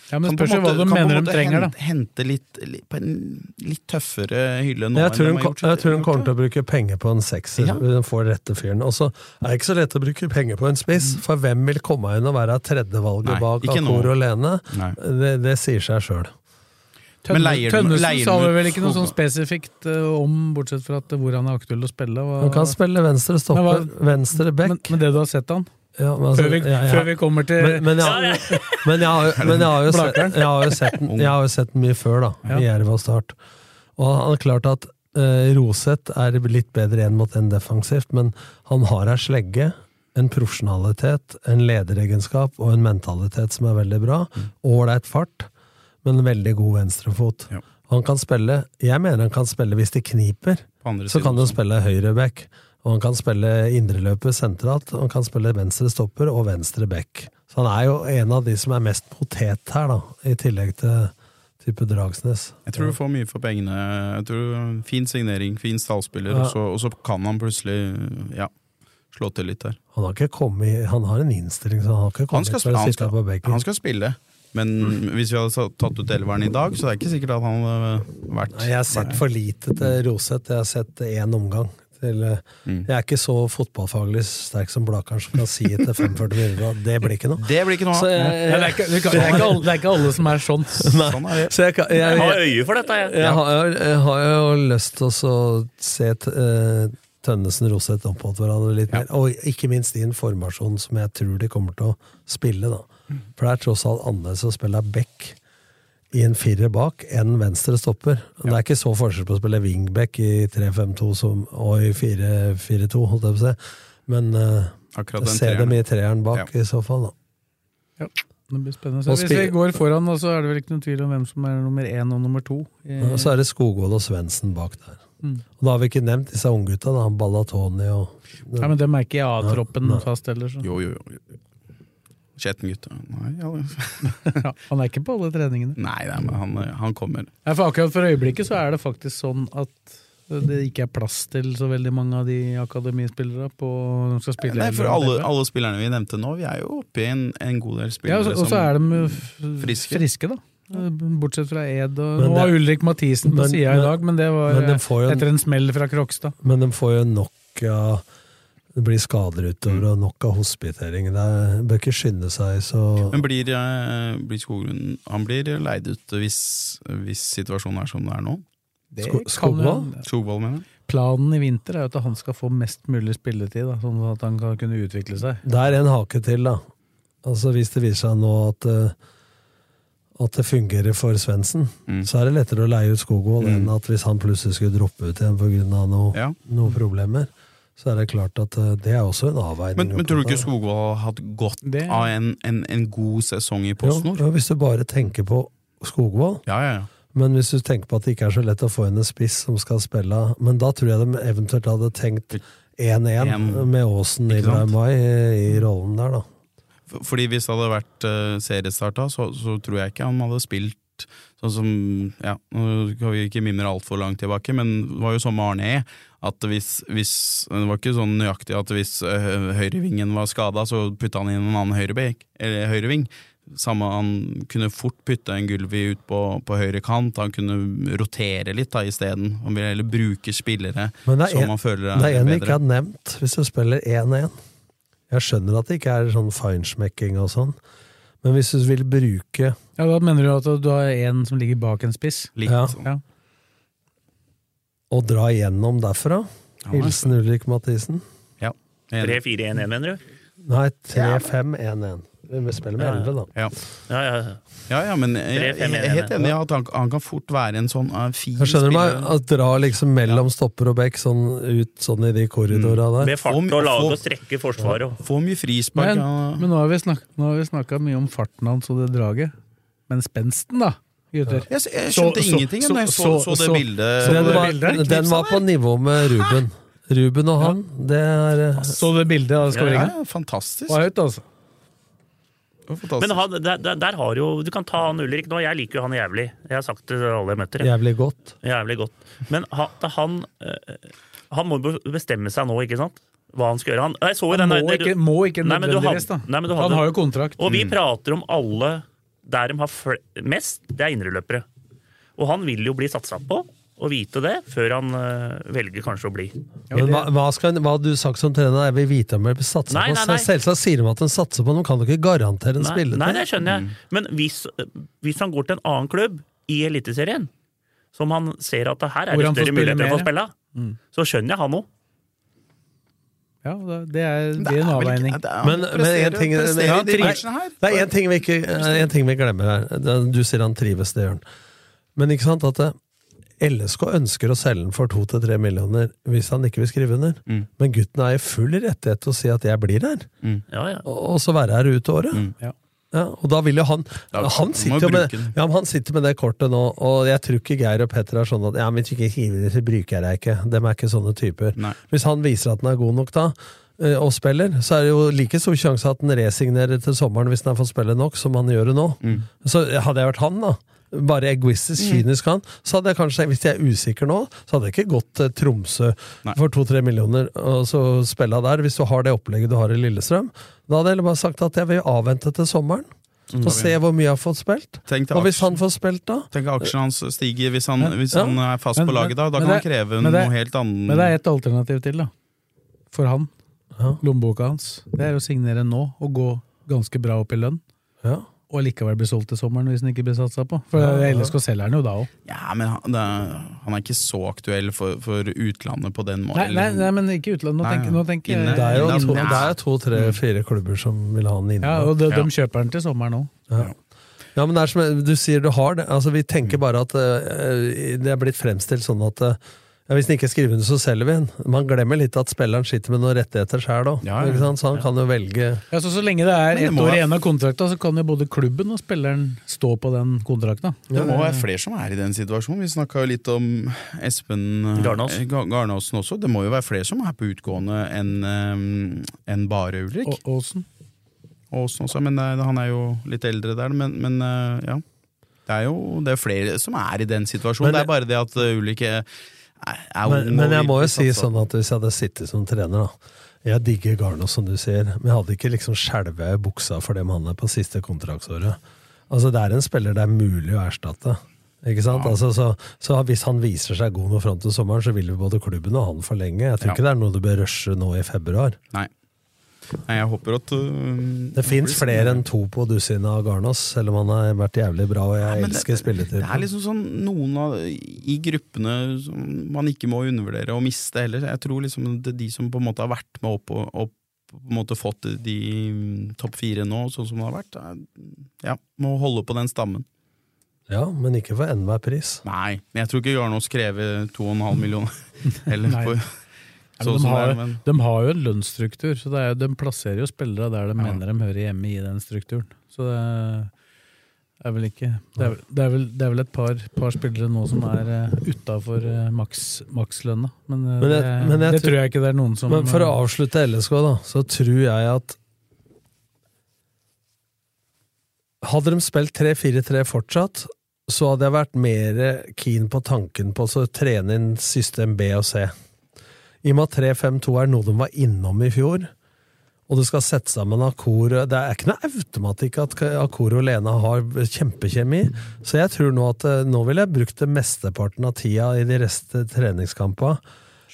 Speaker 2: Ja, men
Speaker 5: kan på en
Speaker 2: spørs jo hva
Speaker 5: måte-
Speaker 2: du
Speaker 5: kan på en
Speaker 2: mener
Speaker 5: måte
Speaker 2: de trenger, da.
Speaker 5: hente- Hente litt, litt på en litt tøffere hylle nå
Speaker 3: Jeg tror, hun,
Speaker 5: enn de har
Speaker 3: ko-
Speaker 5: gjort-
Speaker 3: jeg tror hun
Speaker 5: gjort
Speaker 3: kommer til
Speaker 5: det.
Speaker 3: å bruke penger på en sekser.
Speaker 5: Ja.
Speaker 3: Hun får rette fyren. Og så er det ikke så lett å bruke penger på en spiss, for hvem vil komme inn og være
Speaker 5: Mm. Nei,
Speaker 3: tredjevalget bak
Speaker 5: ikke nå.
Speaker 3: Akor og Lene?
Speaker 5: Nei.
Speaker 3: Det, det sier seg sjøl.
Speaker 5: Men
Speaker 2: Tønne,
Speaker 5: leier du-
Speaker 2: Tønnesen
Speaker 5: leier
Speaker 2: sa
Speaker 5: du ut
Speaker 2: vel ikke noe sånn
Speaker 5: Skog-
Speaker 2: spesifikt eh, om, bortsett fra at eh, hvor han er aktuell å spille. hva-
Speaker 3: Hun kan spille venstre stopper,
Speaker 2: Men
Speaker 3: venstre
Speaker 2: men,
Speaker 3: back.
Speaker 2: men det du har sett han?
Speaker 3: Ja, men altså-
Speaker 2: Før vi,
Speaker 3: ja, ja.
Speaker 2: Før vi kommer til
Speaker 3: Men, men, jeg, men, jeg, har jo- men jeg har jo sett, jeg har jo sett, den- jeg har jo sett den mye før, da. I Jerv og Start. Og han er klart at eh, Roseth er litt bedre én mot én defensivt, men han har ei slegge, en profesjonalitet, en lederegenskap og en mentalitet som er veldig bra. Ålreit fart, men veldig god venstrefot.
Speaker 5: Ja.
Speaker 3: Han kan spille, jeg mener han kan spille hvis det kniper.
Speaker 5: På andre
Speaker 3: Så
Speaker 5: siden
Speaker 3: kan du
Speaker 5: også.
Speaker 3: spille høyreback, og han kan spille indreløper sentralt, og han kan spille venstre stopper og venstre back. Så han er jo en av de som er mest potet her, da, i tillegg til type Dragsnes.
Speaker 5: Jeg tror du får mye for pengene. Jeg tror Fin signering, fin stallspiller,
Speaker 3: Ja.
Speaker 5: og, så, og så kan han plutselig ja, slå til litt der.
Speaker 3: Han har ikke kommet Han har en innstilling, så han har ikke
Speaker 5: Han
Speaker 3: kommet
Speaker 5: skal,
Speaker 3: for
Speaker 5: spille,
Speaker 3: å
Speaker 5: han,
Speaker 3: sitte på
Speaker 5: skal,
Speaker 3: benken. Mm.
Speaker 5: han skal spille, men hvis vi hadde sa- tatt ut elveren i dag, så er det ikke sikkert at han hadde vært
Speaker 3: Nei, jeg har sett for lite til Roseth. Jeg har sett én omgang. Til, eh,
Speaker 5: Mm.
Speaker 3: Jeg er ikke så fotballfaglig sterk som Blakeren som kan si etter 45 minutter at det blir ikke noe.
Speaker 5: Det blir ikke noe
Speaker 3: Så
Speaker 5: av!
Speaker 3: jeg,
Speaker 2: Ja, det, er ikke, det, kan, det, er ikke alle, det er ikke alle som er sånn.
Speaker 3: Nei,
Speaker 5: Sånn er det.
Speaker 3: så jeg, kan- jeg,
Speaker 4: Jeg
Speaker 3: jeg,
Speaker 4: har øye for dette, jeg.
Speaker 3: Jeg har, jeg har jo lyst til å så se t- eh, Tønnesen og Roseth opp mot hverandre litt mer. Og ikke minst i en formasjon som jeg tror de kommer til å spille.
Speaker 4: Mm.
Speaker 3: da. For det er tross alt annerledes å spille back i en firer bak enn venstre stopper. Det er ikke så forskjell på å spille wingback i 3-5-2 som- og i 4-4-2, holdt jeg på å si. Men eh,
Speaker 5: Akkurat den
Speaker 3: se dem
Speaker 5: treeren.
Speaker 3: i treeren bak i så fall, da.
Speaker 2: Det blir spennende.
Speaker 3: Og
Speaker 2: Så hvis vi
Speaker 3: spil-
Speaker 2: går foran, da, så er det vel ikke noen tvil om hvem som er nummer én og nummer to. i-
Speaker 3: Og så er det Skogvold og Svendsen bak der.
Speaker 5: Mm.
Speaker 3: Og da har vi ikke nevnt disse unggutta, da. Ballatoni og
Speaker 2: Nei, men dem er ikke i A-troppen fast heller. Så.
Speaker 5: Jo, jo, jo. Skjetten gutt. Nei, ja.
Speaker 2: Ja, han er ikke på alle treningene.
Speaker 5: nei, nei, men han, han kommer.
Speaker 2: Nei, for akkurat for øyeblikket så er det faktisk sånn at det ikke er plass til så veldig mange av de akademispillere på de skal spille.
Speaker 5: Nei, for alle, alle spillerne vi nevnte nå, vi er jo oppe i en, en god del
Speaker 2: ja,
Speaker 5: spillere
Speaker 2: og så- Og så er de jo f-
Speaker 5: friske.
Speaker 2: friske. da. Eh, Bortsett fra Ed og
Speaker 3: Men
Speaker 2: Nå var
Speaker 3: det-
Speaker 2: Ulrik Mathisen på
Speaker 3: men-
Speaker 2: sida i
Speaker 3: men-
Speaker 2: dag, men det var
Speaker 3: men de
Speaker 2: eh,
Speaker 3: får jo en-
Speaker 2: etter en smell fra Krokstad.
Speaker 3: Men de får jo nok av Det blir skader utover, og nok av hospitering. Det er- bør ikke skynde seg, så
Speaker 5: Men blir, eh, blir Skoglund Han blir leid ut hvis, hvis situasjonen er som den er nå?
Speaker 2: Det
Speaker 3: Sko-
Speaker 2: kan jo-
Speaker 3: Skogvold?
Speaker 5: Skogvold, mener jeg.
Speaker 2: Planen i vinter er jo at han skal få mest mulig spilletid, da, sånn at han kan kunne utvikle seg.
Speaker 3: Det er en hake til, da. Altså Hvis det viser seg nå at eh, at det fungerer for Svendsen,
Speaker 5: Mm.
Speaker 3: så er det lettere å leie ut Skogvold enn at hvis han plutselig skulle droppe ut igjen pga. Noe,
Speaker 5: Ja.
Speaker 3: noen problemer. Så er det klart at eh, det er også en avveining.
Speaker 5: Men,
Speaker 3: å
Speaker 5: men tror du
Speaker 3: ta.
Speaker 5: ikke Skogvold har hatt godt
Speaker 2: Det-
Speaker 5: av en, en, en god sesong i PostNord?
Speaker 3: Jo, jo, hvis du bare tenker på Skogvold,
Speaker 5: Ja, ja, ja.
Speaker 3: men hvis du tenker på at det ikke er så lett å få inn en spiss som skal spille Men da tror jeg de eventuelt hadde tenkt 1-1
Speaker 5: En-
Speaker 3: med Aasen i
Speaker 5: Ikke sant?
Speaker 3: Braimai i rollen der, da.
Speaker 5: F- Fordi hvis det hadde vært uh, seriestart da, så, så tror jeg ikke han hadde spilt sånn som Ja, nå skal vi ikke mimre altfor langt tilbake, men det var jo sånn med Arne E. At hvis, hvis Det var ikke sånn nøyaktig at hvis øh, høyrevingen var skada, så putta han inn en annen høyrebek, eller høyreving. Samme, han kunne fort putte en Gulvi ut på, på høyre kant, han kunne rotere litt da isteden. Han ville heller bruke spillere
Speaker 3: Men det er en-
Speaker 5: som han føler er,
Speaker 3: Det er en vi
Speaker 5: bedre.
Speaker 3: ikke har nevnt, hvis du spiller 1-1. Jeg skjønner at det ikke er sånn feinschmecking og sånn, men hvis du vil bruke
Speaker 2: Ja, Da mener du at du har en som ligger bak en spiss?
Speaker 5: Litt,
Speaker 3: Ja.
Speaker 5: sånn.
Speaker 2: Ja.
Speaker 3: å dra igjennom derfra
Speaker 5: Ja, men-
Speaker 3: Hilsen Ulrik Mathisen.
Speaker 5: Enig.
Speaker 4: 3-4-1-1, mener du?
Speaker 3: Nei, 3-5-1-1. Vi spiller med
Speaker 4: Ja.
Speaker 3: 11, da.
Speaker 5: Ja.
Speaker 4: Ja, ja. ja.
Speaker 5: Ja, ja, men jeg, jeg, jeg er helt enig i at han, han kan fort være en sånn eh, fin
Speaker 3: Jeg skjønner meg
Speaker 5: spiller.
Speaker 3: at dra liksom mellom stopper og bekk sånn ut sånn i de korridora der.
Speaker 4: Mm. Med fart
Speaker 5: Om-
Speaker 4: og lage
Speaker 5: få-
Speaker 4: og strekke forsvaret. og-
Speaker 5: Får mye frispark.
Speaker 2: Altså, Men,
Speaker 5: ja.
Speaker 2: men nå har vi snak- nå har vi snakka mye om farten hans og det draget. Men spensten, da, gutter?
Speaker 5: jeg,
Speaker 2: Så-
Speaker 5: jeg skjønte
Speaker 2: så-
Speaker 5: ingenting
Speaker 2: så-
Speaker 5: da jeg så,
Speaker 2: så-
Speaker 5: så, det
Speaker 2: så-
Speaker 5: bildet.
Speaker 2: så
Speaker 3: Den
Speaker 2: det
Speaker 3: var,
Speaker 2: bildet?
Speaker 3: den var på nivå med Ruben. Ruben og han, det er eh,
Speaker 2: Så du bildet av
Speaker 5: ja,
Speaker 2: skåringa?
Speaker 5: ja, fantastisk.
Speaker 2: Var høyt, altså.
Speaker 5: fantastisk.
Speaker 4: Men han, der, der, der har jo Du kan ta han Ulrik nå. Jeg liker jo han jævlig. Jeg har sagt det til alle jeg møter. jeg.
Speaker 3: jævlig godt.
Speaker 4: Jævlig godt. Men han, han, eh, han må be- bestemme seg nå, ikke sant? Hva han skal gjøre. Han, jeg så jo
Speaker 2: Han
Speaker 4: den
Speaker 2: må
Speaker 4: der-
Speaker 2: ikke, Mm. må ikke
Speaker 4: Nei, men du
Speaker 2: nødvendigvis, da.
Speaker 4: hadde- nei, men du hadde-
Speaker 2: Han har jo kontrakt.
Speaker 4: Og vi prater om alle der de har fl mest, det er indreløpere. Og han vil jo bli satsa på, og vite det, før han eh, velger kanskje å bli.
Speaker 3: Men hva, hva, skal, hva har du sagt som trener? Jeg vil vite om de satser
Speaker 4: Nei,
Speaker 3: på
Speaker 4: nei, nei.
Speaker 3: Selvsagt sier de at de satser på, men de kan jo ikke garantere en
Speaker 4: Nei,
Speaker 3: spiller.
Speaker 4: nei, det skjønner jeg. Men hvis, hvis han går til en annen klubb i Eliteserien, som han ser at det her er
Speaker 2: Hvor
Speaker 4: det
Speaker 2: han får
Speaker 4: større
Speaker 2: spille
Speaker 4: muligheter for å
Speaker 2: mer.
Speaker 4: spille, så skjønner jeg han òg.
Speaker 2: Ja, da- det er, det er en avveining.
Speaker 3: Men, men en ting,
Speaker 5: presterer
Speaker 3: Nei,
Speaker 5: de matchene her?
Speaker 3: det er en ting, vi ikke, en ting vi glemmer her. Det- Du sier han trives, det gjør han. Men ikke sant at eh, LSK ønsker å selge den for to til tre millioner hvis han ikke vil skrive under.
Speaker 5: Mm.
Speaker 3: Men gutten er i full rettighet til å si at 'jeg blir her',
Speaker 4: Ja, ja.
Speaker 3: og og så være her ut året.
Speaker 2: Ja.
Speaker 3: Ja, og da vil jo han
Speaker 5: Mm. Da-
Speaker 3: han,
Speaker 5: må
Speaker 3: sitter jo med,
Speaker 5: bruke den.
Speaker 3: ja, men han sitter med det kortet nå, og jeg tror ikke Geir og Petter er sånn at ja, men hvis du ikke hiver det, så bruker jeg deg ikke. Dem er ikke sånne typer.
Speaker 5: Nei.
Speaker 3: Hvis han viser at han er god nok da, eh, og spiller, så er det jo like stor sjanse at han resignerer til sommeren hvis han har fått spille nok, som han gjør det nå.
Speaker 5: Mm.
Speaker 3: Så hadde jeg vært han, da. Bare egoistisk, kynisk han. Så hadde jeg kanskje, hvis jeg er usikker nå, så hadde jeg ikke gått til Tromsø
Speaker 5: Nei.
Speaker 3: for to-tre millioner og så spilla der. Hvis du har det opplegget du har i Lillestrøm, da hadde jeg heller bare sagt at jeg vil avvente til sommeren.
Speaker 5: Mm.
Speaker 3: Og se hvor mye jeg har fått spilt.
Speaker 5: Tenk deg
Speaker 3: Og hvis han
Speaker 5: aksjen.
Speaker 3: får spilt, da?
Speaker 5: Tenk at aksjene hans stiger hvis han, hvis
Speaker 3: Ja.
Speaker 5: han er fast
Speaker 2: Men-
Speaker 5: på laget da. Da
Speaker 2: men
Speaker 5: kan han
Speaker 2: det-
Speaker 5: kreve
Speaker 2: men
Speaker 5: noe
Speaker 2: det-
Speaker 5: helt annet.
Speaker 2: Men det er ett alternativ til, da. For han.
Speaker 3: Ja.
Speaker 2: Lommeboka hans. Det er å signere nå og gå ganske bra opp i lønn.
Speaker 3: Ja.
Speaker 2: Og likevel bli solgt til sommeren hvis den ikke blir satsa på. For LSK selger den jo da òg.
Speaker 5: Ja, men han, det er, han er ikke så aktuell for, for utlandet på den måten.
Speaker 2: Nei, nei, nei, men ikke utlandet. Nå,
Speaker 5: Nei,
Speaker 2: tenker-
Speaker 5: ja.
Speaker 2: nå tenker
Speaker 5: Inne.
Speaker 2: jeg
Speaker 3: Det er jo
Speaker 5: Innan-
Speaker 3: to,
Speaker 5: Ja.
Speaker 3: det er to tre, fire klubber som vil ha han inne.
Speaker 2: Ja, og de,
Speaker 5: Ja.
Speaker 2: de kjøper den til sommeren òg.
Speaker 3: Ja, men det er som du sier, du har det. Altså, vi tenker bare at eh, det er blitt fremstilt sånn at eh, ja, hvis den ikke skriver under, så selger vi den. Man glemmer litt at spilleren sitter med noen rettigheter sjøl òg.
Speaker 5: Ja, ja.
Speaker 3: Så han kan jo velge
Speaker 2: Ja, så, så lenge det er
Speaker 5: Men det
Speaker 2: ett
Speaker 5: må
Speaker 2: år
Speaker 5: være-
Speaker 2: igjen av kontrakta, så kan jo både klubben og spilleren stå på den kontrakta.
Speaker 5: Det må være flere som er i den situasjonen. Vi snakka jo litt om Espen eh,
Speaker 4: Garnås.
Speaker 5: Ga- Garnåsen også. Det må jo være flere som er på utgående enn eh, enn bare Ulrik.
Speaker 2: Og Aasen.
Speaker 5: Aasen også, men eh, han er jo litt eldre der. Men, men eh, ja. Det er jo det er flere som er i den situasjonen.
Speaker 3: Men-
Speaker 5: det er bare det at eh, Ulrik er, er er
Speaker 3: Men,
Speaker 5: ung
Speaker 3: men
Speaker 5: og
Speaker 3: jeg må jo
Speaker 5: virkelig
Speaker 3: si
Speaker 5: satsa.
Speaker 3: sånn at hvis jeg hadde sittet som trener, da Jeg digger Garnås, som du sier, men jeg hadde ikke liksom skjelvet i buksa for dem han er på siste kontraktsåret. Altså, det er en spiller det er mulig å erstatte. Ikke sant? Altså, så, så hvis han viser seg god nå fram til sommeren, så vil jo både klubben og han forlenge. Jeg tror
Speaker 5: Ja.
Speaker 3: ikke det er noe du bør rushe nå i februar.
Speaker 5: Nei. Nei, jeg håper at eh,
Speaker 3: Det fins
Speaker 5: blir
Speaker 3: flere
Speaker 5: spennende.
Speaker 3: enn to på dusinet av Garnås, selv om han har vært jævlig bra, og jeg
Speaker 5: men det-
Speaker 3: elsker spilletid.
Speaker 5: Det er liksom sånn noen av i gruppene som man ikke må undervurdere og miste heller. Jeg tror liksom det er de som på en måte har vært med opp og opp, på en måte fått de mm, topp fire nå, sånn som det har vært, er- ja, må holde på den stammen.
Speaker 3: Ja, men ikke for enhver pris.
Speaker 5: Nei, men jeg tror ikke Garnås krever 2,5 millioner. Eller
Speaker 2: Nei.
Speaker 5: for,
Speaker 2: Ja, men
Speaker 5: sånn
Speaker 2: de,
Speaker 5: som
Speaker 2: har,
Speaker 5: det er, men
Speaker 2: de har jo en lønnsstruktur, så det er, jo- de plasserer jo spillere der de mener de hører hjemme i den strukturen. Så det er vel ikke Det er, vel- det er, vel, det er vel et par, par spillere nå som er uh, utafor uh, maks, makslønna, men, eh,
Speaker 3: Men jeg-
Speaker 2: det,
Speaker 3: men jeg
Speaker 2: det
Speaker 3: tror-
Speaker 2: tror jeg ikke det er noen som
Speaker 3: Men for å avslutte LSK, da, så tror jeg at Hadde de spilt 3-4-3 fortsatt, så hadde jeg vært mer keen på tanken på å trene inn system B og C. I og med at 3-5-2 er noe de var innom i fjor, og du skal sette sammen Akor Det er ikke noe automatikk at Akor og Lena har kjempekjemi, så jeg tror nå at eh, nå ville jeg brukt det mesteparten av tida i de reste treningskampene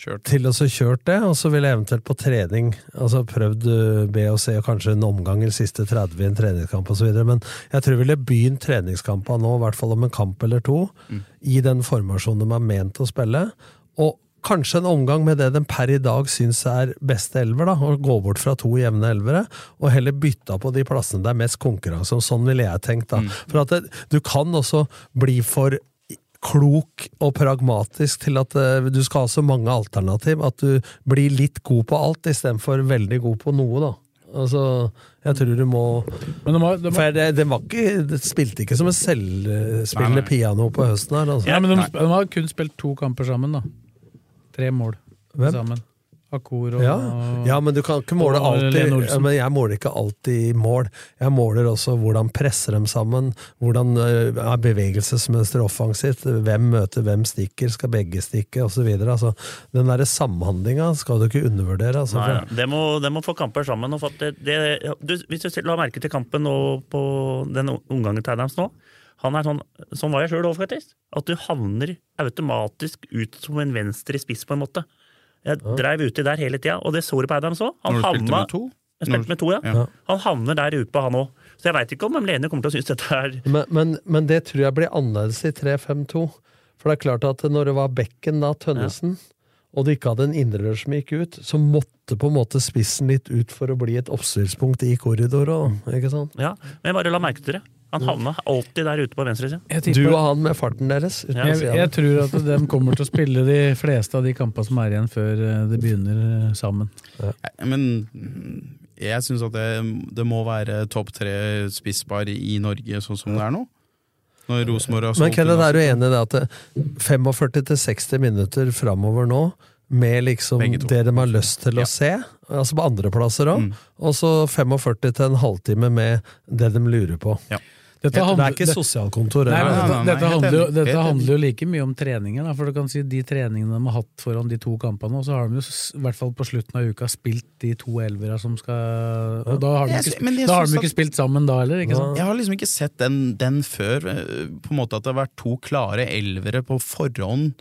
Speaker 5: kjørt.
Speaker 3: til og så kjørt det, og så ville jeg eventuelt på trening altså prøvd uh, B og C og kanskje en omgang eller siste 30 i en treningskamp osv. Men jeg tror jeg ville begynt treningskampene nå, i hvert fall om en kamp eller to, i den formasjonen de er ment å spille. Og kanskje en omgang med det de per i dag syns er beste elver, da, og gå bort fra to jevne elvere, og heller bytta på de plassene det er mest konkurranse om. Sånn ville jeg tenkt, da. For at det, du kan også bli for klok og pragmatisk til at eh, du skal ha så mange alternativ at du blir litt god på alt istedenfor veldig god på noe, da. Altså, jeg tror du må
Speaker 2: Men de har, de har,
Speaker 3: For det, det, var ikke, det spilte ikke som en
Speaker 5: Nei, nei.
Speaker 3: selvspillende piano på høsten her. Altså.
Speaker 2: ja, men de, de har kun spilt to kamper sammen, da. Tre mål
Speaker 3: Hvem?
Speaker 2: sammen. Akor og
Speaker 3: Ja. ja, men du kan ikke måle
Speaker 2: Og
Speaker 3: alltid
Speaker 2: Lene Olsen.
Speaker 3: ja, men Jeg måler ikke alltid mål. Jeg måler også hvordan presser dem sammen, hvordan eh, er bevegelsesmønsteret offensivt, hvem møter hvem stikker, skal begge stikke, osv. Altså, den derre samhandlinga skal du ikke undervurdere. Altså,
Speaker 4: Nei,
Speaker 3: for,
Speaker 4: det, må, det må få kamper sammen. Og for at det, det, du, hvis du ser- la merke til kampen nå på den omgangen til Adams nå han er sånn, Sånn var jeg sjøl òg, faktisk. At du havner automatisk ut som en venstre spiss, på en måte. Jeg dreiv uti der hele tida, og det så du på Adams òg. Han
Speaker 5: Når du spilte
Speaker 4: havna
Speaker 5: med to?
Speaker 4: jeg spilte med to, ja.
Speaker 5: Mm. Ja.
Speaker 4: Han havner der ute, han òg. Så jeg veit ikke om Lene kommer til å synes dette er
Speaker 3: men, men, men det tror jeg blir annerledes i 3-5-2. For det er klart at når det var Bekken, da, Tønnesen, og du ikke hadde en indreløper som gikk ut, så måtte på en måte spissen litt ut for å bli et oppstillspunkt i korridoren. Ikke sant?
Speaker 4: Ja, men bare la merke til det. Han havna alltid der ute på venstresida.
Speaker 2: Jeg
Speaker 3: Du
Speaker 2: tipper-
Speaker 3: og han med farten deres. Uten å
Speaker 2: Jeg,
Speaker 3: si
Speaker 2: jeg
Speaker 3: det.
Speaker 2: tror at de kommer til å spille de fleste av de kampene som er igjen, før eh, det begynner eh, sammen.
Speaker 5: Nei, Men mm, jeg syns at det, det må være topp tre spisspar i Norge, sånn som det er nå. Når Rosenborg
Speaker 3: Eh,
Speaker 5: har
Speaker 3: Men
Speaker 5: solgt
Speaker 3: Kenneth,
Speaker 5: unna
Speaker 3: er du enig i det at det- 45-60 minutter framover nå, med liksom
Speaker 5: Begge to.
Speaker 3: det de har lyst til
Speaker 5: Ja. Mm.
Speaker 3: å se, altså på andreplasser òg, og så 45 til en halvtime med det de lurer på.
Speaker 5: Ja.
Speaker 2: Dette
Speaker 3: Det
Speaker 2: handler-
Speaker 3: er ikke sosialkontor.
Speaker 2: Nei, men
Speaker 3: eller?
Speaker 5: nei,
Speaker 2: dette,
Speaker 5: nei,
Speaker 2: dette,
Speaker 5: helt
Speaker 2: handler jo,
Speaker 5: enig.
Speaker 2: dette
Speaker 5: Helt
Speaker 2: handler jo like mye om treninger. Da, for du kan si De treningene de har hatt foran de to kampene, og så har de jo s- i hvert fall på slutten av uka spilt de to elvera som skal Og da har de
Speaker 5: Jeg
Speaker 2: ikke,
Speaker 5: sy- men jeg
Speaker 2: sp- da har
Speaker 5: syns
Speaker 2: de ikke
Speaker 5: at-
Speaker 2: spilt sammen da heller, ikke sant?
Speaker 5: Jeg har liksom ikke sett den, den før, eh, på en måte at det har vært to klare elvere på forhånd.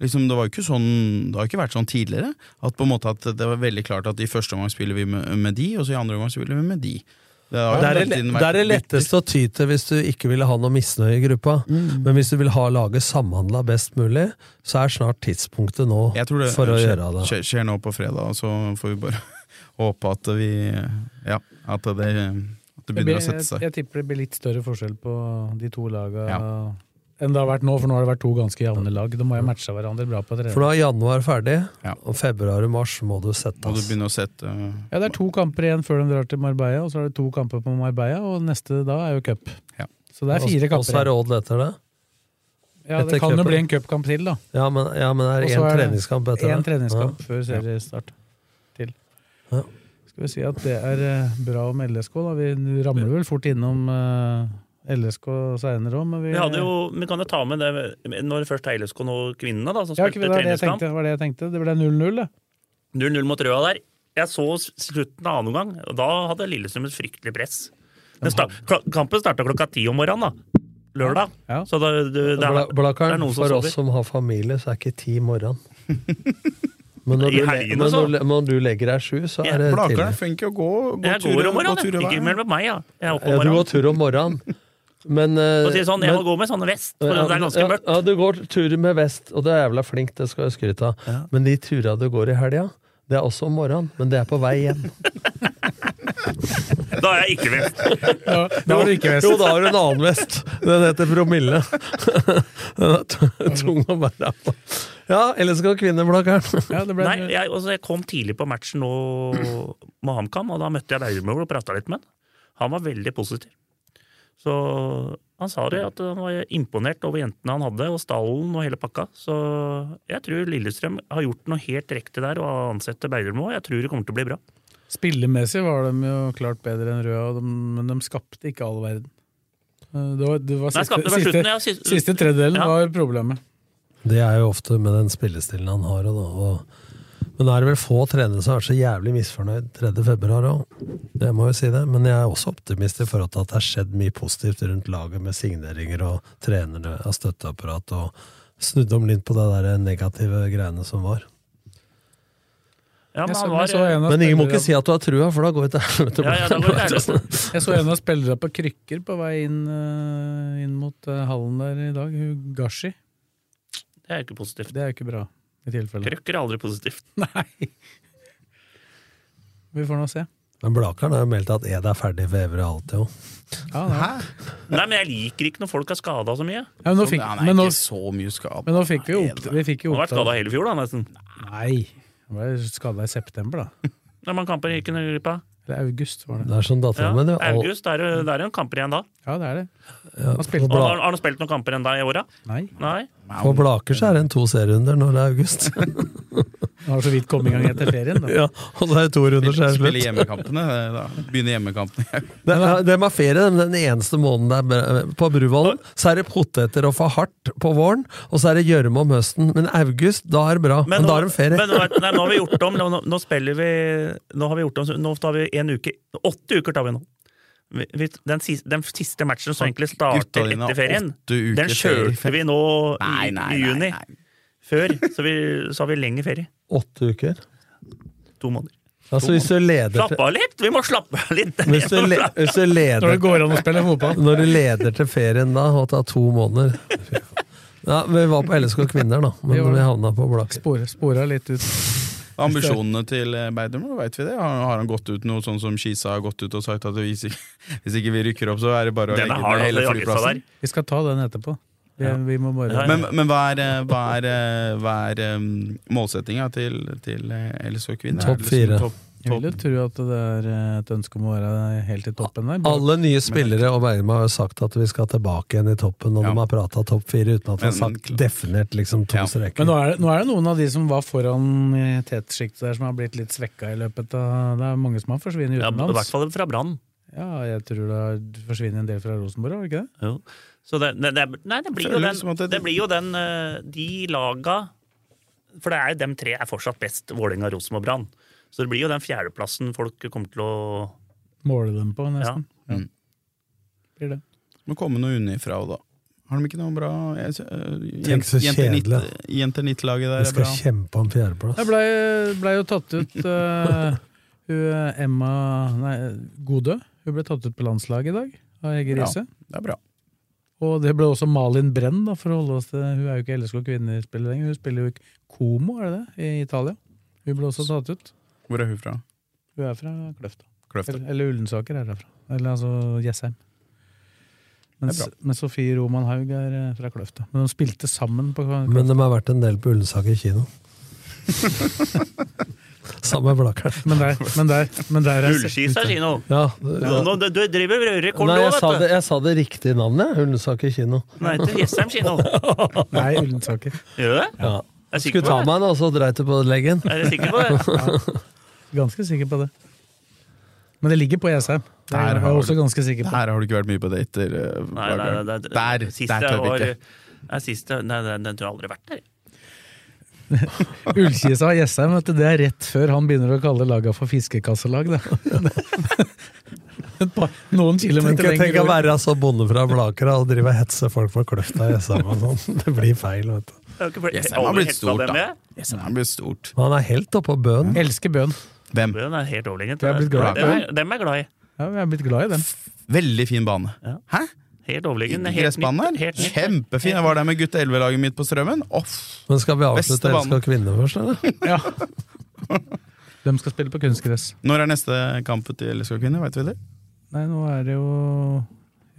Speaker 5: Liksom, det, var jo ikke sånn, det har ikke vært sånn tidligere. At på en måte at det var veldig klart at i første omgang spiller vi med, med de, og så i andre omgang spiller vi med de. Det har jo
Speaker 3: Det er,
Speaker 5: hele
Speaker 3: det,
Speaker 5: tiden
Speaker 3: det er det
Speaker 5: vært-
Speaker 3: letteste å ty til hvis du ikke ville ha noe misnøye i gruppa.
Speaker 5: Mm.
Speaker 3: Men hvis du vil ha laget samhandla best mulig, så er snart tidspunktet nå
Speaker 5: Jeg tror det
Speaker 3: for å
Speaker 5: skjer,
Speaker 3: gjøre det.
Speaker 5: Skjer, skjer nå på fredag, så får vi bare håpe at vi Ja, at det, at det
Speaker 2: Jeg,
Speaker 5: begynner
Speaker 2: jeg,
Speaker 5: å sette seg.
Speaker 2: jeg tipper det blir litt større forskjell på de to laga
Speaker 5: Ja.
Speaker 2: enn det har vært nå, for nå har det vært to ganske jevne lag. De må jo matche hverandre bra på
Speaker 3: For
Speaker 2: trening.
Speaker 3: nå er januar ferdig,
Speaker 5: Ja.
Speaker 3: og februar og mars må du sette
Speaker 5: Må du
Speaker 3: oss.
Speaker 5: begynne å sette
Speaker 2: Ja, Det er to kamper igjen før de drar til Marbella, og så er det to kamper på Marbella, og neste da er jo cup.
Speaker 5: Ja.
Speaker 2: Så det
Speaker 3: Og
Speaker 2: er fire
Speaker 3: så er
Speaker 2: kamper igjen.
Speaker 3: det Odd etter det.
Speaker 2: Ja,
Speaker 3: etter
Speaker 2: det kan jo
Speaker 3: cupen.
Speaker 2: bli en cupkamp til, da.
Speaker 3: Ja, men, ja, men er
Speaker 2: Og
Speaker 3: det
Speaker 2: så
Speaker 3: én
Speaker 2: er det
Speaker 3: treningskamp etter
Speaker 2: Én
Speaker 3: det?
Speaker 2: treningskamp før seriestart til.
Speaker 3: Ja.
Speaker 2: Skal vi si at det er eh, bra om LSK, da. Vi ramler vel fort innom eh, LSK seinere òg, men vi
Speaker 4: Vi, hadde jo, vi kan jo ta med det når det først er LSK nå, kvinnene, da, som
Speaker 2: ja,
Speaker 4: spilte
Speaker 2: ikke, det, var det, jeg
Speaker 4: treningskamp.
Speaker 2: tenkte, det var det jeg tenkte. Det ble 0-0, det.
Speaker 4: 0-0 mot Røa der. Jeg så s- slutten av annen omgang, og da hadde Lillestrøm et fryktelig press. Den sta kla- kampen starta klokka ti om morgenen, da. Lørdag.
Speaker 2: Ja.
Speaker 4: Så da, det, det,
Speaker 3: Bla-
Speaker 4: er- det er
Speaker 3: Blakkaren,
Speaker 4: noen som
Speaker 3: for
Speaker 4: sover.
Speaker 3: oss som har familie, så er ikke ti morgenen. Men når, du,
Speaker 4: I
Speaker 3: le-
Speaker 4: helgene,
Speaker 3: men
Speaker 4: så.
Speaker 3: når, når du legger deg sju, så
Speaker 4: Ja,
Speaker 3: er det tidlig.
Speaker 5: Blakeren er flink til å gå, gå
Speaker 4: Jeg
Speaker 5: turer-
Speaker 4: går om
Speaker 5: gå
Speaker 4: morgenen,
Speaker 5: turer
Speaker 4: jeg.
Speaker 5: hver.
Speaker 4: ikke meld meg, ja. Jeg er
Speaker 3: Ja,
Speaker 4: oppe om
Speaker 3: du går
Speaker 4: morgenen.
Speaker 3: tur om morgenen. Men, eh,
Speaker 4: Og sier sånn, jeg
Speaker 3: men-
Speaker 4: må gå med sånn vest, for det er ganske
Speaker 3: ja,
Speaker 4: mørkt.
Speaker 3: Ja, du går turer med vest, og du er jævla flink, det skal jeg skryte av. Men de turene du går i helga, det er også om morgenen, men det er på vei hjem.
Speaker 4: Da er jeg ikke vest.
Speaker 2: Ja, det var det ikke vest.
Speaker 3: Jo, da har du en annen vest. Den heter promille. Den er t- tung å bære på. Ja, ellers skal kvinneplakkeren.
Speaker 2: Ja, det ble,
Speaker 4: Nei, jeg, altså, jeg kom tidlig på matchen nå med HamKam, og da møtte jeg Bauermøl og prata litt med han. Han var veldig positiv. Så han sa det, at han var imponert over jentene han hadde, og stallen og hele pakka. Så jeg tror Lillestrøm har gjort noe helt riktig der, og ansette Bauermøl. Jeg tror det kommer til å bli bra.
Speaker 2: Spillemessig var de jo klart bedre enn Røa, og de, men de skapte ikke all verden. Eh, Det var, det var
Speaker 4: Nei,
Speaker 2: siste,
Speaker 4: skapte det var slutten,
Speaker 2: siste,
Speaker 4: ja, siste-
Speaker 2: siste tredjedelen
Speaker 4: Ja.
Speaker 2: var problemet.
Speaker 3: Det er jo ofte med den spillestilen han har. og da- Og, men da er det vel få trenere som er så jævlig misfornøyd 3. februar òg. Det må jo si det. Men jeg er også optimist i forhold til at det har skjedd mye positivt rundt laget med signeringer og trenere av støtteapparat og snudd om litt på det der negative greiene som var.
Speaker 4: Ja, men
Speaker 2: Jeg så,
Speaker 4: han
Speaker 2: men
Speaker 4: var,
Speaker 2: så en av
Speaker 3: Men ingen må
Speaker 2: spillerne-
Speaker 3: ikke si at du har trua, for da går vi til helvete.
Speaker 4: ja, ja, da går det ærlig.
Speaker 2: Jeg så en av spillerne på krykker på vei inn, eh, inn mot eh, hallen der i dag. Hun Gashi.
Speaker 4: Det er jo ikke positivt.
Speaker 2: Det er jo ikke bra, i tilfelle.
Speaker 4: Krøkker er aldri positivt.
Speaker 2: Nei. Vi får nå se.
Speaker 3: Men Blakeren har jo meldt at Ed er ferdig for evig og alltid òg.
Speaker 2: Ja, nei.
Speaker 4: Nei, men jeg liker ikke når folk er skada så mye.
Speaker 2: Ja, men, nå
Speaker 5: Så
Speaker 2: fikk,
Speaker 5: han er
Speaker 2: men, nå,
Speaker 5: ikke så mye skadet.
Speaker 2: men nå fikk vi jo opp, vi fikk jo
Speaker 4: Han har vært
Speaker 2: opptak.
Speaker 4: skada hele fjor, da, nesten.
Speaker 2: Nei, han ble skada i september, da.
Speaker 4: Når man kamper gikk under gruppa.
Speaker 2: Eller august, var det.
Speaker 3: Det er som
Speaker 4: Ja,
Speaker 3: dattera mi.
Speaker 4: August, det er det det er jo en kamper igjen da.
Speaker 2: Ja, det er det. Han spilte
Speaker 4: Og Har, har han spilt noen kamper enda i åra?
Speaker 2: Nei,
Speaker 4: Nei.
Speaker 3: På Blaker så er det en to serierunder når det er august.
Speaker 2: han har så vidt kommet i gang etter ferien. Da.
Speaker 3: ja, og det er to runder, så er det
Speaker 5: Spille
Speaker 3: slutt.
Speaker 5: hjemmekampene. eh, Da. Begynne hjemmekampene.
Speaker 3: Det er, de har ferie den, den eneste måneden det er br- på Bruvollen. Så er det poteter og for hardt på våren, og så er det gjørme om høsten. Men august, da er det bra. Men, da er de ferie.
Speaker 4: Men, nå er- nei, nå har vi gjort om. Nå, nå- nå spiller vi Nå har vi gjort om, så nå tar vi en uke Åtte uker tar vi nå. Vi, vi, den, siste, den siste matchen som egentlig
Speaker 5: Gutta
Speaker 4: starter
Speaker 5: dine har
Speaker 4: etter ferien,
Speaker 5: åtte uker
Speaker 4: den
Speaker 5: ferie.
Speaker 4: kjørte vi nå i, i juni.
Speaker 5: nei.
Speaker 4: Før så, vi, så har vi lengre ferie.
Speaker 3: Åtte uker.
Speaker 4: To måneder.
Speaker 3: Altså, hvis du leder
Speaker 4: Slapp
Speaker 3: til
Speaker 4: av litt! Vi må slappe av litt!
Speaker 3: hvis du, le, hvis du leder
Speaker 2: Når det går an å spille fotball.
Speaker 3: Når du leder til ferien da, og tar to måneder Fy faen. ja, Vi var på LSK Kvinner, da,
Speaker 2: Vi var
Speaker 3: men
Speaker 2: det.
Speaker 3: vi havna på Blaker.
Speaker 2: Spora, spora litt ut.
Speaker 5: Ambisjonene til eh, Beidermo, veit vi det? Har, har han gått ut noe sånn som Skisa har gått ut og sagt at hvis ikke, hvis ikke vi rykker opp, så er det bare å legge
Speaker 4: Denne har
Speaker 5: ned
Speaker 4: du
Speaker 5: hele
Speaker 4: altså jakka
Speaker 5: flyplassen?
Speaker 4: der.
Speaker 2: Vi skal ta den etterpå. Vi, vi må bare
Speaker 4: Ja, ja.
Speaker 5: Men, men hva er, eh, hva er, eh, hva er målsettinga til, til eh, LSK Kvinner?
Speaker 3: Topp
Speaker 5: Er det liksom
Speaker 3: fire.
Speaker 5: Topp,
Speaker 2: Jeg vil jo tro at det er eh, et ønske om å være helt i toppen der.
Speaker 3: Alle nye spillere og Bergman har jo sagt at vi skal tilbake igjen i toppen, og
Speaker 5: Ja.
Speaker 3: de har prata topp fire uten at de har
Speaker 5: Men-
Speaker 3: sagt definert liksom to
Speaker 5: Ja.
Speaker 3: streker.
Speaker 2: Men nå er, det, nå er det noen av de som var foran i tetsjiktet der, som har blitt litt svekka i løpet av Det er mange som har forsvunnet
Speaker 4: Ja, I hvert
Speaker 2: utenlands.
Speaker 4: fall fra Brann.
Speaker 2: Ja, jeg tror det har forsvunnet en del fra Rosenborg, har det ikke det?
Speaker 4: Jo. Så det, det, det, nei, det blir jo
Speaker 5: Føler
Speaker 4: den,
Speaker 5: som at
Speaker 4: det,
Speaker 5: det-
Speaker 4: blir jo den eh, De laga For det er jo dem tre er fortsatt best, Vålerenga, Rosenborg og Brann. Så det blir jo den fjerdeplassen folk kommer til å
Speaker 2: Måle dem på,
Speaker 4: ja.
Speaker 2: nesten. Ja.
Speaker 5: Mm.
Speaker 2: Blir det.
Speaker 5: må komme noe unnifra, da. Har de ikke noe bra jeg ser, eh,
Speaker 3: Tenk så
Speaker 5: jenter nitt-
Speaker 3: kjedelig.
Speaker 5: Jenter nitt-laget
Speaker 3: Vi
Speaker 5: der er
Speaker 3: skal
Speaker 5: bra.
Speaker 3: kjempe om
Speaker 2: Jeg
Speaker 3: fjerdeplass.
Speaker 2: blei ble jo tatt ut eh, hun, eh, Emma Nei, Godø. Hun ble tatt ut på landslaget i dag av Hege
Speaker 5: Ja.
Speaker 2: Riise.
Speaker 5: Det er bra.
Speaker 2: Og det ble også Malin Brenn, da, for å holde oss til Hun er jo ikke LSK kvinnespiller lenger, hun spiller jo i Como, er det det, i Italia. Hun ble også tatt ut.
Speaker 5: Hvor er hun fra?
Speaker 2: Hun er fra Kløfta.
Speaker 5: Kløfta.
Speaker 2: Eller, eller Ullensaker er derfra. Eller altså Jessheim. Mens,
Speaker 5: Det er
Speaker 2: mens Sofie Roman Haug er eh, fra Kløfta. Men de spilte sammen på
Speaker 3: Men de har vært en del på Ullensaker kino. Sammen med Blakkeren.
Speaker 2: Men der, men der, men der er
Speaker 4: Ullskisa kino!
Speaker 3: Ja,
Speaker 4: Nå-
Speaker 3: ja.
Speaker 4: nå- Du, du driver og rører kort
Speaker 3: Nei,
Speaker 4: nå,
Speaker 3: jeg sa,
Speaker 4: vet
Speaker 3: det, jeg sa det riktige navnet, jeg. Ullensaker kino.
Speaker 4: du! Nei, til Jessheim kino.
Speaker 2: Nei, Ullensaker.
Speaker 4: Gjør du det?
Speaker 3: Ja.
Speaker 4: Er du sikker
Speaker 3: Skulle ta
Speaker 4: på det?
Speaker 3: meg en, og så dreit du på leggen.
Speaker 4: Er du sikker på det?
Speaker 2: Ganske sikker på det. Men det ligger på Jessheim. Det
Speaker 5: Der
Speaker 2: er
Speaker 5: har
Speaker 2: jeg også
Speaker 5: du-
Speaker 2: ganske sikker
Speaker 5: Der
Speaker 2: på.
Speaker 5: har du ikke vært mye på dater. eh,
Speaker 4: Nei, nei, nei,
Speaker 5: Blaker.
Speaker 4: det-
Speaker 5: Der, der
Speaker 4: sist jeg
Speaker 5: tør vi
Speaker 4: var-
Speaker 5: ikke.
Speaker 4: Nei, sist jeg- Nei, den, den tror jeg aldri har vært der.
Speaker 2: Ullkisa og Jessheim, vet du, det er rett før han begynner å kalle laga for fiskekasselag. Det. Et par- Noen
Speaker 3: Tenk,
Speaker 2: kilometer
Speaker 3: tenk å
Speaker 2: lenger.
Speaker 3: være så bonde fra Blakera og drive og hetse folk fra Kløfta i Jessheim og sånn. Det blir feil, vet du.
Speaker 4: Jeg har ikke- jeg har
Speaker 5: Jessheim har
Speaker 4: aldri
Speaker 5: blitt
Speaker 4: hekta
Speaker 5: stort,
Speaker 4: dem,
Speaker 5: da.
Speaker 4: jeg.
Speaker 5: Jessheim har blitt stort.
Speaker 3: Men han er helt oppå bøen.
Speaker 2: Elsker bøen.
Speaker 5: Hvem?
Speaker 4: Den er helt overlegent.
Speaker 2: Jeg er blitt glad i
Speaker 4: Dem er- Dem er jeg glad i.
Speaker 2: Ja, jeg er blitt glad i den.
Speaker 5: Velelig fin bane.
Speaker 4: Ja.
Speaker 5: Hæ?
Speaker 4: Helt overlegen. Helt nytt-
Speaker 5: Gressbanen her?
Speaker 4: helt nytt.
Speaker 5: Kjempefin! Jeg var der med gutta 11-laget mitt på Strømmen. Off.
Speaker 3: Men skal vi
Speaker 5: Beste
Speaker 3: avslutte
Speaker 5: banen.
Speaker 3: Elska kvinner først, eller?
Speaker 2: Ja. De skal spille på kunstgress.
Speaker 5: Når er neste kamp til LSK Kvinner? Vet vi det?
Speaker 2: Nei, nå er det jo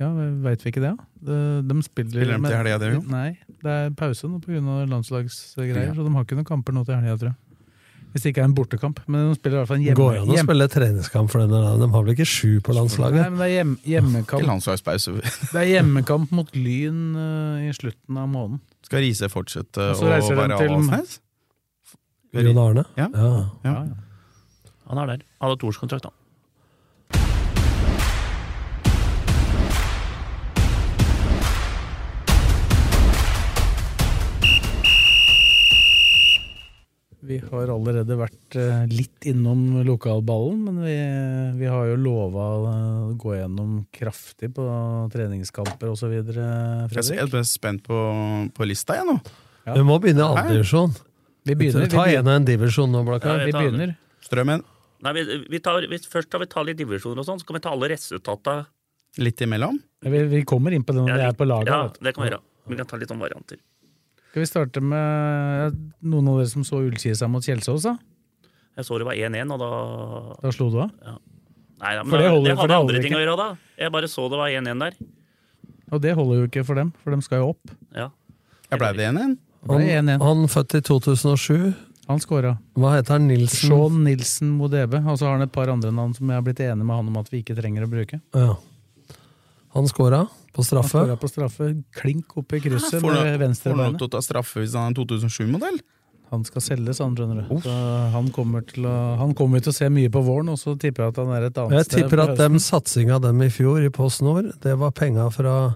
Speaker 2: Ja, veit vi ikke det, da? De, de spiller,
Speaker 5: Spiller de til
Speaker 2: men-
Speaker 5: helga, det, jo?
Speaker 2: Nei, det er pause nå pga. landslagsgreier,
Speaker 5: Ja.
Speaker 2: så de har ikke noen kamper nå til helga, tror jeg. Hvis det ikke er en bortekamp. Men de spiller i hvert fall en hjemme,
Speaker 3: Går det an å
Speaker 2: hjem-
Speaker 3: spille treningskamp for denne? da? De har vel ikke sju på
Speaker 2: Nei,
Speaker 3: landslaget?
Speaker 2: men det er hjem,
Speaker 5: Til
Speaker 2: hjemmekamp.
Speaker 5: landslagspause.
Speaker 2: Det er hjemmekamp mot Lyn eh, i slutten av måneden.
Speaker 5: Skal Riise fortsette
Speaker 2: Og så
Speaker 5: å
Speaker 2: reiser de
Speaker 5: være
Speaker 2: til-
Speaker 5: Avaldsnes?
Speaker 3: Jon Arne?
Speaker 5: Ja. Ja.
Speaker 2: Ja, ja.
Speaker 4: Han er der. Han har toårskontrakt, han.
Speaker 2: Vi har allerede vært eh, litt innom lokalballen, men vi, vi har jo lova å gå gjennom kraftig på treningskamper osv.
Speaker 5: Jeg er
Speaker 2: Fredrik.
Speaker 5: helt mest spent på, på lista, jeg nå.
Speaker 2: Ja.
Speaker 3: Vi må begynne i andre divisjon.
Speaker 2: Vi begynner. Vi
Speaker 3: Ta en
Speaker 2: begynner.
Speaker 3: og en divisjon nå, Blakkar.
Speaker 4: Ja,
Speaker 2: Vi
Speaker 4: jeg tar den.
Speaker 2: begynner.
Speaker 5: Strømmen
Speaker 4: Nei, vi, vi tar, vi, først skal vi ta litt divisjoner og sånn, så kan vi ta alle resultatene.
Speaker 5: litt imellom.
Speaker 2: Vi, vi kommer inn på det når vi er på laget.
Speaker 4: Ja,
Speaker 2: vet du.
Speaker 4: det kan vi gjøre. Vi kan ta litt sånn varianter.
Speaker 2: Skal vi starte med noen av dere som så Ullkisa seg mot Kjelsås? Da
Speaker 4: Jeg så det var 1-1, og da
Speaker 2: Da slo du av.
Speaker 4: Nei, da, men
Speaker 2: For det holder- for
Speaker 4: da- det hadde
Speaker 2: det holder
Speaker 4: andre ting
Speaker 2: ikke.
Speaker 4: å gjøre da. Jeg bare så det var 1-1 der.
Speaker 2: Og det holder jo ikke for dem, for de skal jo opp.
Speaker 4: Ja.
Speaker 5: Jeg blei det igjen igjen.
Speaker 2: Det er
Speaker 3: Han,
Speaker 2: 1-1.
Speaker 3: han født i 2007.
Speaker 2: Han scora.
Speaker 3: Hva heter han? Nilsen?
Speaker 2: Sean Nilsen Modebe. E Og så har han et par andre navn som jeg har blitt enig med han om at vi ikke trenger å bruke.
Speaker 3: Ja. Han scora på
Speaker 2: Han
Speaker 3: straffe.
Speaker 2: skåra på straffe. Klink opp i krysset med
Speaker 5: Får han- får han lov
Speaker 2: venstrebeinet.
Speaker 5: til å ta straffe hvis han er en 2007-modell?
Speaker 2: Han skal selges, han, skjønner du. Så han kommer til å Han kommer vi til å se mye på våren, og så tipper jeg at han er et annet
Speaker 3: Jeg tipper
Speaker 2: på
Speaker 3: at
Speaker 2: høsten.
Speaker 3: den satsinga dem i fjor i Post Nord, det var penga fra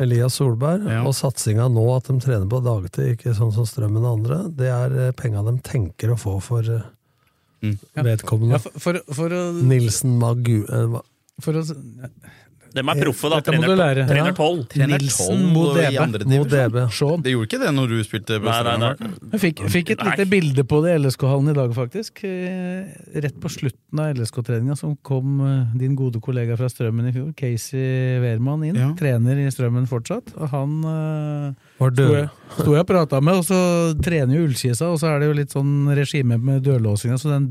Speaker 3: Elias Solberg.
Speaker 5: Ja.
Speaker 3: Og satsinga nå, at de trener på dagtid, ikke sånn som Strømmen og andre, det er eh, penga de tenker å få for eh,
Speaker 5: Mm.
Speaker 2: ja,
Speaker 3: vedkommende.
Speaker 2: for, for, for, å,
Speaker 3: Nilsen Magu... eh, hva-
Speaker 2: for å
Speaker 4: De er proffe, da.
Speaker 2: Dette må du lære.
Speaker 4: trener
Speaker 2: Ja.
Speaker 4: 12.
Speaker 5: Trener
Speaker 2: Nilsen
Speaker 5: 12
Speaker 2: mot
Speaker 5: i
Speaker 2: DB.
Speaker 5: andre
Speaker 3: Mo
Speaker 5: divisjon.
Speaker 3: DB.
Speaker 2: Sean.
Speaker 5: Det gjorde ikke det når du spilte på
Speaker 4: Nei, nei,
Speaker 5: Strømmen?
Speaker 4: nei.
Speaker 2: Jeg fikk, fikk et lite
Speaker 4: Nei.
Speaker 2: bilde på det i LSK-hallen i dag, faktisk. Eh, Rett på slutten av LSK-treninga som kom eh, din gode kollega fra Strømmen i fjor, Casey Wehrmann, inn.
Speaker 5: Ja.
Speaker 2: Trener i Strømmen fortsatt. Og han eh,
Speaker 3: Var
Speaker 2: sto
Speaker 3: død.
Speaker 2: jeg, sto jeg og prata med, og så trener jo Ullkisa, og så er det jo litt sånn regime med dørlåsinga, så den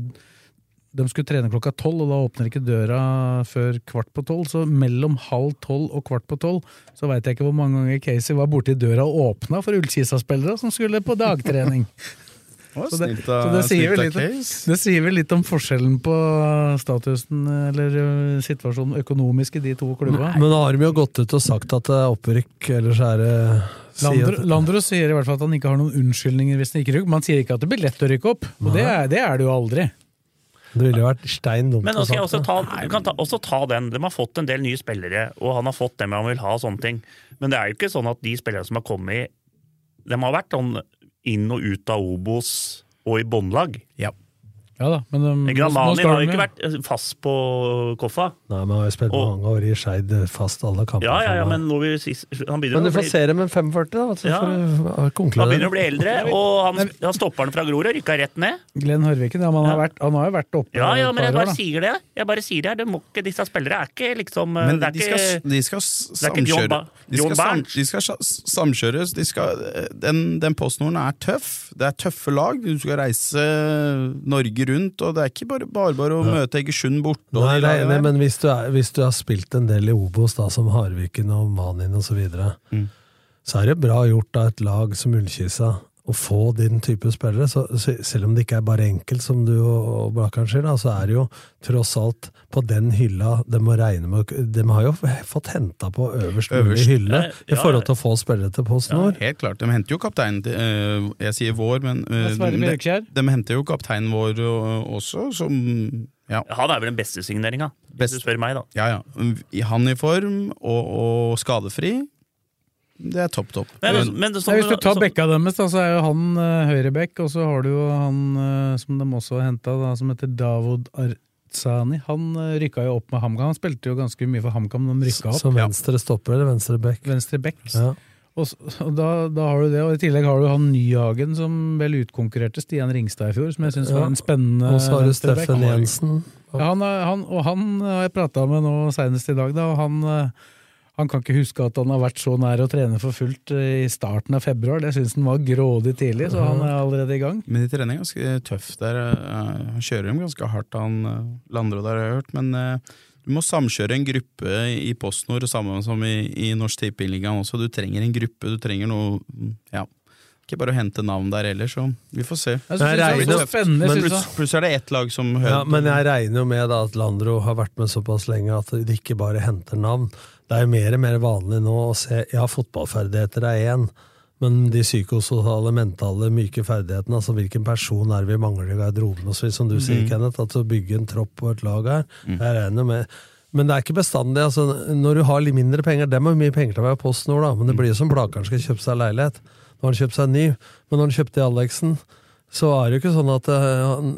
Speaker 2: de skulle trene klokka tolv, og da åpner ikke døra før kvart på tolv. Så mellom halv tolv og kvart på tolv så veit jeg ikke hvor mange ganger Casey var borti døra og åpna for Ullkisa-spillere som skulle på dagtrening.
Speaker 5: Å,
Speaker 2: Så det-
Speaker 5: Snilt av
Speaker 2: så det sier vel
Speaker 5: snilt av
Speaker 2: litt om-
Speaker 5: Case.
Speaker 2: Det sier vel litt om forskjellen på statusen eller ø, situasjonen økonomisk i de to klubba.
Speaker 3: Men nå har de jo gått ut og sagt at det er opprykk, ellers er det
Speaker 2: Landro,
Speaker 3: sier at-
Speaker 2: Landro sier i hvert fall at han ikke har noen unnskyldninger hvis han ikke rykker. Man sier ikke at det blir lett å rykke opp, og det er det, er det jo aldri.
Speaker 3: Det ville jo vært stein dumt
Speaker 4: Men nå
Speaker 3: å
Speaker 4: skal jeg
Speaker 2: altså,
Speaker 3: sagt
Speaker 4: også
Speaker 3: det.
Speaker 4: ta, du kan ta, også ta den. De har fått en del nye spillere, og han har fått dem han vil ha. og sånne ting. Men det er jo ikke sånn at de spillerne som har kommet, de har vært sånn inn og ut av Obos og i båndlag.
Speaker 2: Ja da, men ø, nå- nå
Speaker 4: Granani
Speaker 2: skal
Speaker 4: har jo
Speaker 2: de
Speaker 4: ikke vært eh, fast på Koffa.
Speaker 3: Nei, men han har jo spilt
Speaker 4: Og-
Speaker 3: mange år i Skeid eh, fast alle kamper.
Speaker 4: Ja, ja, ja,
Speaker 3: for meg.
Speaker 4: men nå vil sist, han
Speaker 3: Men
Speaker 4: begynner
Speaker 3: du
Speaker 4: å
Speaker 3: får
Speaker 4: bli
Speaker 3: se dem med 45, da. vet du,
Speaker 4: Ja.
Speaker 3: for å
Speaker 4: han
Speaker 3: konkludere.
Speaker 4: begynner å bli eldre, og han, han stopperen fra Grorud rykka rett ned.
Speaker 2: Glenn Hørviken, ja, men han, har
Speaker 4: Ja.
Speaker 2: vært, han har jo vært oppe
Speaker 4: Ja, ja,
Speaker 2: et
Speaker 4: men jeg
Speaker 2: par år,
Speaker 4: bare
Speaker 2: da.
Speaker 4: sier det. Jeg bare sier det. det må ikke, disse spillere er ikke liksom
Speaker 5: Men
Speaker 4: det er
Speaker 5: de skal,
Speaker 4: ikke,
Speaker 5: de skal s-
Speaker 4: er ikke John
Speaker 5: samkjøre
Speaker 4: Ba-
Speaker 5: De
Speaker 4: John
Speaker 5: skal, sam,
Speaker 4: Barnes.
Speaker 5: de skal sa- samkjøres. De skal, den den postnorden er tøff. Det er tøffe lag. Du skal reise Norge rundt, og det er ikke bare bare, bare å møte Egersund borte. og
Speaker 3: Nei,
Speaker 5: de
Speaker 3: det er jeg
Speaker 5: lagene
Speaker 3: enig, i,
Speaker 5: der.
Speaker 3: men hvis du, er, hvis du har spilt en del i Obos, da, som Harviken og Manin osv., så, videre,
Speaker 5: Mm.
Speaker 3: så er det bra gjort av et lag som Ullkisa å få din type spillere. Så, så, selv om det ikke er bare enkelt, som du og, og Blakkaren sier, da, så er det jo tross alt på den hylla de må regne med å- De har jo f- fått henta på øverst mulig
Speaker 5: Øverst.
Speaker 3: hylle
Speaker 4: Ja,
Speaker 3: i
Speaker 4: ja.
Speaker 3: forhold til å få spillere til Post Nord.
Speaker 5: Helt klart. De henter jo kapteinen til eh, Jeg sier vår, men eh,
Speaker 2: Ja, Sverre
Speaker 5: de,
Speaker 2: Bjørkjær.
Speaker 5: de henter jo kapteinen vår eh, også, som ja,
Speaker 4: Han er vel den beste signeringa, hvis
Speaker 5: Best.
Speaker 4: du spør meg, da.
Speaker 5: ja, ja. Han i form og, og skadefri. Det er topp, topp.
Speaker 4: Men, men det-
Speaker 2: Nei, hvis du tar
Speaker 4: som-
Speaker 2: bekka deres, da, så er jo han uh, høyrebekk, og så har du jo han eh, som de også har henta, som heter Davod Arzani. Han uh, rykka jo opp med HamKam. Han spilte jo ganske mye for HamKam, men de rykka opp.
Speaker 3: Som venstre stopper eller venstre back.
Speaker 2: Venstre bekk.
Speaker 3: Ja.
Speaker 2: Og, s- og da, da har du det, og i tillegg har du han Nyhagen, som vel utkonkurrerte Stian Ringstad i fjor, som jeg syns
Speaker 3: Ja.
Speaker 2: var en spennende
Speaker 3: Og så har du
Speaker 2: venstreback.
Speaker 3: Steffen Jensen.
Speaker 2: Ja, han, er- han, og han eh, har jeg prata med nå senest i dag, da, og han, eh, han kan ikke huske at han har vært så nær å trene for fullt eh, i starten av februar. Det syns han var grådig tidlig, så han er allerede i gang.
Speaker 5: Men de trener ganske tøft der. eh, Han kjører dem ganske hardt, han eh, Landro der, har jeg hørt. Men eh, Du må samkjøre en gruppe i PostNord, samme som i, i Norsk Tippeligaen også. Du trenger en gruppe, du trenger noe Ja. Ikke bare å hente navn der heller, så vi får se.
Speaker 2: Jeg synes det er så spennende,
Speaker 5: Men
Speaker 2: synes
Speaker 5: plutselig
Speaker 2: jeg.
Speaker 5: plutselig er det ett lag som
Speaker 3: Ja,
Speaker 5: hører
Speaker 3: men jeg regner jo med da at Landro har vært med såpass lenge at de ikke bare henter navn. Det er jo mer og mer vanlig nå å se Ja, fotballferdigheter er én, men de psykososiale, mentale, myke ferdighetene, altså hvilken person er det vi mangler i garderoben osv., som du sier, Kenneth, at å bygge en tropp og et lag her, jeg regner med men det er ikke bestandig. altså Når du har litt mindre penger Dem har mye penger til å være PostNord, da, men det blir jo som Blakeren skal kjøpe seg leilighet. Nå har han kjøpt seg en ny, men når han kjøpte Alexen, så er det jo ikke sånn at eh, han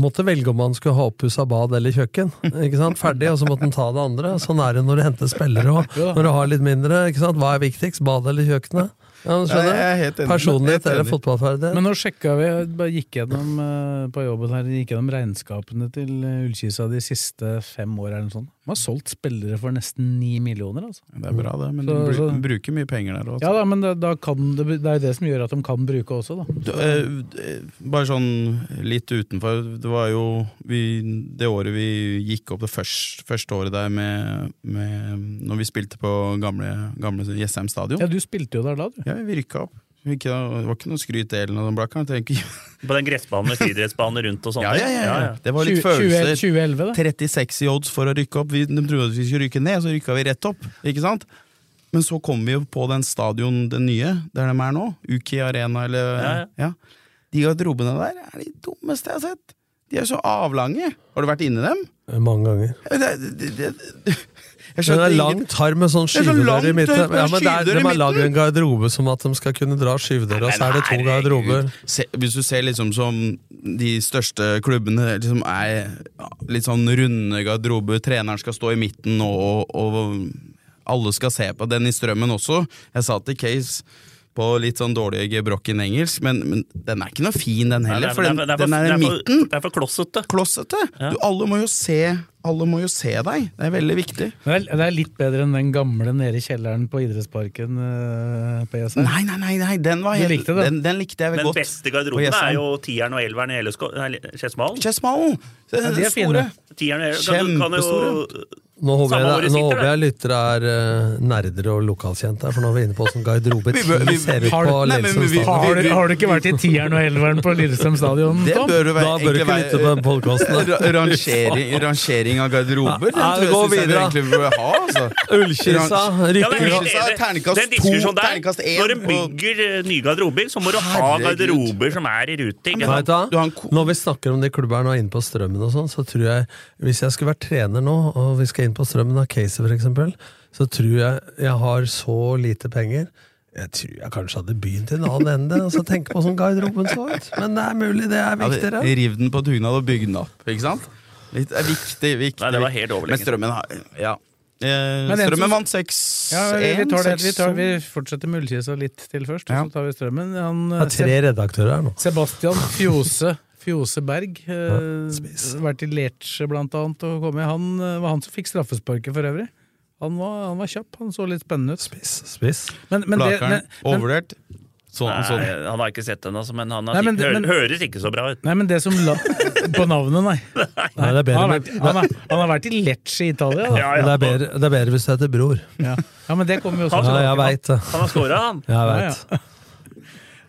Speaker 3: måtte velge om han skulle ha oppussa bad eller kjøkken. ikke sant? Ferdig, og så måtte han ta det andre. Sånn er det når du henter spillere òg. Når du har litt mindre. ikke sant? Hva er viktigst, badet eller kjøkkenet? Ja, men
Speaker 5: Ja, jeg er
Speaker 3: skjønner
Speaker 5: helt enig. Helt
Speaker 3: Personlighet
Speaker 5: enig.
Speaker 3: eller fotballferdighet?
Speaker 2: Men nå sjekka vi, jeg bare gikk gjennom eh, på jobben her, gikk gjennom regnskapene til eh, Ullkisa de siste fem år eller noe sånt. De har solgt spillere for nesten ni millioner, altså.
Speaker 5: Det er bra, det, men
Speaker 2: Så-
Speaker 5: du bru-
Speaker 2: så-
Speaker 5: bruker mye penger der også.
Speaker 2: Ja da, men det, da kan, det, det er jo det som gjør at de kan bruke også, da.
Speaker 5: Du, eh, eh, Bare sånn litt utenfor. Det var jo vi, det året vi gikk opp, det første, første året der med, med Når vi spilte på gamle, gamle Jessheim stadion.
Speaker 2: Ja, du spilte jo der da, du.
Speaker 5: Ja, vi rykka opp. Vi ikke, det var ikke noe skryt eller noe sånt. Blakka. Jeg tenker-
Speaker 4: På den gressbanen med friidrettsbane rundt og sånn.
Speaker 5: Ja, ja, ja, ja. Det var litt
Speaker 2: 20- 20-
Speaker 5: følelser.
Speaker 2: 2011, da.
Speaker 5: 36 i odds for å rykke opp. Vi, de trodde at vi skulle rykke ned, så rykka vi rett opp. Ikke sant? Men så kom vi jo på den stadion, den nye, der de er nå. Uki Arena eller ja,
Speaker 4: Ja,
Speaker 5: De garderobene der er de dummeste jeg har sett. De er så avlange. Har du vært inni dem?
Speaker 3: Eh, Mange ganger.
Speaker 5: Det, det, det, det.
Speaker 3: Men det er
Speaker 5: Jeg skjønte ingen-
Speaker 3: langt harm med sånn
Speaker 5: Det er så langt,
Speaker 3: skyvedør i midten.
Speaker 5: det er
Speaker 3: Ja, men det er,
Speaker 5: skyvedør i
Speaker 3: de har
Speaker 5: midten.
Speaker 3: lagd en garderobe som at de skal kunne dra skyvedøra, og så er det to garderober.
Speaker 5: Se, hvis du ser liksom som de største klubbene liksom er ja, litt sånn runde garderober, treneren skal stå i midten og, og, og alle skal se på den i strømmen også. Jeg sa til Case på litt sånn dårlig gebrokken engelsk, men, men den er ikke noe fin den heller, for den, den er i midten.
Speaker 4: Det er for klossete.
Speaker 5: Klossete! Du, alle, må jo se, alle må jo se deg, det er veldig viktig.
Speaker 2: Men Det er, det er litt bedre enn den gamle nede i kjelleren på idrettsparken eh, på ESR.
Speaker 5: Nei, nei, nei, nei den, var
Speaker 2: Du
Speaker 5: helt,
Speaker 2: likte
Speaker 5: den.
Speaker 2: den?
Speaker 5: Den, likte jeg vel
Speaker 4: Den
Speaker 5: godt.
Speaker 4: beste
Speaker 5: Og
Speaker 4: garderoben
Speaker 5: jeg sa-
Speaker 4: er jo tieren og elveren i Ellesko- nei, Skedsmalen.
Speaker 5: Skedsmalen! Det
Speaker 2: Ja, de er fine.
Speaker 4: Tieren og elveren kan, du- kan jo
Speaker 3: Nå håper,
Speaker 4: Samme hvor
Speaker 3: jeg,
Speaker 4: du
Speaker 3: nå
Speaker 4: sitter,
Speaker 3: håper jeg lyttere er eh, nerder og lokalkjente her, for nå er vi inne på åssen garderobe
Speaker 5: Vi bør-
Speaker 3: 10
Speaker 5: vi-
Speaker 3: ser ut
Speaker 5: Har
Speaker 3: på
Speaker 5: du- Nei, men
Speaker 3: Lillestrøm
Speaker 5: vi-
Speaker 3: stadion.
Speaker 2: Har, du- har du ikke vært i tieren og elveren på Lillestrøm stadion?
Speaker 5: Det
Speaker 2: Tom?
Speaker 5: bør jo være
Speaker 3: Da bør du ikke lytte på den podkasten.
Speaker 5: Ra- Rangering, rangering av garderober,
Speaker 3: Nei, gå
Speaker 5: den tror jeg synes jeg vi
Speaker 3: videre.
Speaker 5: egentlig burde ha. Altså.
Speaker 3: Ullkisa
Speaker 4: Ja,
Speaker 3: rykker
Speaker 4: men jeg er
Speaker 3: ja,
Speaker 4: helt
Speaker 5: Sa
Speaker 4: enig.
Speaker 5: terningkast
Speaker 4: Den
Speaker 5: to,
Speaker 4: diskusjonen der,
Speaker 5: terningkast én
Speaker 4: Når en
Speaker 5: på-
Speaker 4: bygger eh, nye garderober, så må du ha
Speaker 5: Herregud.
Speaker 4: garderober som er i rute. ikke
Speaker 3: Vet
Speaker 4: sant?
Speaker 3: du
Speaker 5: Du
Speaker 3: hva?
Speaker 5: har en ko-
Speaker 3: Når vi snakker om de klubberne og inne på strømmen og sånn, så tror jeg Hvis jeg skulle vært trener nå, og vi skal inn på strømmen av Casey for eksempel, så tror jeg jeg har så lite penger jeg tror jeg kanskje hadde begynt i en annen ende og så tenke på sånn garderoben så ut. Men det er mulig, det er viktigere.
Speaker 5: Ja, riv den på dugnad og bygg den opp, ikke sant? Litt, det er viktig, viktig.
Speaker 4: Nei, det var helt overlegent.
Speaker 5: Men strømmen har ja. eh,
Speaker 2: Men en som-
Speaker 5: Strømmen vant 6-1.
Speaker 2: Ja, vi, vi, tar det, vi, tar, vi fortsetter med Ullkisa litt til først, og
Speaker 5: Ja.
Speaker 2: så tar vi strømmen. Han,
Speaker 3: Det er tre
Speaker 2: eh,
Speaker 3: redaktører her nå.
Speaker 2: Seb- Sebastian Fjose, Fjose Berg, eh,
Speaker 3: spis.
Speaker 2: vært i Lecce blant annet og kommet. Han eh, var han som fikk straffesparket for øvrig. Han var, han var kjapp, han så litt spennende ut.
Speaker 3: Spiss, spiss.
Speaker 2: Men, men det,
Speaker 5: Blakeren,
Speaker 2: men, men,
Speaker 5: overvurdert. Sånn, sånn.
Speaker 4: Nei, han har ikke sett den, altså, men han har
Speaker 2: Nei, men-
Speaker 4: sikkert- hører,
Speaker 2: men-
Speaker 4: høres ikke så bra ut.
Speaker 2: nei, men det som la, På navnet, nei.
Speaker 3: Nei, det er bedre
Speaker 2: Han har
Speaker 3: med
Speaker 2: vært, han har, han har vært i Lecce i Italia, da.
Speaker 4: Ja,
Speaker 3: Men
Speaker 4: ja.
Speaker 3: det, er bedre, det er bedre hvis du heter Bror.
Speaker 2: Ja, ja men det kommer jo
Speaker 3: Ja,
Speaker 2: også tilbake.
Speaker 3: jeg veit det.
Speaker 4: Han har scora, han.
Speaker 3: Jeg
Speaker 2: Ja,
Speaker 3: vet.
Speaker 2: ja.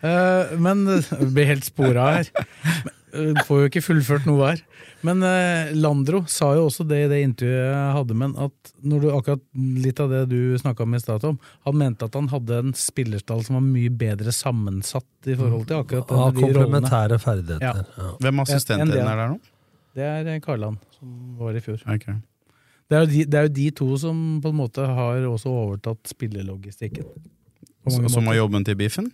Speaker 2: Eh, men vi blir helt spora her. Men, eh, får jo ikke fullført noe her. Men eh, Landro sa jo også det i det intervjuet jeg hadde med han, at når du akkurat litt av det du snakka om i stad, Tom, han mente at han hadde en spillerstall som var mye bedre sammensatt i forhold til
Speaker 3: Av
Speaker 2: akkurat den, de rollene.
Speaker 3: komplementære ferdigheter. Ja.
Speaker 5: Hvem er assistenten
Speaker 2: En- en
Speaker 5: din
Speaker 2: del.
Speaker 5: er der nå?
Speaker 2: Det er eh, Karland, som var i fjor.
Speaker 5: Ok.
Speaker 2: Det er, jo de, det er jo de to som på en måte har også overtatt spillelogistikken. På mange
Speaker 5: Som
Speaker 2: måter.
Speaker 5: har jobben til Biffen,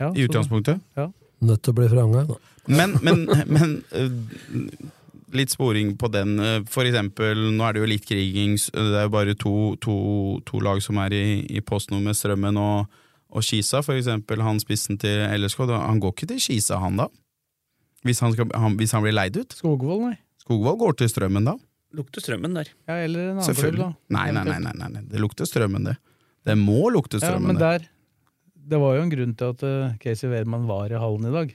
Speaker 2: Ja,
Speaker 5: i
Speaker 2: så-
Speaker 5: utgangspunktet?
Speaker 3: Nødt til å bli franga. da.
Speaker 5: Men, men, men eh, litt sporing på den. eh, For eksempel, nå er det jo litt kriging. s- eh, Det er jo bare to, to, to lag som er i, i postnummer med Strømmen og, og Kisa. For eksempel han spissen til LSK. da- Han går ikke til Kisa, han da? Hvis han, skal, han, hvis han blir leid ut?
Speaker 2: Skogvold, nei.
Speaker 5: Skogvold går til Strømmen da?
Speaker 4: Lukter strømmen der.
Speaker 2: Ja, eller en annen klubb,
Speaker 5: Selvfølgelig.
Speaker 2: da.
Speaker 5: Nei, nei, nei, nei, nei, nei. det lukter Strømmen, det. Det må lukte
Speaker 2: Ja,
Speaker 5: Strømmen.
Speaker 2: men der, det var jo en grunn til at eh, Casey Wehrmann var i hallen i dag.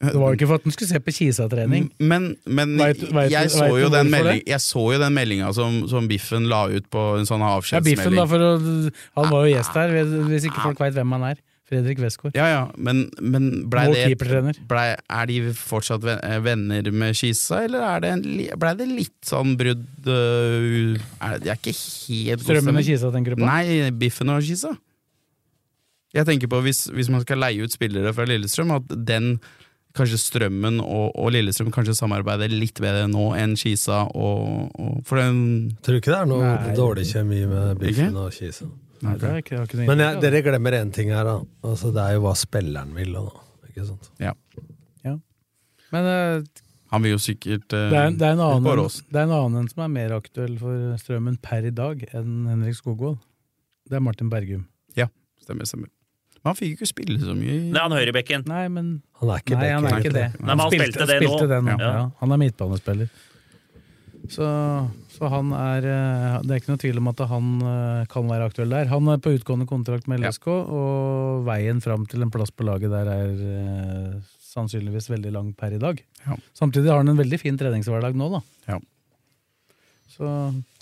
Speaker 2: Det var jo ikke for at han skulle se på Kisa-trening.
Speaker 5: Men, men
Speaker 2: Vet- vet-
Speaker 5: jeg,
Speaker 2: vet
Speaker 5: så
Speaker 2: du
Speaker 5: jo den
Speaker 2: hvorfor
Speaker 5: melding,
Speaker 2: det?
Speaker 5: jeg så jo den meldinga som, som Biffen la ut på en sånn
Speaker 2: Ja, Biffen, da,
Speaker 5: avskjedsmelding.
Speaker 2: for å, han var jo gjest her, hvis ikke folk veit hvem han er. Fredrik Westgård.
Speaker 5: Ah. Ja, ja, men, men blei
Speaker 2: Vår
Speaker 5: det
Speaker 2: keepertrener.
Speaker 5: blei, Er de fortsatt ven- eh, venner med Kisa, eller er det en, li- blei det litt sånn brudd øh, er det, det er ikke helt god
Speaker 2: Strømmen og
Speaker 5: stemning.
Speaker 2: Kisa, tenker du på?
Speaker 5: Nei, Biffen og Kisa. Jeg tenker på hvis, hvis man skal leie ut spillere fra Lillestrøm, at den Kanskje Strømmen og, og Lillestrøm kanskje samarbeider litt bedre nå enn Kisa og, og For den
Speaker 3: Tror ikke det er noe
Speaker 2: Nei.
Speaker 3: dårlig kjemi med Biffen
Speaker 5: Ikke?
Speaker 3: og Kisa.
Speaker 2: Nei, det har jeg ikke- det har ikke noe
Speaker 3: Men jeg,
Speaker 2: inntrykk av.
Speaker 3: dere glemmer én ting her, da. Altså, det er jo hva spilleren vil. og Da. Ikke sant?
Speaker 2: Men eh,
Speaker 5: Han vil jo sikkert eh,
Speaker 2: det er, det, er en
Speaker 5: ut på
Speaker 2: annen,
Speaker 5: Åråsen.
Speaker 2: det er en annen som er mer aktuell for Strømmen per i dag enn Henrik Skogvold. Det er Martin Bergum.
Speaker 5: Stemmer, stemmer. Men han fikk jo ikke spille så mye. i-
Speaker 4: Det er han høyrebekken.
Speaker 2: Nei, men
Speaker 3: Han er ikke
Speaker 2: Nei, han er
Speaker 3: backer.
Speaker 2: ikke det.
Speaker 5: Nei, men
Speaker 4: han spilte det nå.
Speaker 2: spilte det nå. Ja.
Speaker 4: Ja.
Speaker 2: han er midtbanespiller. Så, så han er eh, Det er ikke noe tvil om at han eh, kan være aktuell der. Han er på utgående kontrakt med LSK, og veien fram til en plass på laget der er eh, sannsynligvis veldig lang per i dag.
Speaker 5: Ja.
Speaker 2: Samtidig har han en veldig fin treningshverdag nå, da.
Speaker 5: Ja.
Speaker 2: Så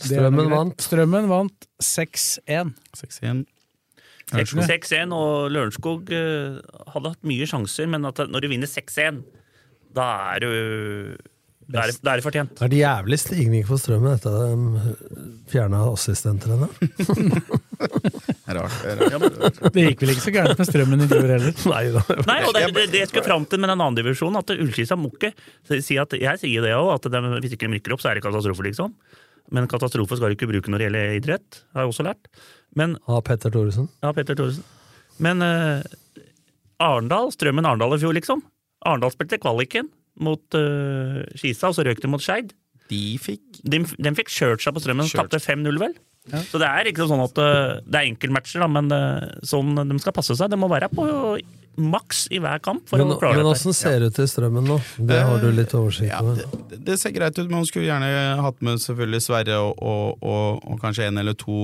Speaker 2: det er noe
Speaker 3: Strømmen
Speaker 2: greit.
Speaker 3: vant.
Speaker 2: Strømmen vant 6-1.
Speaker 5: 6-1.
Speaker 4: 6- 6-1, og Lørenskog eh, hadde hatt mye sjanser, men at når du vinner 6-1, da er du Da er det- da er det fortjent.
Speaker 3: Det er det jævlig stigning for Strømmen etter at de fjerna assistenttreneren.
Speaker 5: Det er Rart. det er rart.
Speaker 2: Det gikk vel ikke så gærent med strømmen i fjor heller.
Speaker 3: Nei da.
Speaker 4: Nei, og det, det, det jeg skulle fram til med den andre divisjonen, at Ullskisa må ikke si- si at Jeg sier det òg, at de, hvis ikke de rykker opp, så er det katastrofe, liksom. Men katastrofe skal du ikke bruke når det gjelder idrett, har jeg også lært. Men
Speaker 3: Av Petter Thoresen.
Speaker 4: Ja, Petter Thoresen. Men eh, Arendal, Strømmen Arendal i fjor, liksom. Arendal spilte kvaliken mot eh, Skisa, og så røk de mot Skeid.
Speaker 5: De fikk
Speaker 4: De, de fikk kjørt seg på Strømmen og
Speaker 5: Kjørt.
Speaker 4: tapte 5-0, vel. Så det er liksom sånn at eh, det er enkeltmatcher, da, men eh, sånn de skal passe seg. De må være på maks i hver kamp for
Speaker 3: Men,
Speaker 4: å klare
Speaker 3: men
Speaker 4: dette.
Speaker 3: åssen ser det ut i Strømmen nå? Det har du litt oversikt
Speaker 5: Eh, ja,
Speaker 3: over.
Speaker 5: det, det ser greit ut, men man skulle gjerne hatt med selvfølgelig Sverre og, og, og, og kanskje en eller to,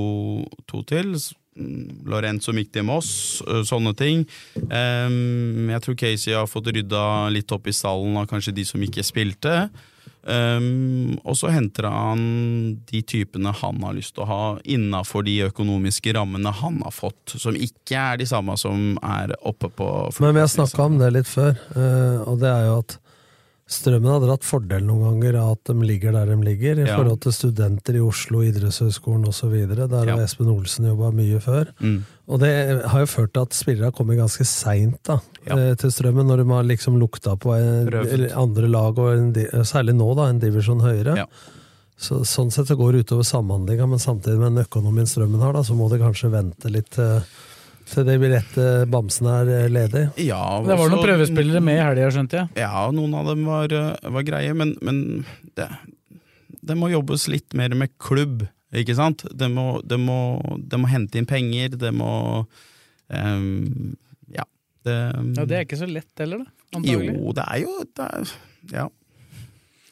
Speaker 5: to til. S- mm, Lorenzo Mikti Moss, ø, sånne ting. Ehm, jeg tror Casey har fått rydda litt opp i stallen av kanskje de som ikke spilte. Ehm, og så henter han de typene han har lyst til å ha innafor de økonomiske rammene han har fått, som ikke er de samme som er oppe på
Speaker 3: Men vi har
Speaker 5: liksom.
Speaker 3: snakka om det litt før, eh, og det er jo at Strømmen har dratt fordel noen ganger av at de ligger der de ligger, i
Speaker 5: Ja.
Speaker 3: forhold til studenter i Oslo, Idrettshøgskolen osv. Der har
Speaker 5: Ja.
Speaker 3: Espen Olsen jobba mye før.
Speaker 5: Mm.
Speaker 3: Og det har jo ført til at spillere har kommet ganske seint eh,
Speaker 5: Ja.
Speaker 3: til Strømmen, når de har liksom lukta på en,
Speaker 5: Prøvd.
Speaker 3: eller andre lag, og en, di- særlig nå, da, en divisjon høyere.
Speaker 5: Ja.
Speaker 3: Så, sånn sett det går utover samhandlinga, men samtidig med den økonomien Strømmen har, da, så må de kanskje vente litt eh, til de rette bamsene er eh, ledig.
Speaker 5: Ja,
Speaker 2: Det var noen
Speaker 5: også-
Speaker 2: prøvespillere med i helga, skjønte jeg.
Speaker 5: Ja, noen av dem var, eh, var greie, men, men det, det må jobbes litt mer med klubb, ikke sant? Det må, det må, det må hente inn penger, det må ehm, Ja. Det,
Speaker 2: Ja, Det er ikke så lett heller, da. Antagelig.
Speaker 5: jo, det er jo det er, Ja.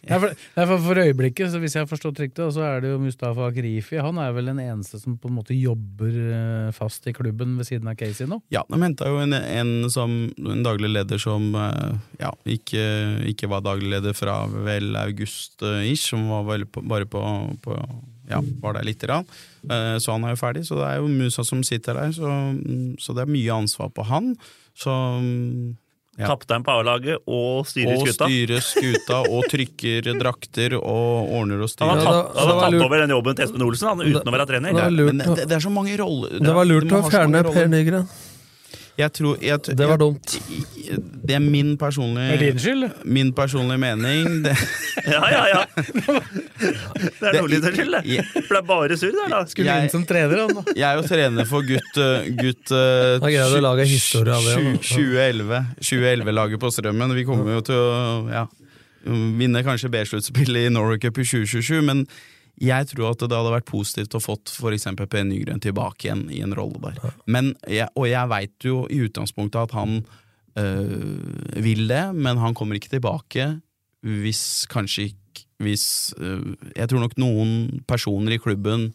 Speaker 2: Nei, for, nei, for, for øyeblikket, så hvis jeg har forstått riktig, så er det jo Mustafa Akrifi. Han er vel den eneste som på en måte jobber eh, fast i klubben ved siden av Casey nå.
Speaker 5: ja de henta jo en, en, som, en daglig leder som eh, ja, ikke, ikke var daglig leder fra vel august-ish, som var vel på, bare på, på Ja, var der lite grann. Eh, Så han er jo ferdig, så det er jo Musa som sitter der, så, så det er mye ansvar på han. Så ja.
Speaker 4: Kaptein på A-laget og styrer
Speaker 5: og
Speaker 4: skuta.
Speaker 5: styrer skuta og trykker drakter og ordner og
Speaker 4: Han
Speaker 5: styrer.
Speaker 4: har
Speaker 3: Ja, da- det
Speaker 4: tatt, han har
Speaker 3: var
Speaker 4: tatt
Speaker 3: lurt.
Speaker 4: over den jobben til Espen Olsen han, uten å være trener.
Speaker 3: det var lurt
Speaker 5: Men
Speaker 3: å-
Speaker 5: det, det er så mange roller
Speaker 3: Det var lurt
Speaker 5: de
Speaker 3: å
Speaker 5: har så
Speaker 3: fjerne
Speaker 5: mange roller.
Speaker 3: Per Nygren.
Speaker 5: Jeg tror, jeg,
Speaker 3: Det var dumt.
Speaker 5: Jeg, det er min
Speaker 2: Det
Speaker 5: personlige
Speaker 2: er din skyld!
Speaker 5: Min personlige mening det,
Speaker 4: Ja, ja, ja. Det er
Speaker 5: Det-
Speaker 4: Nordlys sin skyld, det.
Speaker 5: Ja.
Speaker 4: For det er bare sur der, da.
Speaker 2: Skulle
Speaker 5: Jeg-
Speaker 2: inn som trener, han da.
Speaker 5: Jeg er jo trener for gutt, eh, gutt eh,
Speaker 3: Da greier du å lage historie av det, altså.
Speaker 5: tju-
Speaker 3: da.
Speaker 5: tju- 2011. 2011-laget på Strømmen. Vi kommer jo til å ja, vinne kanskje B-sluttspillet i Norway Cup i 2027, men jeg tror at det hadde vært positivt å fått f.eks. Per Nygren tilbake igjen i en rolle der. Men jeg, og jeg veit jo i utgangspunktet at han øh, vil det, men han kommer ikke tilbake hvis kanskje ikke hvis, øh, Jeg tror nok noen personer i klubben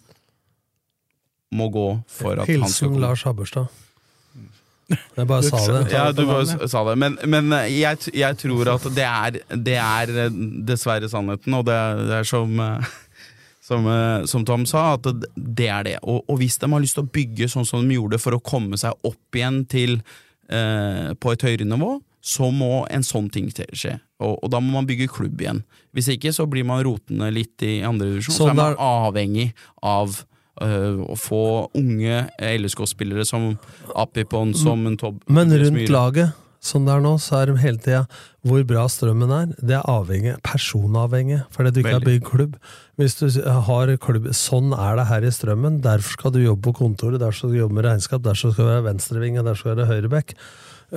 Speaker 5: må gå for at han skal
Speaker 3: Hilsen
Speaker 5: komme.
Speaker 3: Lars Habberstad. Jeg bare sa det.
Speaker 5: Ja, du bare s- sa det. Men, men eh, jeg, t- jeg tror at det er, det er eh, dessverre sannheten, og det er, det er som eh, som, eh, som Tom sa, at det- det er det. Og, og hvis de har lyst til å bygge sånn som de gjorde for å komme seg opp igjen til eh, på et høyere nivå, så må en sånn ting til- skje. Og, og da må man bygge klubb igjen. Hvis ikke så blir man rotende litt i andre divisjon, så
Speaker 3: Sånn
Speaker 5: er man
Speaker 3: er-
Speaker 5: avhengig av eh, å få unge LSK-spillere som Apipon,
Speaker 3: Mm.
Speaker 5: som en Tob...
Speaker 3: Men
Speaker 5: Tobias
Speaker 3: rundt
Speaker 5: Myhre.
Speaker 3: laget, som det er nå, så er de hele tida hvor bra strømmen er. Det er avhengig, personavhengig, fordi du ikke har
Speaker 5: Veldig.
Speaker 3: bygd klubb. Hvis du har klubb, Sånn er det her i strømmen. Derfor skal du jobbe på kontoret, derfor skal du jobbe med regnskap, derfor skal du være venstreving, og derfor skal du være høyreback.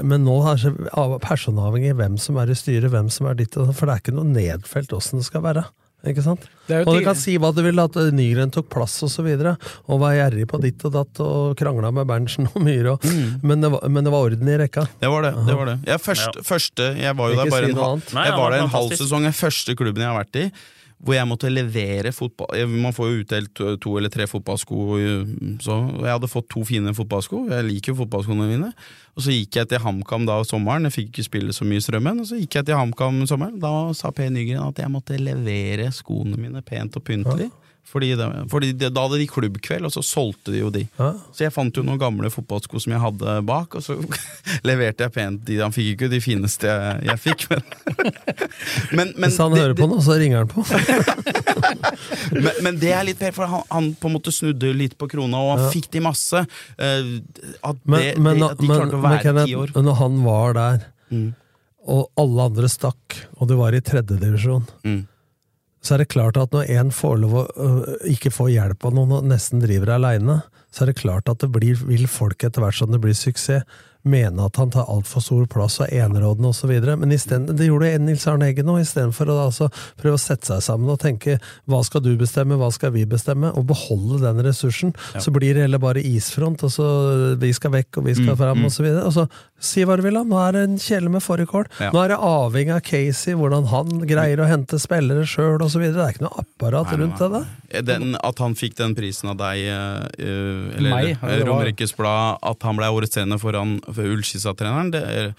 Speaker 3: Men nå er det av- personavhengig hvem som er i styret, hvem som er ditt, og datt, for det er ikke noe nedfelt åssen det skal være. Ikke sant?
Speaker 2: Det er jo
Speaker 3: Og du
Speaker 2: tidlig-
Speaker 3: kan si hva du vil, at Nygren tok plass og så videre, og var gjerrig på ditt og datt, og krangla med Berntsen og Myhre, og,
Speaker 5: Mm.
Speaker 3: men, det var, men det var orden i rekka.
Speaker 5: Det var det. det, var det. Jeg, først, første, jeg var jo
Speaker 3: Ikke
Speaker 5: der bare
Speaker 3: si
Speaker 5: en,
Speaker 3: noe
Speaker 5: hal-
Speaker 3: annet.
Speaker 4: Nei,
Speaker 5: jeg
Speaker 4: det var
Speaker 5: var der en halv
Speaker 4: fantastisk.
Speaker 5: sesong. Den første klubben jeg har vært i, hvor jeg måtte levere fotball jeg- Man får jo utdelt to- to eller tre fotballsko, eh, så jeg hadde fått to fine fotballsko. Jeg liker jo fotballskoene mine. Og så gikk jeg til HamKam da sommeren, jeg fikk ikke spille så mye i Strømmen. Og så gikk jeg til HamKam sommeren, da sa Per Nygren at jeg måtte levere skoene mine pent og pyntelig. Fordi, det, fordi det, Da hadde de klubbkveld, og så solgte de jo de.
Speaker 3: Ja.
Speaker 5: Så jeg fant jo noen gamle fotballsko som jeg hadde bak, og så leverte jeg pent de. Han fikk ikke de fineste jeg, jeg fikk, men, men, men,
Speaker 3: Hvis han
Speaker 5: det,
Speaker 3: hører på nå, så ringer han på.
Speaker 5: men, men det er litt per, for han, han på en måte snudde litt på krona, og han fikk de masse. Eh, at,
Speaker 3: Men,
Speaker 5: det,
Speaker 3: men,
Speaker 5: det, at de
Speaker 3: men,
Speaker 5: klarte å
Speaker 3: men
Speaker 5: være ti år. Mm.
Speaker 3: Kenneth, når han var der, og alle andre stakk, og du var i tredjedivisjon,
Speaker 5: Mm.
Speaker 3: så er det klart at når en får lov å øh, ikke få hjelp av noen og nesten driver aleine, så er det klart at det blir, vil folk etter hvert som det blir suksess, mene at han tar altfor stor plass og er enerådende osv. Men i stedet, det gjorde Nils Arne Eggen òg, istedenfor å da altså prøve å sette seg sammen og tenke hva skal du bestemme, hva skal vi bestemme, og beholde den ressursen. Så blir det heller bare isfront, og så vi skal vekk, og vi skal fram, og så videre. Og så si hva du vil, da. Nå er det en kjele med fårikål.
Speaker 5: Ja.
Speaker 3: Nå er det avhengig av Casey, hvordan han greier å hente spillere sjøl osv. Det er ikke noe apparat rundt det der.
Speaker 5: Eh, Den, at han fikk den prisen av deg, eh, eh, eller
Speaker 2: Meg, ja, det
Speaker 5: eh,
Speaker 2: var-
Speaker 5: Romerikes Blad, at han ble årets trener foran for Ullskissa-treneren det er-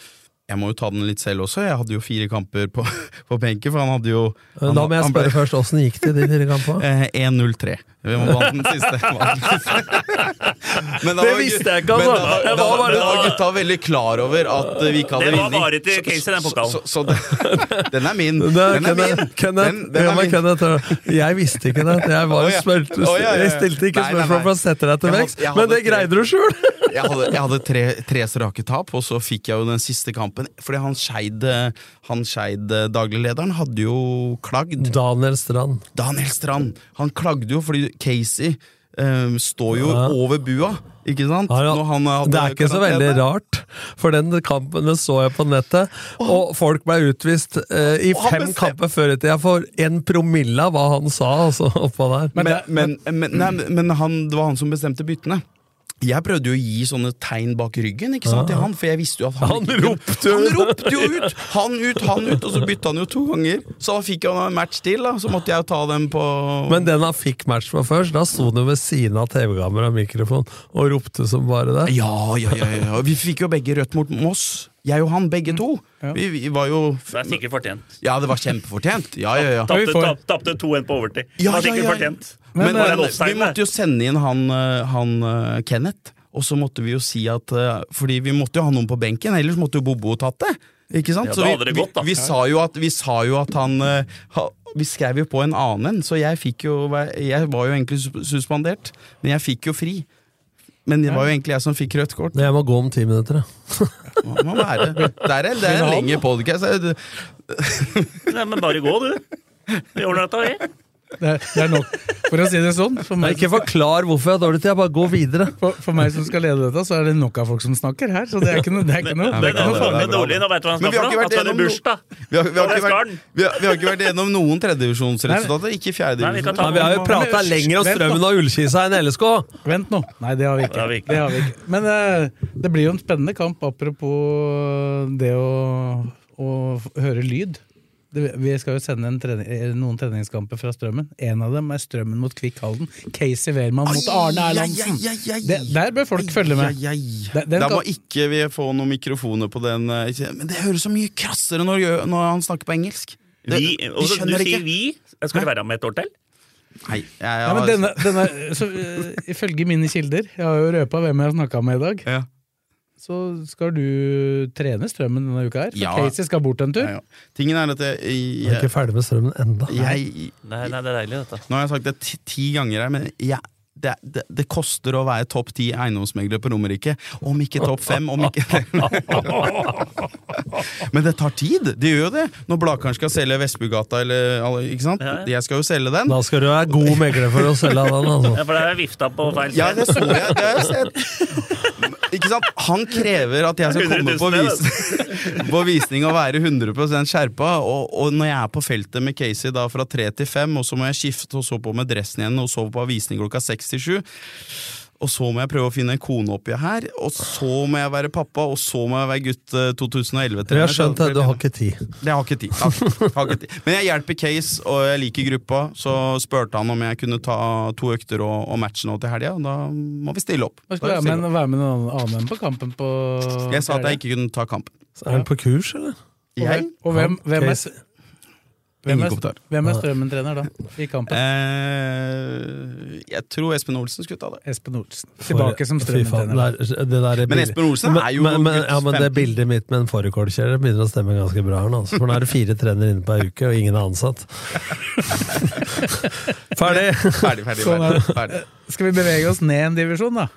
Speaker 5: Jeg må jo ta den litt selv også. Jeg hadde jo fire kamper på, på benken, for han hadde jo han,
Speaker 3: Da må jeg
Speaker 5: han ble-
Speaker 3: spørre først, åssen gikk det i de fire kampene?
Speaker 5: Eh, 1-0-3. Vi må vant den siste. Vant den siste. Men da
Speaker 4: Det
Speaker 5: var gu-
Speaker 4: visste jeg ikke, altså.
Speaker 5: Men da,
Speaker 4: Jeg
Speaker 5: da,
Speaker 4: var bare-
Speaker 5: da var gutta veldig klar over at eh, vi ikke hadde
Speaker 4: Det var
Speaker 5: vinning.
Speaker 4: bare til Casey, den pokalen.
Speaker 5: Så, så, så den, den er min.
Speaker 3: Det er
Speaker 5: Den er min.
Speaker 3: Kenneth, Kenneth,
Speaker 5: Den, den
Speaker 3: ja, men
Speaker 5: er min.
Speaker 3: Kenneth, hør. jeg visste ikke det. Jeg, var
Speaker 5: Å, ja.
Speaker 3: spør,
Speaker 5: Å, ja, ja, ja.
Speaker 3: jeg stilte ikke
Speaker 5: Nei, nei,
Speaker 3: spørsmål
Speaker 5: nei.
Speaker 3: for å sette deg til
Speaker 5: Jeg hadde-
Speaker 3: veks,
Speaker 5: jeg
Speaker 3: men
Speaker 5: hadde
Speaker 3: det
Speaker 5: tre-
Speaker 3: greide du sjøl!
Speaker 5: jeg hadde, jeg hadde tre, tre strake tap, og så fikk jeg jo den siste kampen. Fordi han Skeid, eh, han Skeid eh, dagliglederen, hadde jo klagd.
Speaker 3: Daniel Strand.
Speaker 5: Daniel Strand! Han klagde jo fordi Casey eh, står jo
Speaker 3: Ja.
Speaker 5: over bua, ikke sant?
Speaker 3: Ja, ja.
Speaker 5: Når han eh, hadde
Speaker 3: det er ikke så veldig
Speaker 5: karantene.
Speaker 3: rart, for den kampen den så jeg på nettet, og folk ble utvist eh, i
Speaker 5: Og han
Speaker 3: fem
Speaker 5: bestem-
Speaker 3: kamper før i tida for en promille av hva han sa altså, oppå der.
Speaker 5: Men, men, men, nei, men han, det var han som bestemte byttene. Jeg prøvde jo å gi sånne tegn bak ryggen ikke sant, til han, for jeg visste jo at han
Speaker 3: Ah. Han ropte jo.
Speaker 5: Han ropte jo ut! Han ut, han ut, og så bytta han jo to ganger. Så da fikk han en match til, da. Så måtte jeg jo ta dem på
Speaker 3: Men den han fikk match med først, da sto han jo ved siden av TV-kamera og mikrofon og ropte som bare det.
Speaker 5: Ja, ja, ja, ja. Og Vi fikk jo begge rødt mot Moss. Jeg og han, begge to.
Speaker 3: Mm,
Speaker 5: Vi, vi var jo
Speaker 4: Det er sikkert fortjent.
Speaker 5: Ja, det var kjempefortjent. Ja, ja, ja.
Speaker 2: vi
Speaker 4: Tapte
Speaker 2: får-
Speaker 4: tap- tapte 2-1 på overtid. Det
Speaker 5: Ja,
Speaker 4: var
Speaker 5: ja,
Speaker 4: sikkert
Speaker 5: ja.
Speaker 4: fortjent.
Speaker 5: Men,
Speaker 4: det var en
Speaker 5: men
Speaker 4: offside
Speaker 5: vi måtte jo sende inn han, eh, han eh, Kenneth, og så måtte vi jo si at eh, Fordi vi måtte jo ha noen på benken, ellers måtte jo Bobo tatt det. Ikke sant?
Speaker 4: Ja, da
Speaker 5: Så vi,
Speaker 4: hadde det
Speaker 5: vi,
Speaker 4: gått, da.
Speaker 5: vi, sa jo at, vi sa jo at han eh, ha- Vi skrev jo på en annen en, så jeg fikk jo væ- Jeg var jo egentlig sus- suspendert, men jeg fikk jo fri. Men det var jo egentlig jeg som fikk rødt kort.
Speaker 3: Jeg må gå om ti minutter, jeg.
Speaker 5: Det må være. Det er en, det er en lengre podkast.
Speaker 4: Nei, men bare gå, du. Vi ordner dette, vi.
Speaker 2: Det er, det er nok. For å si det sånn, for meg,
Speaker 3: Ikke forklar hvorfor jeg har dårlig tid, jeg bare går videre.
Speaker 2: for, for meg som skal lede dette, så er det nok av folk som snakker her. Så det er ikke noe, det er ikke noe.
Speaker 4: Det er
Speaker 5: bra,
Speaker 4: noe
Speaker 5: det er
Speaker 4: faglig
Speaker 5: bra,
Speaker 4: dårlig.
Speaker 5: det.
Speaker 4: Nå vet du hva han
Speaker 5: Men
Speaker 4: skal
Speaker 5: vi
Speaker 4: for
Speaker 5: har
Speaker 4: noe. Han
Speaker 5: ikke vært
Speaker 4: skal i
Speaker 5: gjennom
Speaker 4: bursdag.
Speaker 5: Vi har, vi, har
Speaker 4: Og
Speaker 5: ikke
Speaker 4: der skal
Speaker 5: vært,
Speaker 4: den.
Speaker 5: vi, har, vi har ikke vært gjennom noen tredjedivisjonsresultater, ikke
Speaker 4: Nei, vi kan
Speaker 5: fjerdedivisjon.
Speaker 4: ta
Speaker 3: Nei, vi har jo prata
Speaker 2: Men-
Speaker 3: lenger om
Speaker 2: Vent nå.
Speaker 3: strømmen og ullkisa enn LSK!
Speaker 2: Vent nå. Nei, det har vi
Speaker 4: Det har vi
Speaker 2: ikke.
Speaker 4: ikke.
Speaker 2: Det har vi ikke. Men eh, det blir jo eh, en spennende kamp, apropos det å, å høre lyd. Det, vi skal jo sende en trening, eh, noen treningskamper fra Strømmen. En av dem er Strømmen mot Kvikk Halden. Casey Wehrmann mot Arne Erlandsen!
Speaker 5: Ai, ai, ai, ai.
Speaker 2: Det, der bør folk følge med.
Speaker 5: Ai, ai, ai.
Speaker 2: Den- den
Speaker 5: Da må
Speaker 2: kan-
Speaker 5: ikke vi få noen mikrofoner på den. eh, ikke- Men det høres så mye krassere når, gjø- når han snakker på engelsk. Det,
Speaker 4: Vi, og så- du
Speaker 5: skjønner
Speaker 4: sier vi. Skal det være med et år til?
Speaker 5: Nei, jeg, jeg,
Speaker 2: Ja, men
Speaker 5: har-
Speaker 2: denne, denne, så, eh, ifølge mine kilder, jeg har jo røpa hvem jeg har snakka med i dag,
Speaker 5: ja.
Speaker 2: så skal du trene Strømmen denne uka her. For
Speaker 5: Ja.
Speaker 2: Casey skal bort en tur.
Speaker 5: Ja, ja. Tingen er at jeg,
Speaker 3: Jeg er
Speaker 5: jeg,
Speaker 3: ikke ferdig med strømmen enda.
Speaker 5: jeg
Speaker 4: Nei, nei, det er deilig, dette.
Speaker 5: Nå har jeg sagt det ti, ti ganger her, men jeg, det, det, det koster å være topp ti eiendomsmegler på Romerike. Om ikke topp fem, om ikke Men det tar tid! Det gjør jo det. Når Blakaren skal selge Vestbugata eller alle- Ikke sant?
Speaker 4: Ja, ja.
Speaker 5: Jeg skal jo selge den.
Speaker 3: Da skal du være god megler for å selge av den, altså.
Speaker 4: Ja, for det er vifta på feil
Speaker 5: Ja,
Speaker 4: sted.
Speaker 5: det så jeg. Det har jeg sett. Ikke sant? Han krever at jeg skal komme på,
Speaker 4: 100 000,
Speaker 5: vis på visning og være 100 skjerpa. Og, og når jeg er på feltet med Casey da fra tre til fem, og så må jeg skifte og så på med dressen igjen, og så på visning klokka seks til sju og så må jeg prøve å finne en kone oppi her, og så må jeg være pappa, og så må jeg være gutt eh, 2011.
Speaker 3: Jeg har skjønt det, du har ikke tid.
Speaker 5: Det har ikke tid. Har ikke- har ikke tid. Men jeg hjelper Case, og jeg liker gruppa. Så spurte han om jeg kunne ta to økter og, og matche nå til helga, og da må vi stille opp.
Speaker 2: Hva
Speaker 5: Da
Speaker 2: skal være
Speaker 5: stiller
Speaker 2: med,
Speaker 5: vi opp.
Speaker 2: være med noen annen på kampen på
Speaker 5: Jeg sa at jeg ikke kunne ta kampen.
Speaker 3: Er han på kurs, eller?
Speaker 5: Jeg?
Speaker 2: Og hvem, hvem, er,
Speaker 3: Casey.
Speaker 2: hvem,
Speaker 5: Ingen
Speaker 2: er,
Speaker 5: kommentar.
Speaker 2: hvem er Strømmen-trener da, i kampen?
Speaker 5: Eh, jeg tror Espen Olsen skulle ta det.
Speaker 2: Espen Olsen. Tilbake som
Speaker 3: Fy faen,
Speaker 2: Strømmen-trener.
Speaker 3: det er- det der er
Speaker 5: Men
Speaker 3: bildet-
Speaker 5: Espen Olsen
Speaker 3: Men-
Speaker 5: er jo
Speaker 3: men, men,
Speaker 5: gutt
Speaker 3: ja, men det
Speaker 5: 15.
Speaker 3: bildet mitt med en fårikålkjære begynner å stemme ganske bra her nå. altså. For nå er det fire trenere inne på ei uke, og ingen er ansatt. Ferdig!
Speaker 5: Ferdig, ferdig.
Speaker 2: Sånn er
Speaker 5: ferdig,
Speaker 2: det.
Speaker 5: ferdig.
Speaker 2: Skal vi bevege oss ned en divisjon, da?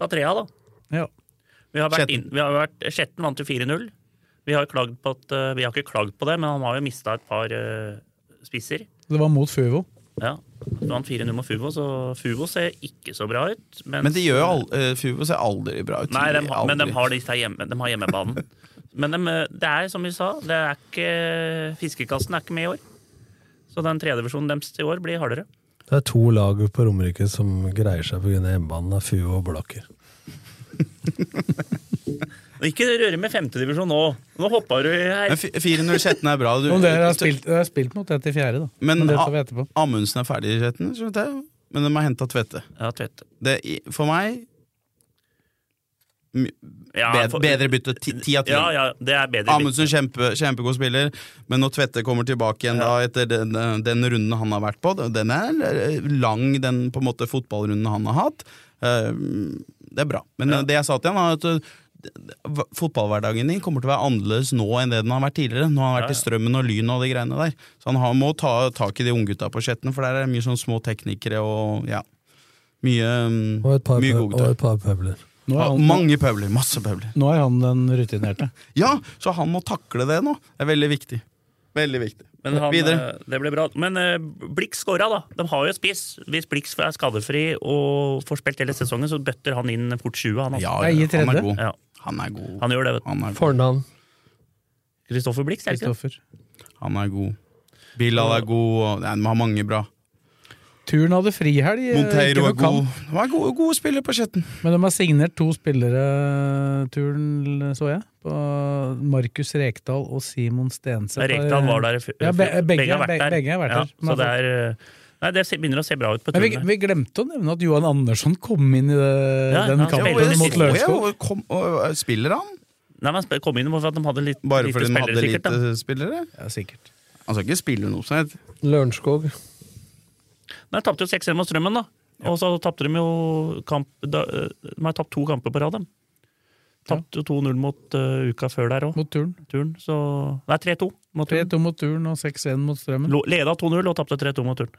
Speaker 4: Ta trea, da.
Speaker 2: Ja.
Speaker 4: Vi har vært
Speaker 5: Skjetten.
Speaker 4: inn, vi har vært, Skjetten vant jo 4-0. Vi har, klagd på at, eh, vi har ikke klagd på det, men han har jo mista et par eh, spisser.
Speaker 2: Det var mot Fuvo.
Speaker 4: Ja. Vi vant 4-0 mot Fubo, så Fubo ser ikke så bra ut. mens-
Speaker 5: Men det gjør jo aldri, Fubo ser aldri bra ut.
Speaker 4: Nei, de, har- men de
Speaker 5: Aldri.
Speaker 4: har, disse her hjemme, de har hjemmebanen. Men de, eh, det er som vi sa, det er ikke, fiskekassen er ikke med i år. Så den tredjevisjonen deres i år blir hardere.
Speaker 3: Det er to lag på Romerike som greier seg pga. hjemmebanen av Fuo og Blakker.
Speaker 4: Og Ikke røre med femtedivisjon nå! Nå hoppa du her.
Speaker 5: Men fi- 4-0 Skjetten er bra. Du,
Speaker 2: Om dere har spilt, dere har spilt mot det til fjerde, da. Men,
Speaker 5: Men
Speaker 2: det
Speaker 5: A-
Speaker 2: tar vi etterpå.
Speaker 5: Amundsen er ferdig i Skjetten, skjønte jeg. men de har henta Tvette.
Speaker 4: Ja, Tvedt.
Speaker 5: Det, i- for meg my-
Speaker 4: Ja,
Speaker 5: bed-
Speaker 4: for-
Speaker 5: Bedre bytte. ti- Ti av ti.
Speaker 4: Ja, ja, det er bedre.
Speaker 5: Amundsen kjempe, kjempegod spiller, men når Tvette kommer tilbake igjen da etter den, den runden han har vært på, den er eh, lang, den på en måte fotballrunden han har hatt. Eh, Det er bra. Men det jeg sa til han, er at eh, d- d- fotballhverdagen din kommer til å være annerledes nå enn det den har vært tidligere. Nå har han vært
Speaker 4: Ja, ja.
Speaker 5: i Strømmen og Lyn og de greiene der. Så han har, må ta tak i de unggutta på Skjetten, for der er det mye sånn små teknikere og ja. Mye, mm,
Speaker 3: Og et par,
Speaker 5: mye
Speaker 3: pøb- og
Speaker 5: gode gutter.
Speaker 3: et par pøbler.
Speaker 2: Nå er
Speaker 5: Ja,
Speaker 2: han,
Speaker 5: mange pøbler. Masse pøbler.
Speaker 2: nå er han den rutinerte.
Speaker 5: Ja, så han må takle det nå. Det er veldig viktig. Veldig viktig.
Speaker 4: Men han,
Speaker 5: Videre.
Speaker 4: eh, det ble bra. Men eh, Blix skåra, da. De har jo spiss. Hvis Blix er skadefri og får spilt hele sesongen, så bøtter han inn fort 20. Han, altså.
Speaker 5: Ja,
Speaker 2: Jeg gir
Speaker 5: ja, han
Speaker 2: tredje.
Speaker 5: er god.
Speaker 4: Ja,
Speaker 5: Han er god.
Speaker 4: han gjør det, vet du.
Speaker 5: Han er god.
Speaker 3: Fornavn.
Speaker 4: Kristoffer Blix, er det ikke det?
Speaker 2: Kristoffer.
Speaker 5: Han er god. Bilal er god. og- Nei, de har mange bra.
Speaker 2: Turen hadde frihelg. eh, ikke
Speaker 5: Monteiro
Speaker 2: noe
Speaker 5: er god.
Speaker 2: kamp,
Speaker 5: De er gode, gode spillere på Skjetten.
Speaker 2: Men de har signert to spillere, eh, Turen, så jeg. På Markus Rekdal og Simon Stenseth.
Speaker 4: Rekdal var der før.
Speaker 2: Ja, be- begge-
Speaker 4: har vært
Speaker 2: be-
Speaker 4: der.
Speaker 2: begge har vært
Speaker 4: Ja,
Speaker 2: der.
Speaker 4: så det er eh, Nei, det ser- begynner å se bra ut på
Speaker 2: Men vi,
Speaker 4: turen.
Speaker 2: vi glemte å nevne at Johan Andersson kom inn i det,
Speaker 4: Ja,
Speaker 2: den
Speaker 4: han
Speaker 2: kampen
Speaker 4: spilte
Speaker 2: mot
Speaker 4: litt.
Speaker 2: Lørenskog.
Speaker 5: Ja, kom- og- eh, Spiller han?
Speaker 4: Nei, men sp- kom inn for at de hadde litt,
Speaker 5: Bare
Speaker 4: lite
Speaker 5: fordi de hadde
Speaker 4: spillere, sikkert. Da.
Speaker 5: lite spillere?
Speaker 2: Ja, sikkert.
Speaker 5: Han skal ikke spille noe som helst.
Speaker 3: Lørenskog.
Speaker 4: Nei, de tapte jo 6-1 mot Strømmen, da. Og så tapte de jo kamp da, eh, De har tapt to kamper på rad, de. Tapte jo 2-0 mot eh, uka før der òg.
Speaker 2: Mot Turen.
Speaker 4: Turen, så Nei, 3-2 mot Turen.
Speaker 2: 3-2 mot Turen og 6-1 mot Strømmen.
Speaker 4: Lo- Leda 2-0 og tapte 3-2 mot Turn.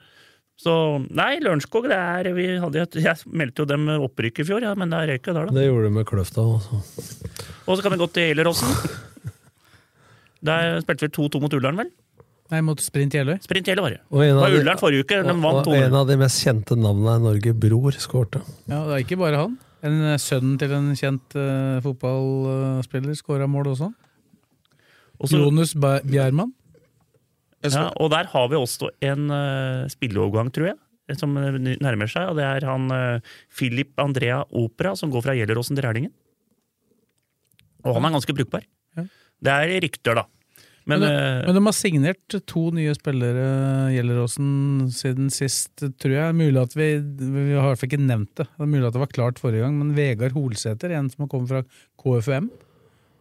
Speaker 4: Så nei, Lørenskog det er vi hadde, jo et- Jeg meldte jo dem opprykk i fjor, ja, men det røyk jo der, da.
Speaker 3: Det gjorde du med altså. Kløfta. Også.
Speaker 4: Og så kan vi gå til Gjelleråsen. Der spilte vi 2-2 mot Ullern, vel?
Speaker 2: Nei, mot Sprint Jeløy.
Speaker 4: Sprint Gjelle var det.
Speaker 3: Og
Speaker 4: Det
Speaker 3: en
Speaker 4: var
Speaker 3: av de,
Speaker 4: Ullern forrige uke, de vant
Speaker 3: og, og en
Speaker 4: 2-0.
Speaker 3: av de mest kjente navnene i Norge, Bror, skårte.
Speaker 2: Ja, det er ikke bare han. En eh, Sønnen til en kjent eh, fotballspiller skåra mål også.
Speaker 4: Og så-
Speaker 2: Jonas Ba- Bjerman.
Speaker 5: Jeg
Speaker 4: Ja,
Speaker 5: skal-
Speaker 4: og der har vi også en uh, spilleovergang, tror jeg. Som eh, nærmer seg, og det er han eh, Philip Andrea Opera som går fra Gjelleråsen til Rælingen. Og han er ganske brukbar.
Speaker 2: Ja.
Speaker 4: Det er rykter, da. Men,
Speaker 2: Men,
Speaker 4: eh,
Speaker 2: men de har signert to nye spillere, Gjelleråsen, siden sist, tror jeg. Mulig at vi, vi har i hvert fall ikke nevnt det. Det er mulig at det var klart forrige gang, men Vegard Holsæter, en som har kommet fra KFUM.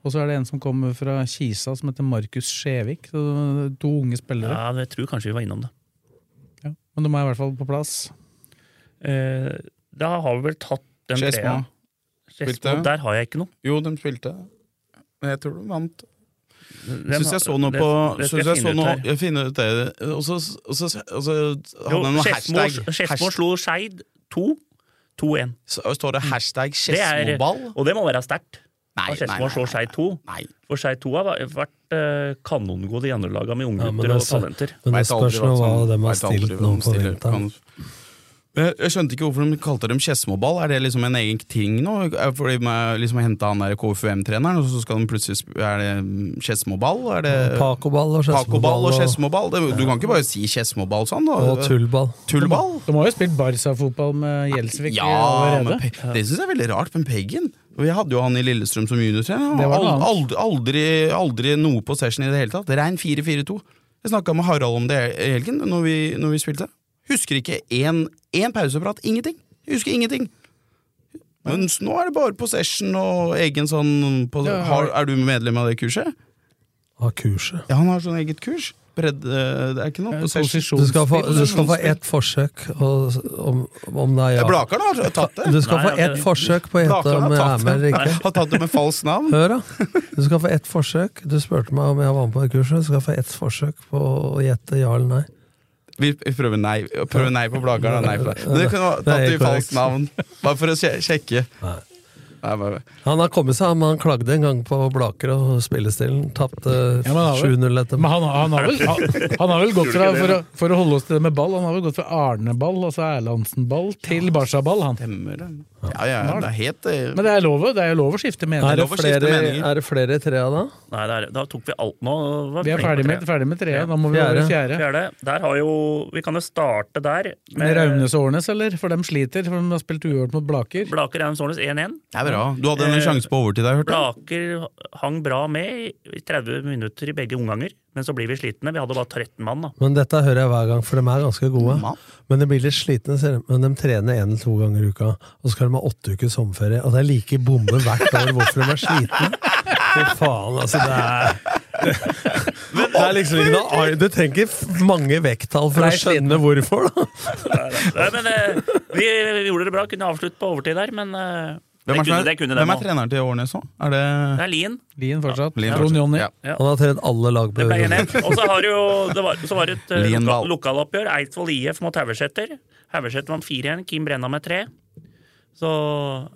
Speaker 2: Og så er det en som kommer fra Kisa, som heter Markus Skjevik. Så det er To unge spillere.
Speaker 4: ja, jeg tror kanskje vi var innom det.
Speaker 2: Ja. Men de er i hvert fall på plass.
Speaker 4: Eh, da har vi vel tatt den
Speaker 5: Skedsmo.
Speaker 4: treeren. Skedsmo,
Speaker 5: Spilte.
Speaker 4: der har jeg ikke noe.
Speaker 5: Jo, de spilte. Men jeg tror de vant.
Speaker 4: Den
Speaker 5: Syns
Speaker 4: har-
Speaker 5: jeg så noe
Speaker 4: det-
Speaker 5: på
Speaker 4: det skal
Speaker 5: synes jeg så
Speaker 4: finne ut
Speaker 5: noe,
Speaker 4: her.
Speaker 5: Jeg finner ut det. Og så og så- og så
Speaker 4: Jo,
Speaker 5: hadde de noe
Speaker 4: Skedsmo-
Speaker 5: hashtag.
Speaker 4: Skedsmo
Speaker 5: hashtag
Speaker 4: slo Skeid 2. 2-1.
Speaker 5: så står det hashtag
Speaker 4: Mm. Det er-
Speaker 5: Skedsmoball?
Speaker 4: Og det må være sterkt.
Speaker 5: Nei,
Speaker 4: At Skedsmo slår Skeid 2.
Speaker 5: nei.
Speaker 4: For Skeid 2 har vært eh, kanongode i andre laga med
Speaker 3: Ja, men
Speaker 4: unggutter
Speaker 3: det
Speaker 4: og
Speaker 3: er så-
Speaker 4: talenter.
Speaker 3: Men det
Speaker 5: Vet aldri
Speaker 3: spørs nå hva
Speaker 5: som-
Speaker 3: de har
Speaker 5: vet aldri
Speaker 3: stilt
Speaker 5: hva
Speaker 3: nå
Speaker 5: de
Speaker 3: på
Speaker 5: stiller.
Speaker 3: vinteren.
Speaker 5: Kan- Jeg jeg skjønte ikke hvorfor de kalte dem Skedsmoball. Er det liksom en egen ting nå? Er- Fordi de har liksom henta han der KFUM-treneren, og så skal de plutselig sp- Er det Skedsmoball? Er det
Speaker 3: Pacoball og
Speaker 5: Pacoball
Speaker 3: Skedsmoball
Speaker 5: og
Speaker 3: og,
Speaker 5: Skedsmoball? Det- Du kan ikke bare si Skedsmoball sånn, da.
Speaker 3: og tullball.
Speaker 5: Tullball?
Speaker 2: De har jo spilt Barca-fotball med Gjelsvik eh,
Speaker 5: Ja, men
Speaker 2: allerede.
Speaker 5: Pe det syns jeg er veldig rart, men Peggen Vi hadde jo han i Lillestrøm som juniortrener.
Speaker 2: Det
Speaker 5: Han
Speaker 2: var noe
Speaker 5: Ald
Speaker 2: annet.
Speaker 5: aldri, aldri, aldri noe på session i det hele tatt. Rein 4-4-2. Jeg snakka med Harald om det i helgen når vi, når vi spilte. Husker ikke én én pauseprat. Ingenting. Jeg Husker ingenting. Men s- nå er det bare possession og egen sånn på,
Speaker 2: Ja, ja.
Speaker 5: har, Er du medlem av det kurset?
Speaker 3: Av kurset.
Speaker 5: Ja, han har sånn eget kurs. Bredde, det er ikke noe
Speaker 2: Ja, posisjonsspill.
Speaker 5: possession.
Speaker 3: Du skal få, du skal få ett forsøk, og, om, om det er ja.
Speaker 5: Blakeren har tatt det.
Speaker 3: Du skal
Speaker 4: Nei,
Speaker 3: få
Speaker 4: jeg har
Speaker 3: ett
Speaker 4: ikke-
Speaker 3: forsøk på å gjette
Speaker 5: Blakeren
Speaker 3: om jeg
Speaker 5: har
Speaker 3: er med
Speaker 5: tatt
Speaker 3: eller
Speaker 5: det.
Speaker 3: ikke.
Speaker 5: Har tatt det med falskt navn.
Speaker 3: Hør, da. Du skal få ett forsøk. Du spurte meg om jeg var med på det kurset. Du skal få ett forsøk på å gjette ja eller nei.
Speaker 5: Vi vi prøver nei, prøver nei på Blakaren og nei på deg. Men det kunne vært
Speaker 3: Det er
Speaker 5: tatt i
Speaker 3: korrekt.
Speaker 5: falskt navn, bare for å sje- sjekke.
Speaker 3: Nei.
Speaker 5: Nei, bare.
Speaker 3: Han har kommet seg, men han klagde en gang på Blaker og spillestilen. Tapte
Speaker 2: Ja, men han har vel-
Speaker 3: 7-0 etter
Speaker 2: Men han, han, har vel, han, han har vel gått fra, for å, for å holde oss til det med ball, han har vel gått fra Arneball, altså Erlandsen-ball, til Barca-ball, han.
Speaker 5: Stemmer det. Ja, ja, ja, det er helt eh,
Speaker 2: Men det er lov, det er lov å skifte
Speaker 3: Er
Speaker 2: mening.
Speaker 3: det,
Speaker 5: lov å skifte
Speaker 3: flere,
Speaker 5: meninger.
Speaker 3: er det flere i trea da?
Speaker 4: Nei, der, da tok vi alt nå. Var
Speaker 2: Vi er
Speaker 4: flinke på
Speaker 2: ferdig med,
Speaker 4: tre.
Speaker 2: ferdig med trea, da må vi være fjerde.
Speaker 4: Fjerde. Der har jo Vi kan jo starte der.
Speaker 2: Med Raunes og Årnes, eller? For de sliter, for de har spilt uavgjort mot Blaker.
Speaker 4: Blaker Eivind Sårnes 1-1.
Speaker 5: Det er bra. Du hadde
Speaker 4: Eh,
Speaker 5: en sjanse på overtid der, hørte jeg.
Speaker 4: Blaker hang bra med i 30 minutter i begge omganger, men så blir vi slitne. Vi hadde bare 13 mann, da.
Speaker 3: Men dette hører jeg hver gang, for de er ganske gode.
Speaker 5: Mann.
Speaker 3: Men de blir litt slitne, ser de. men de trener én eller to ganger i uka. Og så skal de ha åtte ukers sommerferie, og det er like bombe hvert år hvorfor de er slitne. Fy faen, altså. Det er, det er liksom ikke noe ar- Du trenger f- mange vekttall for å skjønne hvorfor, da.
Speaker 4: Nei, men eh, vi, vi gjorde det bra. Kunne avslutte på overtid der, men eh, det,
Speaker 5: Hvem er,
Speaker 4: kunne,
Speaker 5: som
Speaker 4: det
Speaker 5: er,
Speaker 4: kunne
Speaker 5: hvem
Speaker 4: dem
Speaker 5: er
Speaker 4: òg.
Speaker 5: treneren til Årnes nå? Er det
Speaker 4: Det er Lien.
Speaker 2: Lien fortsatt.
Speaker 5: Lien
Speaker 2: Trond
Speaker 5: fortsatt.
Speaker 2: Jonny.
Speaker 5: Ja.
Speaker 3: Han har trent alle lag på
Speaker 4: Det ble
Speaker 3: Eurovision.
Speaker 4: 1-1. Og så har jo, det var, så var det et eh,
Speaker 5: Lien
Speaker 4: loka,
Speaker 5: Dahl.
Speaker 4: lokaloppgjør. Eidsvoll IF mot Haugeseter. Haugeseter vant 4-1, Kim Brenna med 3. Så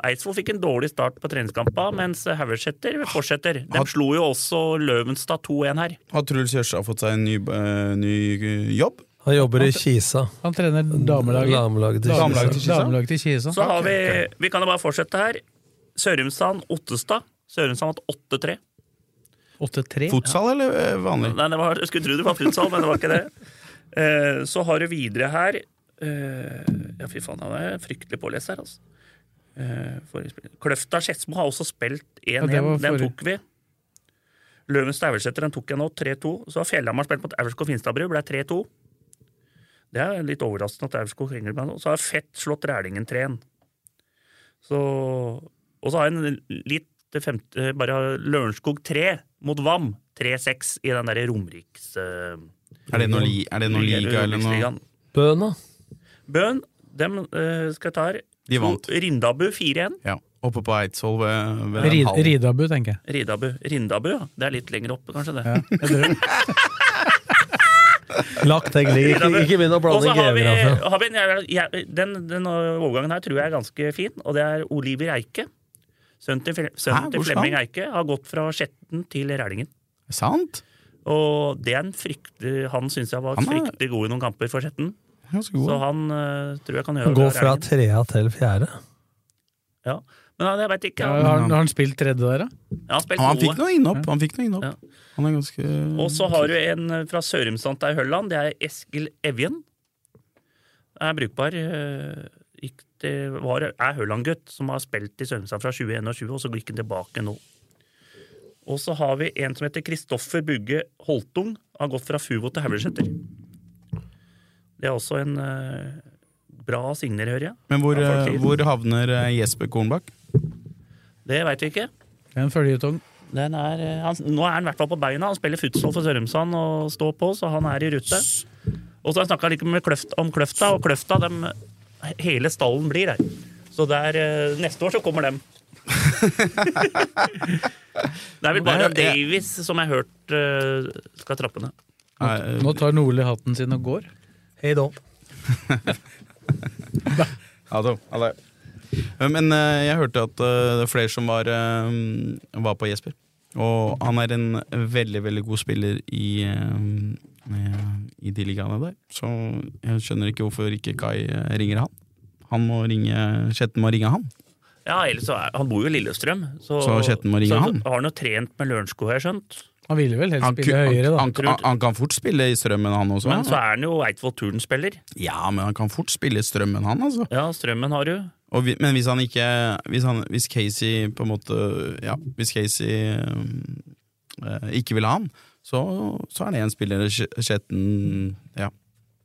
Speaker 4: Eidsvoll fikk en dårlig start på treningskampa, mens Haugeseter fortsetter. De
Speaker 5: Had-
Speaker 4: slo jo også Løvenstad 2-1 her.
Speaker 5: Har Truls Jørstad fått seg en ny, eh, ny eh, jobb?
Speaker 3: Han jobber i Kisa.
Speaker 2: Han trener
Speaker 3: Mm.
Speaker 2: damelaget.
Speaker 3: Damelaget til
Speaker 5: Damelaget
Speaker 3: Kisa.
Speaker 5: til Kisa.
Speaker 2: Damelaget til Kisa.
Speaker 4: Så har vi Vi kan jo bare fortsette her. Sørumsand-Ottestad. Sørumsand vant 8-3.
Speaker 2: 8-3.
Speaker 5: Fotsal eller eh, vanlig?
Speaker 4: Nei, det var, jeg skulle tro det var futsal, men det var ikke det. Eh, så har du videre her eh, Ja, fy faen, han er fryktelig pålest her, altså. Eh, forrige spill. Kløfta Skedsmo har også spilt 1-1.
Speaker 2: det var
Speaker 4: den
Speaker 2: forrige.
Speaker 4: tok vi. Løvenstad Aursæter, den tok jeg nå, 3-2. Så har Fjellhamar spilt mot Aurskog Finstadbru, ble 3-2. Det er litt overraskende at Aurskog ringer meg nå. Så har Fett slått Rælingen 3-1. Så Og så har jeg en litt femte, bare Lørenskog 3 mot Vam. 3-6 i den derre Romeriks... eh,
Speaker 5: Er det noe, li, er det noe liga eller noe?
Speaker 4: Romeriksligaen.
Speaker 3: Bøna.
Speaker 4: Bøen, dem eh, skal jeg ta her.
Speaker 5: De vant.
Speaker 4: Rindabu 4-1.
Speaker 5: Ja. Oppe på Eidsvoll ved, ved den
Speaker 2: Rid,
Speaker 5: hallen.
Speaker 2: Ridabu, tenker jeg.
Speaker 4: Ridabu. Rindabu, ja. Det er litt lenger oppe, kanskje, det.
Speaker 3: Lagt den ligge. Ikke, ikke begynn å
Speaker 4: Og så
Speaker 3: blande altså.
Speaker 4: har vi,
Speaker 3: geografi.
Speaker 5: altså.
Speaker 4: har vi en, jævla- jæ- den, den overgangen her tror jeg er ganske fin, og det er Oliver Eike. Sønnen til, Fle- sønnen
Speaker 5: Hæ,
Speaker 4: til
Speaker 5: hvor skal
Speaker 4: Flemming
Speaker 5: han?
Speaker 4: Eike har gått fra Skjetten til Rælingen.
Speaker 5: Sant?
Speaker 4: Og det er en fryktelig, han syns jeg var
Speaker 5: Han er-
Speaker 4: fryktelig god i noen kamper for Skjetten.
Speaker 5: Ganske
Speaker 4: Så
Speaker 5: god.
Speaker 4: han eh, tror jeg kan gjøre
Speaker 3: Han går fra
Speaker 4: Rælingen.
Speaker 3: trea til fjerde.
Speaker 4: Ja. Men han- jeg veit ikke.
Speaker 2: Ja,
Speaker 4: Han,
Speaker 2: har, han- har han spilt tredje der, da?
Speaker 4: han har spilt
Speaker 5: Og han fikk
Speaker 4: gode.
Speaker 5: noe innopp. Han fikk noe
Speaker 4: Ja.
Speaker 5: innopp. Han er ganske
Speaker 4: Og
Speaker 5: Mm,
Speaker 4: så har du en eh, fra Sørumsand til Hølland. Det er Eskil Evjen. Er brukbar. eh, Gikk til, var, er Hølland-gutt som har spilt i Sørumsand fra 2021, og så gikk han tilbake nå. Og så har vi en som heter Kristoffer Bugge Holtung. Har gått fra Fuvo til Haugleseter. Det er også en eh, bra signer, hører jeg.
Speaker 5: Men hvor,
Speaker 4: Ja,
Speaker 5: eh,
Speaker 4: faktisk.
Speaker 5: hvor havner eh, Jesper Kornbakk?
Speaker 4: Det veit vi ikke.
Speaker 2: Det er en føljetong.
Speaker 4: Den er, eh, han, nå er han i hvert fall på beina. Han spiller futsal for Sørumsand og står på, så han er i rute. Og så har jeg snakka litt med kløft, om Kløfta, og Kløfta dem, Hele stallen blir her. Så det er, eh, neste år så kommer dem. det er vel bare
Speaker 5: Det- det-
Speaker 4: Davies som jeg har hørt eh, skal trappe ned.
Speaker 5: Eh,
Speaker 2: Nå tar Nordli hatten sin og går. Hei da.
Speaker 5: Ja, da. Ja, da. Eh, Men eh, jeg hørte at eh, det er flere som var, eh, var på Jesper. Og han er en veldig, veldig god spiller i, eh, eh, i de ligaene der. Så jeg skjønner ikke hvorfor ikke Kai eh, ringer han. Han må ringe, Kjetten må ringe han.
Speaker 4: Ja, ellers så er, Han bor jo i Lillestrøm, så,
Speaker 5: Så Kjetten må ringe
Speaker 4: så
Speaker 5: han.
Speaker 4: har han jo trent med Lørenskog, har jeg skjønt.
Speaker 2: Han ville vel helst
Speaker 5: Han, ku-
Speaker 2: spille høyere, da.
Speaker 5: han, han, han kan fort spille i Strømmen, han også.
Speaker 4: Men så er han jo Eidsvoll Turn-spiller.
Speaker 5: Ja, men han kan fort spille i Strømmen, han, altså.
Speaker 4: Ja, Strømmen har du.
Speaker 5: Og vi, men hvis han ikke hvis, han, hvis Casey på en måte Ja, hvis Casey øhm, eh, ikke vil ha han, så, så er det en spiller Sk- Skjetten ja,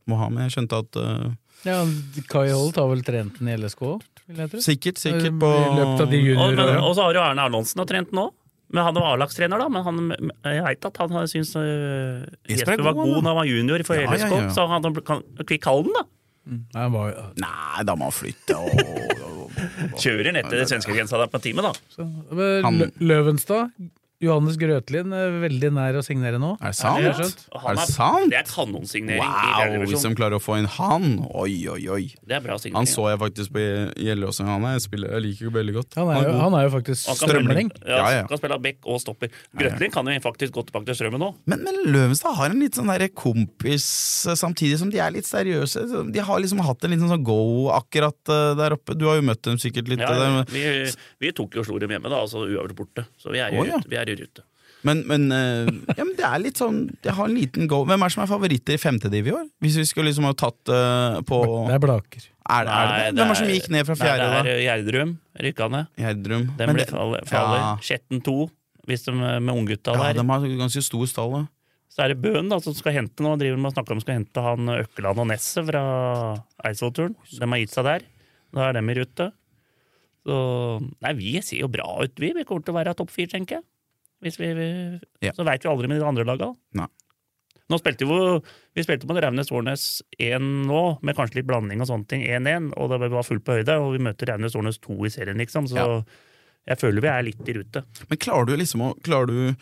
Speaker 5: må ha med. Jeg skjønte at øh,
Speaker 2: Ja, Kai Holt har vel trent den i LSK, vil jeg tro.
Speaker 5: Sikkert, sikkert på
Speaker 2: I løpet av de
Speaker 4: Og, men,
Speaker 2: junioråra.
Speaker 4: og så har du Arne Arnonsen har trent nå. Men han var A-lagstrener, da. Men han, jeg veit at han har syntes øh,
Speaker 5: Jesper er
Speaker 4: Jesper var
Speaker 5: god,
Speaker 4: god
Speaker 5: han, da.
Speaker 4: da han var junior for
Speaker 5: Ja, ja,
Speaker 4: LSK,
Speaker 5: ja, ja.
Speaker 4: så han han kan kvikk halden, da.
Speaker 2: Nei, han var jo-
Speaker 5: Nei, da må han flytte. Og,
Speaker 4: Kjører ned til svenskegrensa der på en time, da.
Speaker 2: så- Men
Speaker 5: Han-
Speaker 2: Lø- Løvenstad, Johannes Grøtlin, er veldig nær å signere nå.
Speaker 5: er det sant?
Speaker 2: Ja, det er sånn- skjønt.
Speaker 4: Og
Speaker 5: Er
Speaker 4: han
Speaker 5: det sant?
Speaker 4: Det er kanonsignering. i fjerde
Speaker 5: Wow, hvis
Speaker 4: divisjon.
Speaker 5: de klarer å få inn han! Oi, oi, oi.
Speaker 4: Det er bra
Speaker 5: Han
Speaker 4: signering.
Speaker 5: så jeg faktisk på Gjelleråsen. Han er en spiller jeg liker veldig godt.
Speaker 2: Han er jo,
Speaker 5: god.
Speaker 2: han er jo faktisk
Speaker 4: Han kan
Speaker 2: strømling.
Speaker 4: spille- Ja,
Speaker 5: Ja, ja.
Speaker 4: Kan spille av bekk og stopper. Grøtling kan jo faktisk gå tilbake til strømmen nå.
Speaker 5: Men, men Løvenstad har en litt sånn der kompis, eh, samtidig som de er litt seriøse. De har liksom hatt en liten sånn go akkurat eh, der oppe. Du har jo møtt dem sikkert litt.
Speaker 4: Ja,
Speaker 5: eh,
Speaker 4: ja.
Speaker 5: der,
Speaker 4: vi, vi tok jo og slo dem hjemme, da, altså uavgjort borte. Så vi er i
Speaker 5: Å, ja.
Speaker 4: rute. Vi er i rute.
Speaker 5: Men, men, eh, ja, men det er litt sånn De har en liten go. Hvem er det som er favoritter i femtediv i år? Hvis vi skulle liksom ha tatt eh, på
Speaker 2: Det er Blaker.
Speaker 5: er det, er det,
Speaker 4: Nei,
Speaker 5: Hvem er det som gikk ned fra fjerde,
Speaker 4: Nei,
Speaker 5: da?
Speaker 4: Det er Gjerdrum rykka ned.
Speaker 5: Gjerdrum.
Speaker 4: Den
Speaker 5: Men
Speaker 4: ble
Speaker 5: det-
Speaker 4: faller.
Speaker 5: Ja.
Speaker 4: Skjetten 2, hvis de eh, med unggutta
Speaker 5: Ja,
Speaker 4: der.
Speaker 5: de har ganske stor stall, da.
Speaker 4: Så er det Bøen da, som skal hente nå, driver med å snakke om skal hente han Økkeland og Nesset fra Eidsvollturen. De har gitt seg der. Da er dem i rute. Så Nei, vi ser jo bra ut, vi. Vi kommer til å være topp fire, tenker jeg. Hvis vi, vi,
Speaker 5: Ja.
Speaker 4: Så veit vi aldri med de andre laga.
Speaker 5: Nei.
Speaker 4: Nå spilte vi, jo- vi spilte mot Raunes Årnes 1 nå, med kanskje litt blanding og sånne ting. 1-1, og det var fullt på høyde. Og vi møter Raunes Årnes 2 i serien, liksom. Så jeg føler vi er litt i rute.
Speaker 5: Men klarer du liksom å klarer du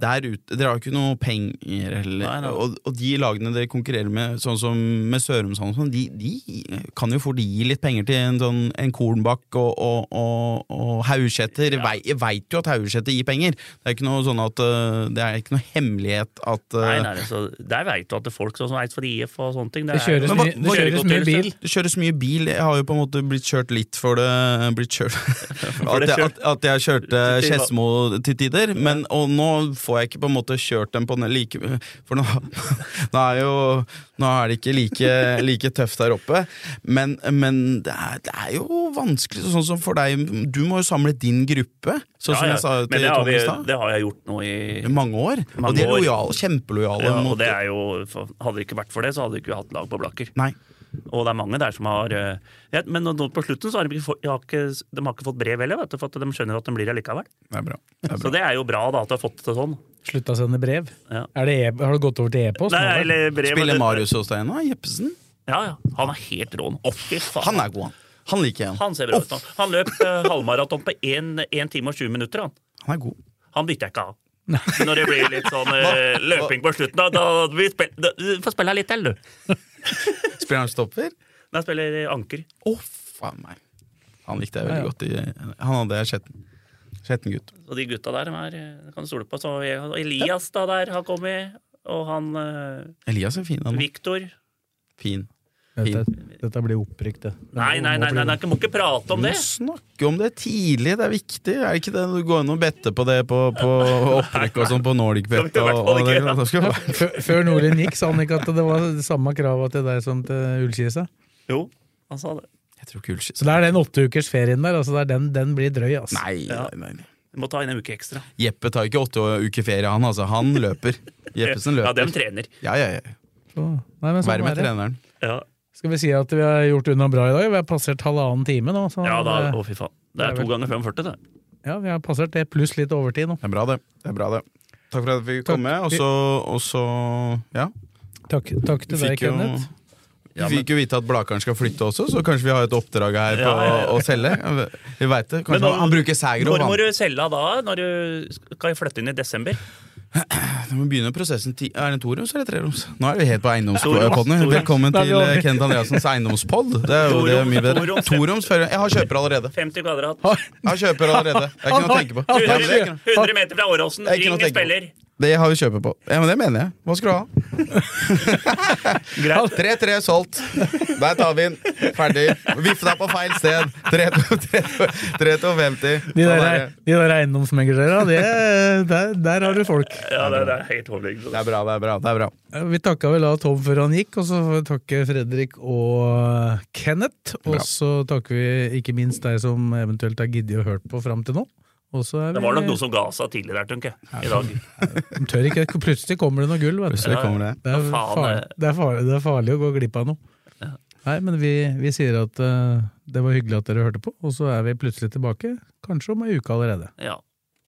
Speaker 5: der ute, Dere har jo ikke noe penger heller.
Speaker 4: Nei, nei.
Speaker 5: Og, og de lagene dere konkurrerer med, sånn som med Sørumsand, og sånn, de, de kan jo fort gi litt penger til en, sånn, en Kornbakk og, og, og, og Haugsæter. Vei- Jeg veit jo at Haugsæter gir penger. Det er ikke noe sånn at øh, Det er ikke noe hemmelighet at øh,
Speaker 4: Nei, nei, altså, Der veit du at det er folk som eier for IF og sånne ting.
Speaker 2: Det kjøres,
Speaker 5: Men
Speaker 2: mye,
Speaker 5: hva-
Speaker 2: det
Speaker 5: hva-
Speaker 2: kjøres mye bil.
Speaker 5: Det kjøres mye bil. Jeg har jo på en måte blitt kjørt litt for det blitt kjørt. At,
Speaker 4: det
Speaker 5: jeg,
Speaker 4: kjørt.
Speaker 5: at, at jeg kjørte
Speaker 4: Til- til-
Speaker 5: Skedsmo til tider. Men, og nå får jeg ikke på en måte kjørt dem på den like For nå, nå er jo Nå er det ikke like, like tøft der oppe. Men, men det, er, det er jo vanskelig, sånn som for deg. Du må jo samle din gruppe, sånn som jeg sa
Speaker 4: Men
Speaker 5: til
Speaker 4: det har,
Speaker 5: Tom
Speaker 4: vi,
Speaker 5: i stad.
Speaker 4: det har jeg gjort nå i
Speaker 5: I Mange år.
Speaker 4: Mange
Speaker 5: og de er
Speaker 4: år.
Speaker 5: lojale, kjempelojale.
Speaker 4: ja, og
Speaker 5: mot-
Speaker 4: det er jo, for Hadde det ikke vært for det, så hadde vi ikke hatt lag på Blaker.
Speaker 5: Nei.
Speaker 4: Og det er mange der som har eh, ja, Men nå på slutten så har de ikke, fått- de har ikke, de har ikke fått brev heller, vet du, for at de skjønner at de blir her likevel.
Speaker 5: Det er bra. Det er
Speaker 4: Så
Speaker 5: bra.
Speaker 4: det er jo bra da at de har fått det sånn.
Speaker 2: Slutta å sende brev.
Speaker 4: Ja.
Speaker 2: Er det e har du gått over til e-post?
Speaker 4: Nei,
Speaker 2: nå, vel?
Speaker 4: eller brev,
Speaker 5: Spiller
Speaker 4: eller-
Speaker 5: Marius hos deg nå? Jeppesen?
Speaker 4: Ja, ja. Han er helt rå nå. Å, fy faen.
Speaker 5: Han er god, han. Han liker jeg.
Speaker 4: Han ser bra ut nå. Han løp eh, halvmaraton på 1 time og 20 minutter, han.
Speaker 5: Han er god.
Speaker 4: Han bytter jeg ikke av. Når det blir litt sånn eh, løping på slutten, da, da, vi spil, da Du får spille litt til, du.
Speaker 5: Spiller han stopper?
Speaker 4: Når jeg spiller anker.
Speaker 5: Å, faen meg. Han likte jeg veldig godt. I, han hadde skjetten. Skjetten gutt.
Speaker 4: Og de gutta der de er, eh, kan du stole på. Så og Elias da der har kommet, og han eh,
Speaker 5: Elias er fin, han.
Speaker 4: Viktor.
Speaker 5: Fin.
Speaker 2: Dette, dette blir opprykk, det.
Speaker 4: Nei, nei, nei, nei, nei, du må ikke prate om
Speaker 5: Du
Speaker 4: det!
Speaker 5: må snakke om det tidlig, det er viktig. Er det ikke det du går inn og better på det på, på opprykk og sånn på Nordic Bet?
Speaker 4: Skal vi i hvert
Speaker 5: Og,
Speaker 4: fall
Speaker 5: og det,
Speaker 4: ikke, ja.
Speaker 5: da skal vi
Speaker 2: Før-
Speaker 5: bare-
Speaker 2: Før Nordlien gikk, sa han ikke at det var samme krava til deg som til Ullkisa.
Speaker 4: Jo, han sa det.
Speaker 5: jeg tror ikke Ullskis
Speaker 2: Så det er den åtteukers ferien der, altså det er den, den blir drøy, altså.
Speaker 5: Nei, nei, nei.
Speaker 4: Vi må ta inn en uke ekstra.
Speaker 5: Jeppe tar ikke åtte uker ferie, han altså. Han løper. Jeppesen løper.
Speaker 4: Ja, dem trener.
Speaker 5: Ja, ja, ja.
Speaker 2: Så, nei, men sånn
Speaker 5: Vær med
Speaker 2: er det.
Speaker 5: treneren.
Speaker 4: Ja,
Speaker 2: Skal vi si at vi har gjort unna bra i dag? Vi har passert halvannen time nå. Så,
Speaker 4: ja da, å fy faen. Det
Speaker 2: det
Speaker 4: er
Speaker 2: er
Speaker 4: to ganger 45, det.
Speaker 2: ja, vi har passert det, pluss litt overtid nå.
Speaker 5: Det er bra, det. det, er bra, det. Takk for at vi fikk
Speaker 2: Takk.
Speaker 5: komme. Og så, og så ja.
Speaker 2: Takk, takk til
Speaker 5: Vi
Speaker 2: deg,
Speaker 5: fikk jo-
Speaker 2: Kenneth.
Speaker 5: Vi fikk jo vite at Blakeren skal flytte også, så kanskje vi har et oppdrag her på
Speaker 4: Ja, ja, ja.
Speaker 5: å selge. Vi vet det.
Speaker 4: Men
Speaker 5: Kanskje
Speaker 4: da-
Speaker 5: han, han bruker
Speaker 4: Når
Speaker 5: Sægrov.
Speaker 4: må
Speaker 5: Han.
Speaker 4: du selge av da? Når du skal flytte inn i desember?
Speaker 5: Da må vi begynne prosessen ti Er det toroms eller treroms? Nå er vi helt på
Speaker 4: Toroms,
Speaker 5: eiendomspodden.
Speaker 4: toroms.
Speaker 5: Velkommen
Speaker 2: Da er vi
Speaker 5: til
Speaker 2: over.
Speaker 5: eh, Kenneth Andreassens eiendomspodd. Det er jo det er mye bedre.
Speaker 4: Toroms.
Speaker 5: Toroms før Jeg har kjøper allerede.
Speaker 4: 50 kvadrat.
Speaker 5: Jeg har kjøper allerede. Det er ikke noe å tenke på. Ja, men det er ikke
Speaker 4: 100,
Speaker 5: noe-
Speaker 4: 100 meter fra Åråsen,
Speaker 5: Det er ikke noe
Speaker 4: ring
Speaker 5: å tenke på.
Speaker 4: spiller.
Speaker 5: Det har vi kjøper på. Ja, men det mener jeg. Hva skal du ha?
Speaker 4: Greit.
Speaker 5: 3-3 solgt. Der tar vi den. Ferdig. Vifta på feil sted. 3-2-50.
Speaker 2: De der, de der eiendomsmeglere, det, der, der har du folk.
Speaker 4: Ja, det, det er helt overliggende.
Speaker 5: Det er bra, det er bra. det er bra
Speaker 2: Vi takka vel av Tom før han gikk, og så får vi takke Fredrik og Kenneth. Og
Speaker 5: Bra.
Speaker 2: så takker vi ikke minst deg som eventuelt har giddet å hørt på fram til nå. Og så er
Speaker 4: Det var nok noen som ga seg tidligere, tenker jeg. I dag.
Speaker 2: De tør ikke. Plutselig kommer det noe gull, vet du.
Speaker 5: Plutselig kommer det.
Speaker 2: Det er,
Speaker 4: Ja, faen,
Speaker 2: farlig, det, er farlig, det er farlig å gå glipp av noe. Nei, men vi, vi sier at eh, det var hyggelig at dere hørte på, og så er vi plutselig tilbake, kanskje om ei uke allerede.
Speaker 4: Ja.